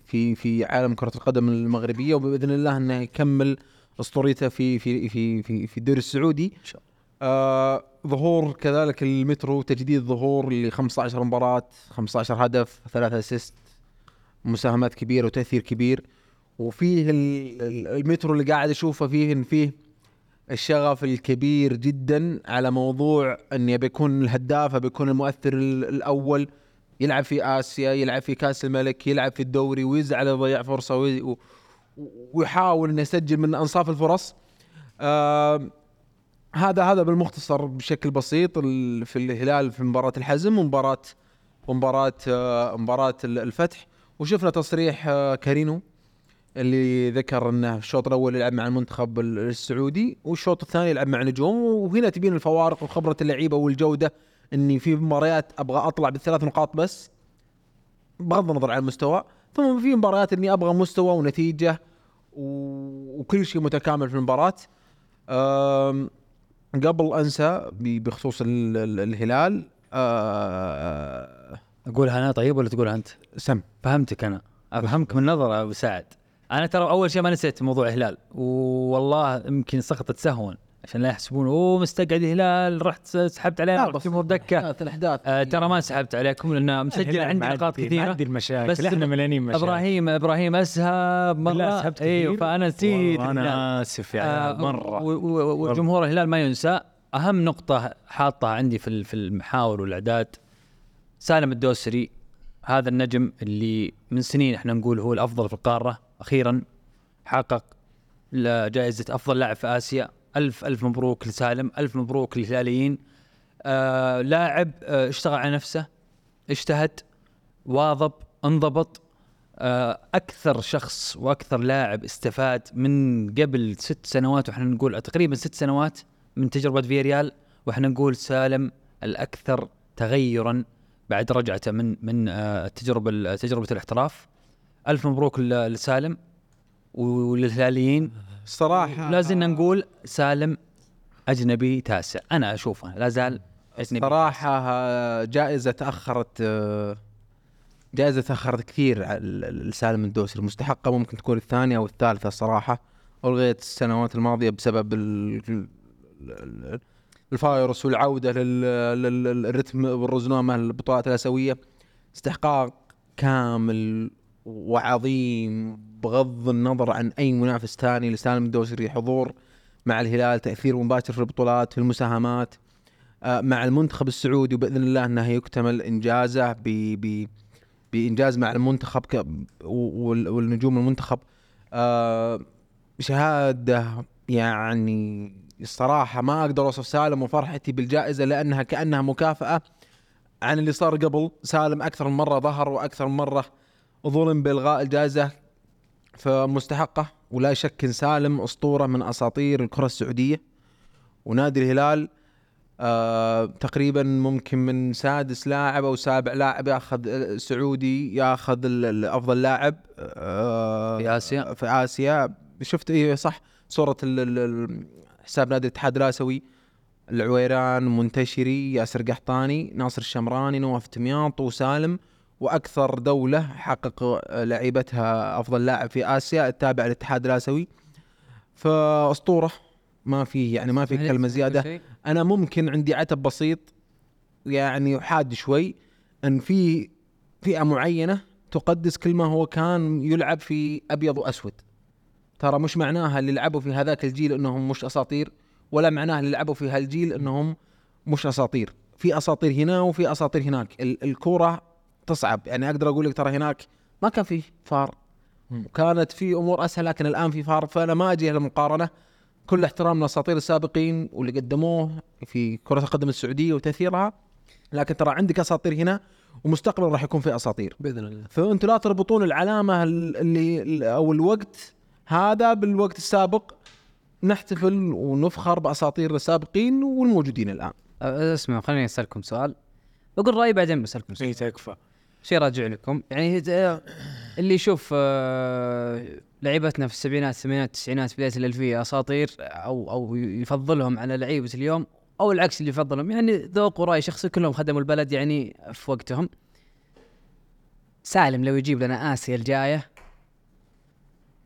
D: في في عالم كره القدم المغربيه وباذن الله انه يكمل اسطوريته في في في في في الدوري السعودي ان شاء الله ظهور كذلك المترو تجديد ظهور ل 15 مباراه 15 هدف ثلاثة اسيست مساهمات كبيره وتاثير كبير وفيه ال- ال- المترو اللي قاعد اشوفه فيه ان فيه الشغف الكبير جدا على موضوع اني بيكون الهداف بيكون المؤثر ال- الاول يلعب في اسيا يلعب في كاس الملك يلعب في الدوري ويزعل يضيع فرصه وي- و- ويحاول انه يسجل من انصاف الفرص آم، هذا هذا بالمختصر بشكل بسيط ال- في الهلال في مباراه الحزم ومباراه ومباراه آه، مباراه ال- الفتح وشفنا تصريح آه، كارينو اللي ذكر انه الشوط الاول يلعب مع المنتخب ال- السعودي والشوط الثاني يلعب مع نجوم وهنا تبين الفوارق وخبره اللعيبه والجوده اني في مباريات ابغى اطلع بالثلاث نقاط بس بغض النظر عن المستوى ثم في مباريات اني ابغى مستوى ونتيجه و- وكل شيء متكامل في المباراه أم، قبل انسى ب- بخصوص ال- ال- الهلال أه،
B: اقولها انا طيب ولا تقولها انت؟
D: سم
B: فهمتك انا افهمك من نظره ابو سعد انا ترى اول شيء ما نسيت موضوع الهلال والله يمكن سقطت سهوا عشان لا يحسبون اوه مستقعد الهلال رحت سحبت عليهم
D: لا، بس-
B: رحت بدكه
D: الاحداث
B: آه ترى ما سحبت عليكم لان مسجل عندي نقاط كثيره
J: عندي المشاكل
B: بس
J: بس احنا مليانين مشاكل
B: ابراهيم ابراهيم اسهب
J: لا،
B: مره
J: سحبت
B: ايوه
J: كثير.
B: فانا نسيت الهلال.
J: انا اسف يعني مره
B: آه، و- و- و- وجمهور الهلال ما ينسى اهم نقطه حاطها عندي في ال- في المحاور والاعداد سالم الدوسري هذا النجم اللي من سنين احنا نقول هو الافضل في القاره اخيرا حقق ل- جائزه افضل لاعب في اسيا الف الف مبروك لسالم الف مبروك للهلاليين آه لاعب آه اشتغل على نفسه اجتهد واظب انضبط آه، اكثر شخص واكثر لاعب استفاد من قبل ست سنوات واحنا نقول تقريبا ست سنوات من تجربه فيريال واحنا نقول سالم الاكثر تغيرا بعد رجعته من من آه، التجربه ال- تجربه الاحتراف الف مبروك ل- لسالم وللهلاليين
D: الصراحه
B: لا زلنا نقول سالم اجنبي تاسع انا اشوفه لا زال اجنبي
D: صراحة آه، جائزة تأخرت آه، جائزة تأخرت كثير على ال- ال- لسالم الدوسري المستحقة ممكن تكون الثانية أو الثالثة صراحة ألغيت السنوات الماضية بسبب ال- ال- ال- الفايروس والعودة لل- لل- للرتم والرزنامة البطولات الآسيوية استحقاق كامل وعظيم بغض النظر عن أي منافس ثاني لسالم الدوسري حضور مع الهلال تأثير مباشر في البطولات في المساهمات آه، مع المنتخب السعودي وباذن الله انه يكتمل انجازه ب ب بانجاز مع المنتخب ك و- وال- والنجوم المنتخب آه، شهاده يعني الصراحه ما اقدر اوصف سالم وفرحتي بالجائزه لانها كانها مكافاه عن اللي صار قبل سالم اكثر من مره ظهر واكثر من مره ظلم بالغاء الجائزه فمستحقه ولا شك إن سالم اسطوره من اساطير الكره السعوديه ونادي الهلال آه تقريبا ممكن من سادس لاعب او سابع لاعب ياخذ آه، سعودي ياخذ ال- ال- افضل لاعب آه
B: في آسيا.
D: في اسيا شفت ايه صح صوره ال- ال- ال- حساب نادي الاتحاد الاسيوي العويران منتشري ياسر قحطاني ناصر الشمراني نواف تمياط وسالم واكثر دوله حقق آه، لعيبتها افضل لاعب في اسيا التابع للاتحاد الاسيوي فاسطوره ما فيه يعني ما في كلمه زياده انا ممكن عندي عتب بسيط يعني وحاد شوي ان في فئه معينه تقدس كل ما هو كان يلعب في ابيض واسود ترى مش معناها اللي لعبوا في هذاك الجيل انهم مش اساطير ولا معناها اللي لعبوا في هالجيل انهم مش اساطير في اساطير هنا وفي اساطير هناك ال- الكوره تصعب يعني اقدر اقول لك ترى هناك ما كان في فار وكانت في امور اسهل لكن الان في فار فانا ما اجي المقارنه كل احترام لاساطير السابقين واللي قدموه في كره القدم السعوديه وتاثيرها لكن ترى عندك اساطير هنا ومستقبلا راح يكون في اساطير
C: باذن الله
D: فانتم لا تربطون العلامه ال- اللي او الوقت هذا بالوقت السابق نحتفل ونفخر باساطير السابقين والموجودين الان
G: أه، اسمعوا خليني اسالكم سؤال بقول رايي بعدين بسالكم سؤال
F: اي تكفى
G: شيء راجع لكم يعني ت- اللي يشوف آه، لعيبتنا في السبعينات الثمانينات التسعينات بدايه الالفيه اساطير او او يفضلهم على لعيبه اليوم او العكس اللي يفضلهم يعني ذوق وراي شخصي كلهم خدموا البلد يعني في وقتهم سالم لو يجيب لنا اسيا الجايه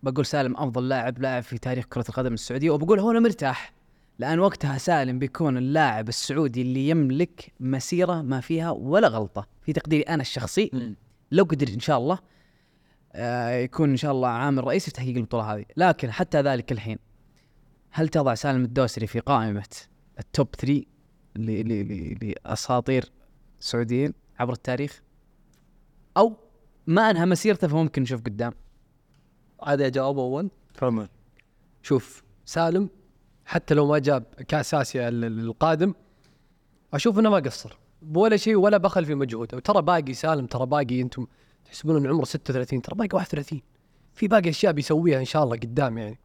G: بقول سالم افضل لاعب لاعب في تاريخ كره القدم السعوديه وبقول هو انا مرتاح لان وقتها سالم بيكون اللاعب السعودي اللي يملك مسيره ما فيها ولا غلطه في تقديري انا الشخصي لو قدر ان شاء الله آه، يكون ان شاء الله عامل رئيسي في تحقيق البطوله هذه لكن حتى ذلك الحين هل تضع سالم الدوسري في قائمه التوب 3 ل- ل- ل- لاساطير سعوديين عبر التاريخ او ما انهى مسيرته فممكن نشوف قدام
C: عادي اجاوب اول
F: تفضل
C: شوف سالم حتى لو ما جاب كاس اسيا ال- ال- القادم اشوف انه ما قصر ولا شيء ولا بخل في مجهوده وترى باقي سالم ترى باقي انتم تحسبون ان عمره 36 ترى باقي 31 في باقي اشياء بيسويها ان شاء الله قدام يعني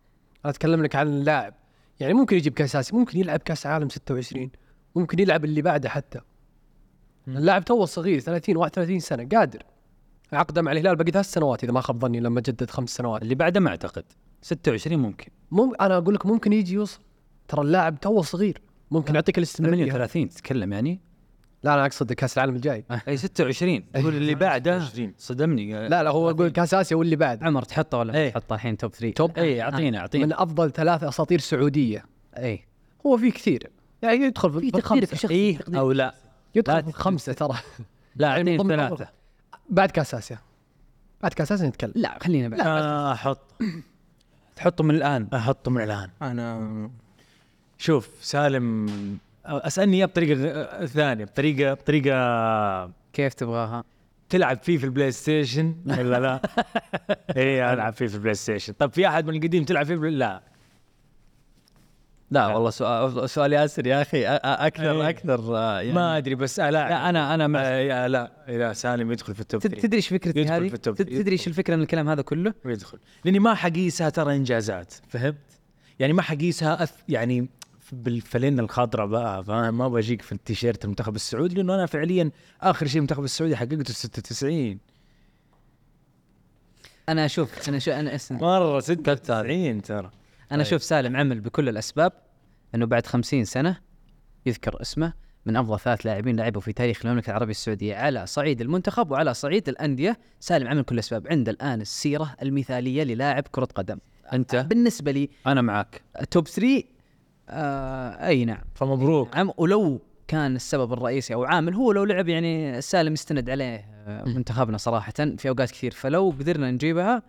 C: انا اتكلم لك عن اللاعب يعني ممكن يجيب كاس اسيا ممكن يلعب كاس عالم 26 ممكن يلعب اللي بعده حتى اللاعب توه صغير 30 31 سنه قادر عقده مع الهلال باقي ثلاث سنوات اذا ما خاب ظني لما جدد خمس سنوات
B: اللي بعده ما اعتقد 26 ممكن
C: مم... انا اقول لك ممكن يجي يوصل ترى اللاعب توه صغير ممكن
G: نعم.
C: يعطيك الاستمراريه
B: 38 تتكلم يعني
C: لا انا اقصد كاس العالم الجاي
B: اي 26 تقول اللي بعده صدمني
C: لا لا هو اقول كاس اسيا واللي بعد
G: عمر تحطه ولا
B: إيه.
G: ايه. تحطه الحين توب 3
C: توب
B: اي اعطينا اعطينا
C: من افضل ثلاث اساطير سعوديه
G: اي
B: إيه.
C: هو في كثير يعني يدخل في, في
G: في
C: الخمسه
G: شخص
B: اي او لا لا
C: يدخل في الخمسه ترى
B: لا اعطيني
C: ضمن
B: ثلاثه
C: بعد كاس اسيا بعد كاس اسيا نتكلم
G: لا خلينا بعد
F: آه، احط
B: تحطه من الان
F: احطه من الان
D: انا
F: شوف سالم اسالني اياه بطريقه غ- ثانيه بطريقه بطريقه
G: كيف تبغاها
F: تلعب فيه في البلاي ستيشن ولا لا؟ اي العب فيه في البلاي ستيشن، طب في احد من القديم تلعب فيه بل... لا
K: لا والله سؤال سؤال ياسر يا اخي أ- أ- اكثر
F: إيه.
K: اكثر آه، يعني
F: ما ادري بس آه لا
B: لا انا انا مع
F: آه يا لا لا سالم يدخل في التوب
G: تد-
F: 3
G: تدري ايش فكرتي
F: يدخل
G: هذه
F: في التوب.
G: تد- تدري ايش
F: يدخل.
G: الفكره من الكلام هذا كله
F: يدخل لاني ما حقيسها ترى انجازات فهمت؟ يعني ما حقيسها أث... يعني ف- بالفلين الخضراء بقى فاهم ما بجيك في التيشيرت المنتخب السعودي لانه انا فعليا اخر شيء المنتخب السعودي حققته 96
G: انا اشوف انا شو انا اسمع
F: مره 96 ترى
G: انا اشوف سالم عمل بكل الاسباب انه بعد 50 سنه يذكر اسمه من افضل ثلاث لاعبين لعبوا في تاريخ المملكه العربيه السعوديه على صعيد المنتخب وعلى صعيد الانديه سالم عمل كل الاسباب عنده الان السيره المثاليه للاعب كره قدم
B: انت
G: بالنسبه لي
B: انا معك
G: توب 3 آه اي نعم
F: فمبروك
G: عم ولو كان السبب الرئيسي او عامل هو لو لعب يعني سالم يستند عليه آه، منتخبنا صراحه في اوقات كثير فلو قدرنا نجيبها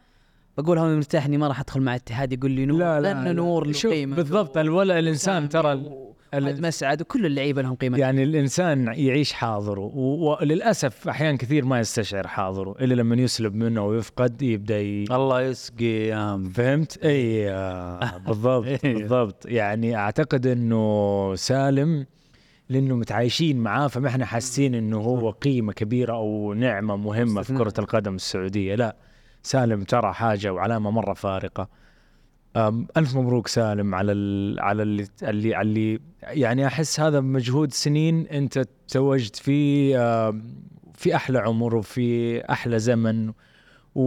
G: بقول هو مرتاح اني ما راح ادخل مع الاتحاد يقول لي نور
F: لا، لا،
G: لأنه
F: لا.
G: نور له
F: شوف،
G: قيمه
F: بالضبط الولا الانسان ترى ال-
G: وأحمد مسعد وكل اللعيبه لهم قيمه
F: يعني الانسان يعيش حاضره و- وللاسف احيان كثير ما يستشعر حاضره الا لما يسلب منه ويفقد يبدا ي...
B: الله يسقي يا عم.
F: فهمت؟ اي آه، بالضبط
B: إيه.
F: بالضبط يعني اعتقد انه سالم لانه متعايشين معاه فما احنا حاسين انه هو قيمه كبيره او نعمه مهمه في كره القدم السعوديه لا سالم ترى حاجه وعلامه مره فارقه أم، الف مبروك سالم على ال... على اللي اللي على اللي يعني احس هذا مجهود سنين انت توجت فيه أم، في احلى عمر وفي احلى زمن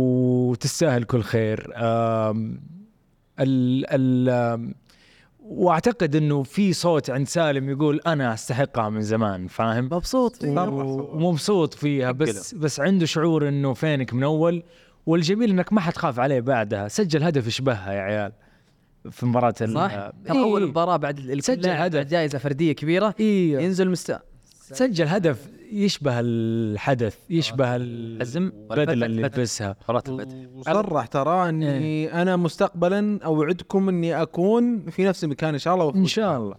F: وتستاهل كل خير أم، ال ال واعتقد انه في صوت عند سالم يقول انا استحقها من زمان فاهم
G: مبسوط
F: ومبسوط فيها بس بس عنده شعور انه فينك من اول والجميل انك ما حتخاف عليه بعدها سجل هدف يشبهها يا عيال في مباراه ال-
G: صح؟
F: آه،
G: ترى
F: إيه،
G: اول
F: إيه.
G: مباراه بعد ال-
F: سجل
G: اللاعب
F: هدف.
G: بعد جائزه فرديه كبيره
F: إيه.
G: ينزل مستاء
F: سجل هدف يشبه الحدث يشبه
B: حزم
F: البدله اللي لبسها
D: وصرح ترى اني انا مستقبلا اوعدكم اني اكون في نفس المكان ان شاء الله
F: ان شاء الله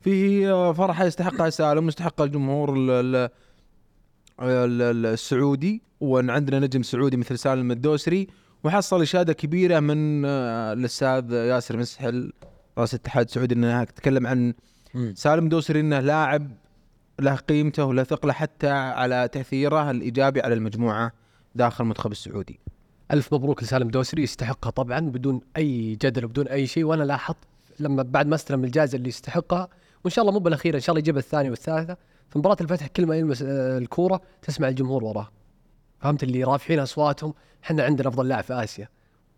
D: في آه، فرحه يستحقها سالم ويستحقها الجمهور ال- ال- ال- ال- السعودي وان عندنا نجم سعودي مثل سالم الدوسري وحصل اشاده كبيره من آه، الاستاذ ياسر مسحل رئيس الاتحاد السعودي انه تكلم عن
F: مم.
D: سالم دوسري انه لاعب له قيمته وله ثقله حتى على تاثيره الايجابي على المجموعه داخل المنتخب السعودي.
C: الف مبروك لسالم دوسري يستحقها طبعا بدون اي جدل وبدون اي شيء وانا لاحظت لما بعد ما استلم الجائزه اللي يستحقها وان شاء الله مو بالاخيره ان شاء الله يجيب الثانيه والثالثه في مباراه الفتح كل ما يلمس آه، الكوره تسمع الجمهور وراه فهمت اللي رافعين اصواتهم احنا عندنا افضل لاعب في اسيا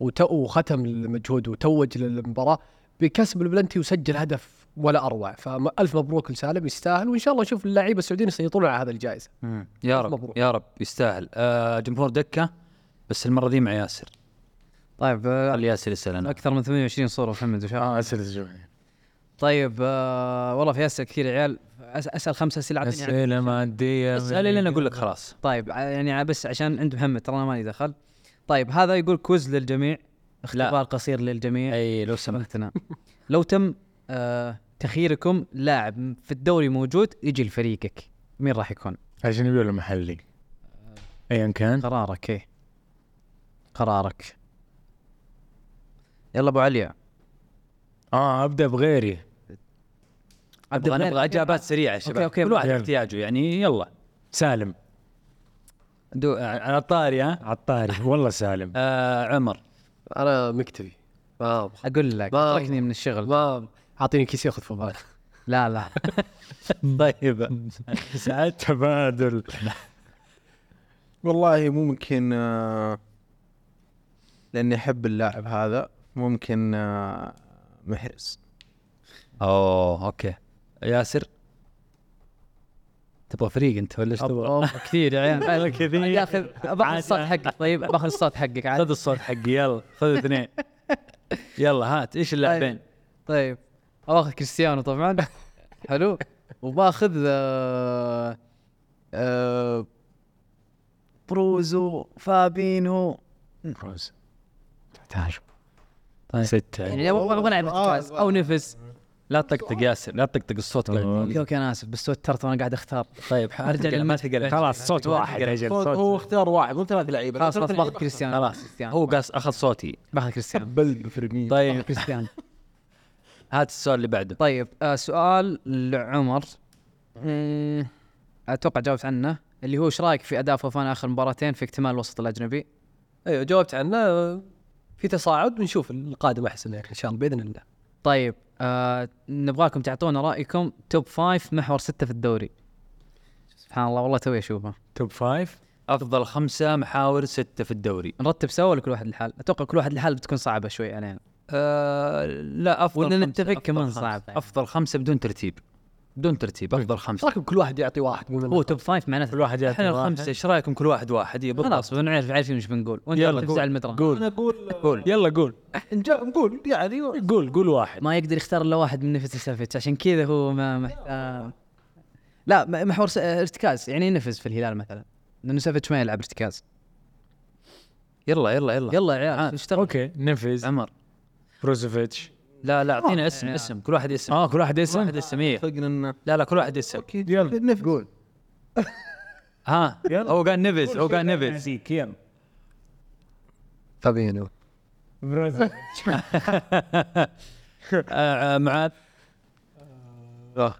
C: وتو وختم المجهود وتوج للمباراه بكسب البلنتي وسجل هدف ولا اروع فالف مبروك لسالم يستاهل وان شاء الله نشوف اللعيبه السعوديين يسيطرون على هذا الجائزه
B: مم. يا رب
C: مبروك.
B: يا رب يستاهل آه جمهور دكه بس المره دي مع ياسر
G: طيب آه،
B: خلي ياسر يسال انا
G: اكثر من 28 صوره محمد وش
F: اه اسئله الجمهور
G: طيب آه والله في اسئله كثير يا عيال أس- اسال خمسه اسئله اعطيني يعني
F: اسئله ماديه
B: اسال لين اقول لك خلاص
G: طيب ع- يعني ع- بس عشان عند محمد ترى انا مالي دخل طيب هذا يقول كوز للجميع اختبار قصير للجميع
B: اي لو سمحت
G: سمحتنا لو تم آه تخييركم لاعب في الدوري موجود يجي لفريقك مين راح يكون؟
F: اجنبي ولا محلي؟ ايا كان
G: قرارك ايه قرارك يلا ابو علي
F: اه ابدا بغيري
G: أبدأ
B: انا
G: بغيرك.
B: ابغى اجابات سريعه يا شباب
G: يعني، آه، أوكي،
B: كل واحد
F: يلا.
B: احتياجه يعني يلا
F: سالم
B: دو آه، على الطاري ها
F: عطاري والله سالم
B: آه عمر
C: انا مكتفي ما أبغى-
G: اقول لك
C: ما-
G: تركني من الشغل
C: ما اعطيني كيس ياخذ فوبال
G: لا لا
B: طيب
F: ساعات تبادل
D: والله ممكن آه، لاني احب اللاعب هذا ممكن آه، محرز
B: اوه اوكي ياسر تبغى فريق انت ولا ايش تبغى؟
G: أوه، كثير يا عيال كثير باخذ باخذ الصوت حقك طيب باخذ الصوت حقك عاد
B: خذ الصوت حقي يلا خذ اثنين يلا هات ايش اللاعبين؟
G: طيب باخذ كريستيانو طبعا حلو وباخذ آه آه بروزو فابينو
F: كروز تعال
G: طيب.
F: ستة
G: يعني ابغى العب ارتكاز او نفس
B: لا تطقطق ياسر لا تطقطق الصوت
G: اوكي اوكي انا اسف بس توترت وانا قاعد اختار
B: طيب
G: أرجع
B: ارجع
G: للمت-
B: ما تقلق
F: خلاص صوت واحد اجل
D: صوت
F: صوت
D: هو اختار واحد مو ثلاث لعيبه
G: خلاص خلاص باخذ كريستيانو
B: خلاص.
G: كريستيانو
B: هو قاس اخذ صوتي
G: باخذ كريستيانو
D: بل فرمين
B: طيب
G: كريستيانو
B: هات السؤال اللي بعده
G: طيب آه سؤال لعمر مم، اتوقع جاوبت عنه اللي هو ايش رايك في اداء فوفانا اخر مباراتين في اكتمال الوسط الاجنبي؟
C: ايوه جاوبت عنه في تصاعد بنشوف القادم احسن يعني ان شاء الله باذن الله
G: طيب آه نبغاكم تعطونا رايكم توب فايف محور ستة في الدوري سبحان الله والله توي اشوفه
F: توب فايف
B: افضل خمسه محاور سته في الدوري يعني.
G: نرتب سوا ولا كل واحد لحال؟ اتوقع كل واحد لحال بتكون صعبه شوي علينا
B: آه لا افضل
E: وإننا
B: خمسة-
E: نتفق
B: أفضل
E: كمان
B: خمسة.
E: صعب يعني.
B: افضل خمسه بدون ترتيب بدون ترتيب افضل خمسه
C: راكب كل واحد يعطي واحد من
E: هو توب فايف معناته
F: الواحد يعطي
B: احنا
F: واحد.
B: الخمسه ايش رايكم كل واحد واحد إيه، بالضبط.
E: خلاص بنعرف عارفين ايش بنقول وانت
F: يلا،
E: تفزع المدران
F: قول
B: قول
F: يلا قول
D: نجا- نقول يعني
F: قول قول واحد
E: ما يقدر يختار الا واحد من نفس السافيتش عشان كذا هو ما
G: آه،
E: محتار لا م- محور س- ارتكاز يعني نفس في الهلال مثلا لانه سافيتش ما يلعب ارتكاز
B: يلا يلا يلا آه.
E: يلا يا عيال اشتغل
F: اوكي نفز
B: عمر
F: بروزوفيتش
B: لا لا
E: آه،
B: اعطينا اسم اسم كل واحد اسم
F: اه كل واحد
B: كل
F: اسم
B: واحد اسم إيه.
D: اتفقنا انه
B: لا لا كل واحد اسم
D: اوكي يلا قول
B: ها هو قال نفز هو قال نفز
F: نفسيك يلا
C: فابينو
B: آه، آه، معاذ
E: آه،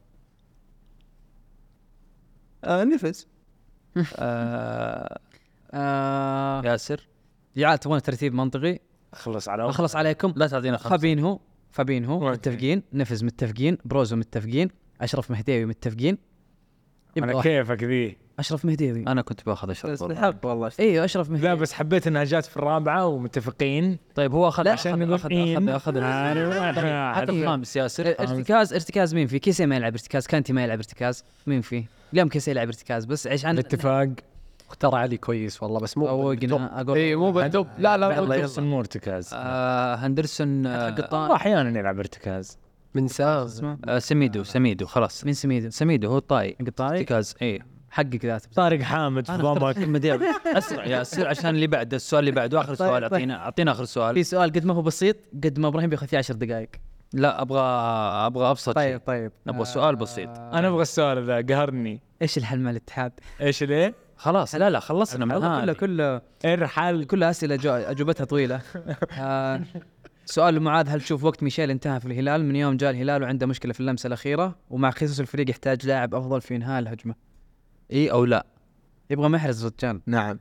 D: آه نفس
B: آه،
E: آه
B: ياسر
E: يا عيال تبون ترتيب منطقي
F: خلص على
E: اخلص عليكم
B: لا تعطينا خمسه
E: فابينهو فابينهو متفقين نفز متفقين بروزو متفقين اشرف مهديوي متفقين يبقى
F: على
E: واحد.
F: كيفك ذي
E: اشرف مهديوي
B: انا كنت باخذ اشرف والله.
D: الحق والله
E: ايوه اشرف
F: لا
E: مهديوي
F: بس حبيت انها جات في الرابعه ومتفقين
B: طيب هو اخذ
E: لا،
B: عشان
F: أخذ-
B: اخذ اخذ
F: إن.
B: اخذ
C: طيب،
F: أنا-
B: حتى الخامس ياسر
E: ارتكاز ارتكاز مين فيه؟ كيسي ما يلعب ارتكاز، كانتي ما يلعب ارتكاز، مين فيه؟ اليوم كيسي يلعب ارتكاز بس عشان
C: الاتفاق اختار علي كويس والله بس مو
E: طوقنا اقول
C: اي مو بالدب لا لا
F: يلا
C: بالدب.
F: يلا مو ارتكاز
B: آه، هندرسون آه،
F: هو احيانا يلعب ارتكاز
C: من سام
B: آه، سميدو سميدو خلاص
E: مين سميدو؟
B: سميدو هو إيه، الطائي
E: قطاري
B: ارتكاز اي
E: حقك ذاته
F: طارق حامد في ضمك
B: اسرع يا اسرع عشان اللي بعده السؤال اللي بعده اخر سؤال اعطينا اعطينا اخر سؤال
E: طيب، في سؤال قد ما هو بسيط قد ما ابراهيم بياخذ فيه 10 دقائق
B: لا ابغى ابغى ابسط شيء
E: طيب آه، طيب
B: نبغى سؤال بسيط
F: انا ابغى السؤال ذا قهرني
E: ايش الحل مع الاتحاد؟
F: ايش ليه؟
B: خلاص لا لا خلصنا من
E: كله
B: هذا
E: كله
F: ارحل
E: كله اسئله جو- اجوبتها طويله آه، سؤال لمعاذ هل تشوف وقت ميشيل انتهى في الهلال من يوم جاء الهلال وعنده مشكله في اللمسه الاخيره ومع خصوص الفريق يحتاج لاعب افضل في انهاء الهجمه
B: اي او لا
E: يبغى محرز رجال
D: نعم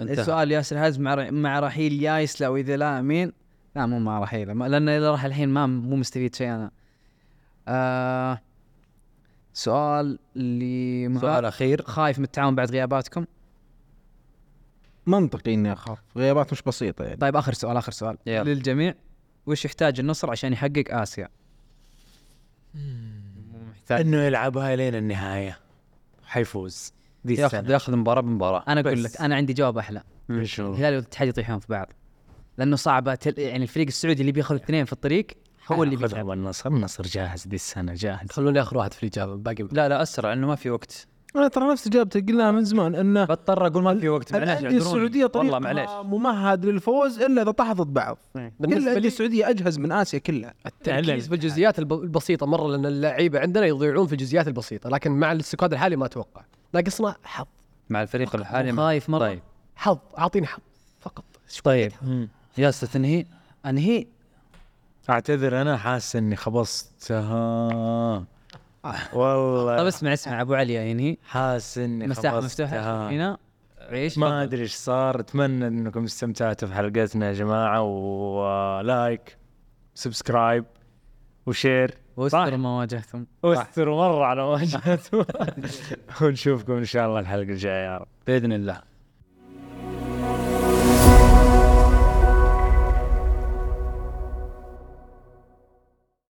B: انت
E: السؤال ياسر هاز مع ر- مع رحيل يايسلا واذا لا مين؟ لا مو مع رحيل ما- لان اذا راح الحين ما مو مستفيد شيء انا. آه سؤال اللي مع-
B: سؤال اخير
E: خايف من التعاون بعد غياباتكم؟
D: منطقي اني اخاف غيابات مش بسيطه يعني
E: طيب اخر سؤال اخر سؤال
B: يلا.
E: للجميع وش يحتاج النصر عشان يحقق اسيا؟
F: انه يلعبها لين النهايه حيفوز ذي
B: ياخذ
F: السنه
B: ياخذ مباراه بمباراه
E: انا اقول
F: بس.
E: لك انا عندي جواب احلى
F: نشوف
E: الهلال والاتحاد يطيحون في بعض لانه صعبه تل... يعني الفريق السعودي اللي بياخذ اثنين في الطريق هو اللي
F: خذها
E: بيتعب
F: من النصر النصر جاهز ذي السنه جاهز
C: خلوني اخر واحد في الاجابه باقي
B: لا لا اسرع لانه ما في وقت
D: انا ترى نفس اجابتي قلناها من زمان انه
B: بضطر اقول ما في وقت معليش
D: الانديه
B: اعذروني.
D: السعوديه
B: والله معليش
D: طريقها ممهد للفوز الا اذا طحطت بعض كل الانديه السعوديه اجهز من اسيا كلها
C: التركيز بالجزئيات الب- البسيطه مره لان اللعيبه عندنا يضيعون في الجزئيات البسيطه لكن مع السكواد الحالي ما اتوقع ناقصنا حظ
B: مع الفريق الحالي ما-
E: خايف مره
B: طيب
C: حظ اعطيني حظ فقط
B: طيب ياسر تنهي
E: انهي
F: اعتذر انا حاسس اني خبصتها والله
E: طب اسمع اسمع ابو علي ينهي
F: حاسس اني
E: مساحه مفتوحه
F: خبصتها
E: هنا عيش
F: ما ادري ايش صار اتمنى انكم استمتعتوا في حلقتنا يا جماعه ولايك سبسكرايب وشير
E: واستر ما واجهتم
F: واستروا مره على واجهته ونشوفكم ان شاء الله الحلقه الجايه يا رب
B: باذن الله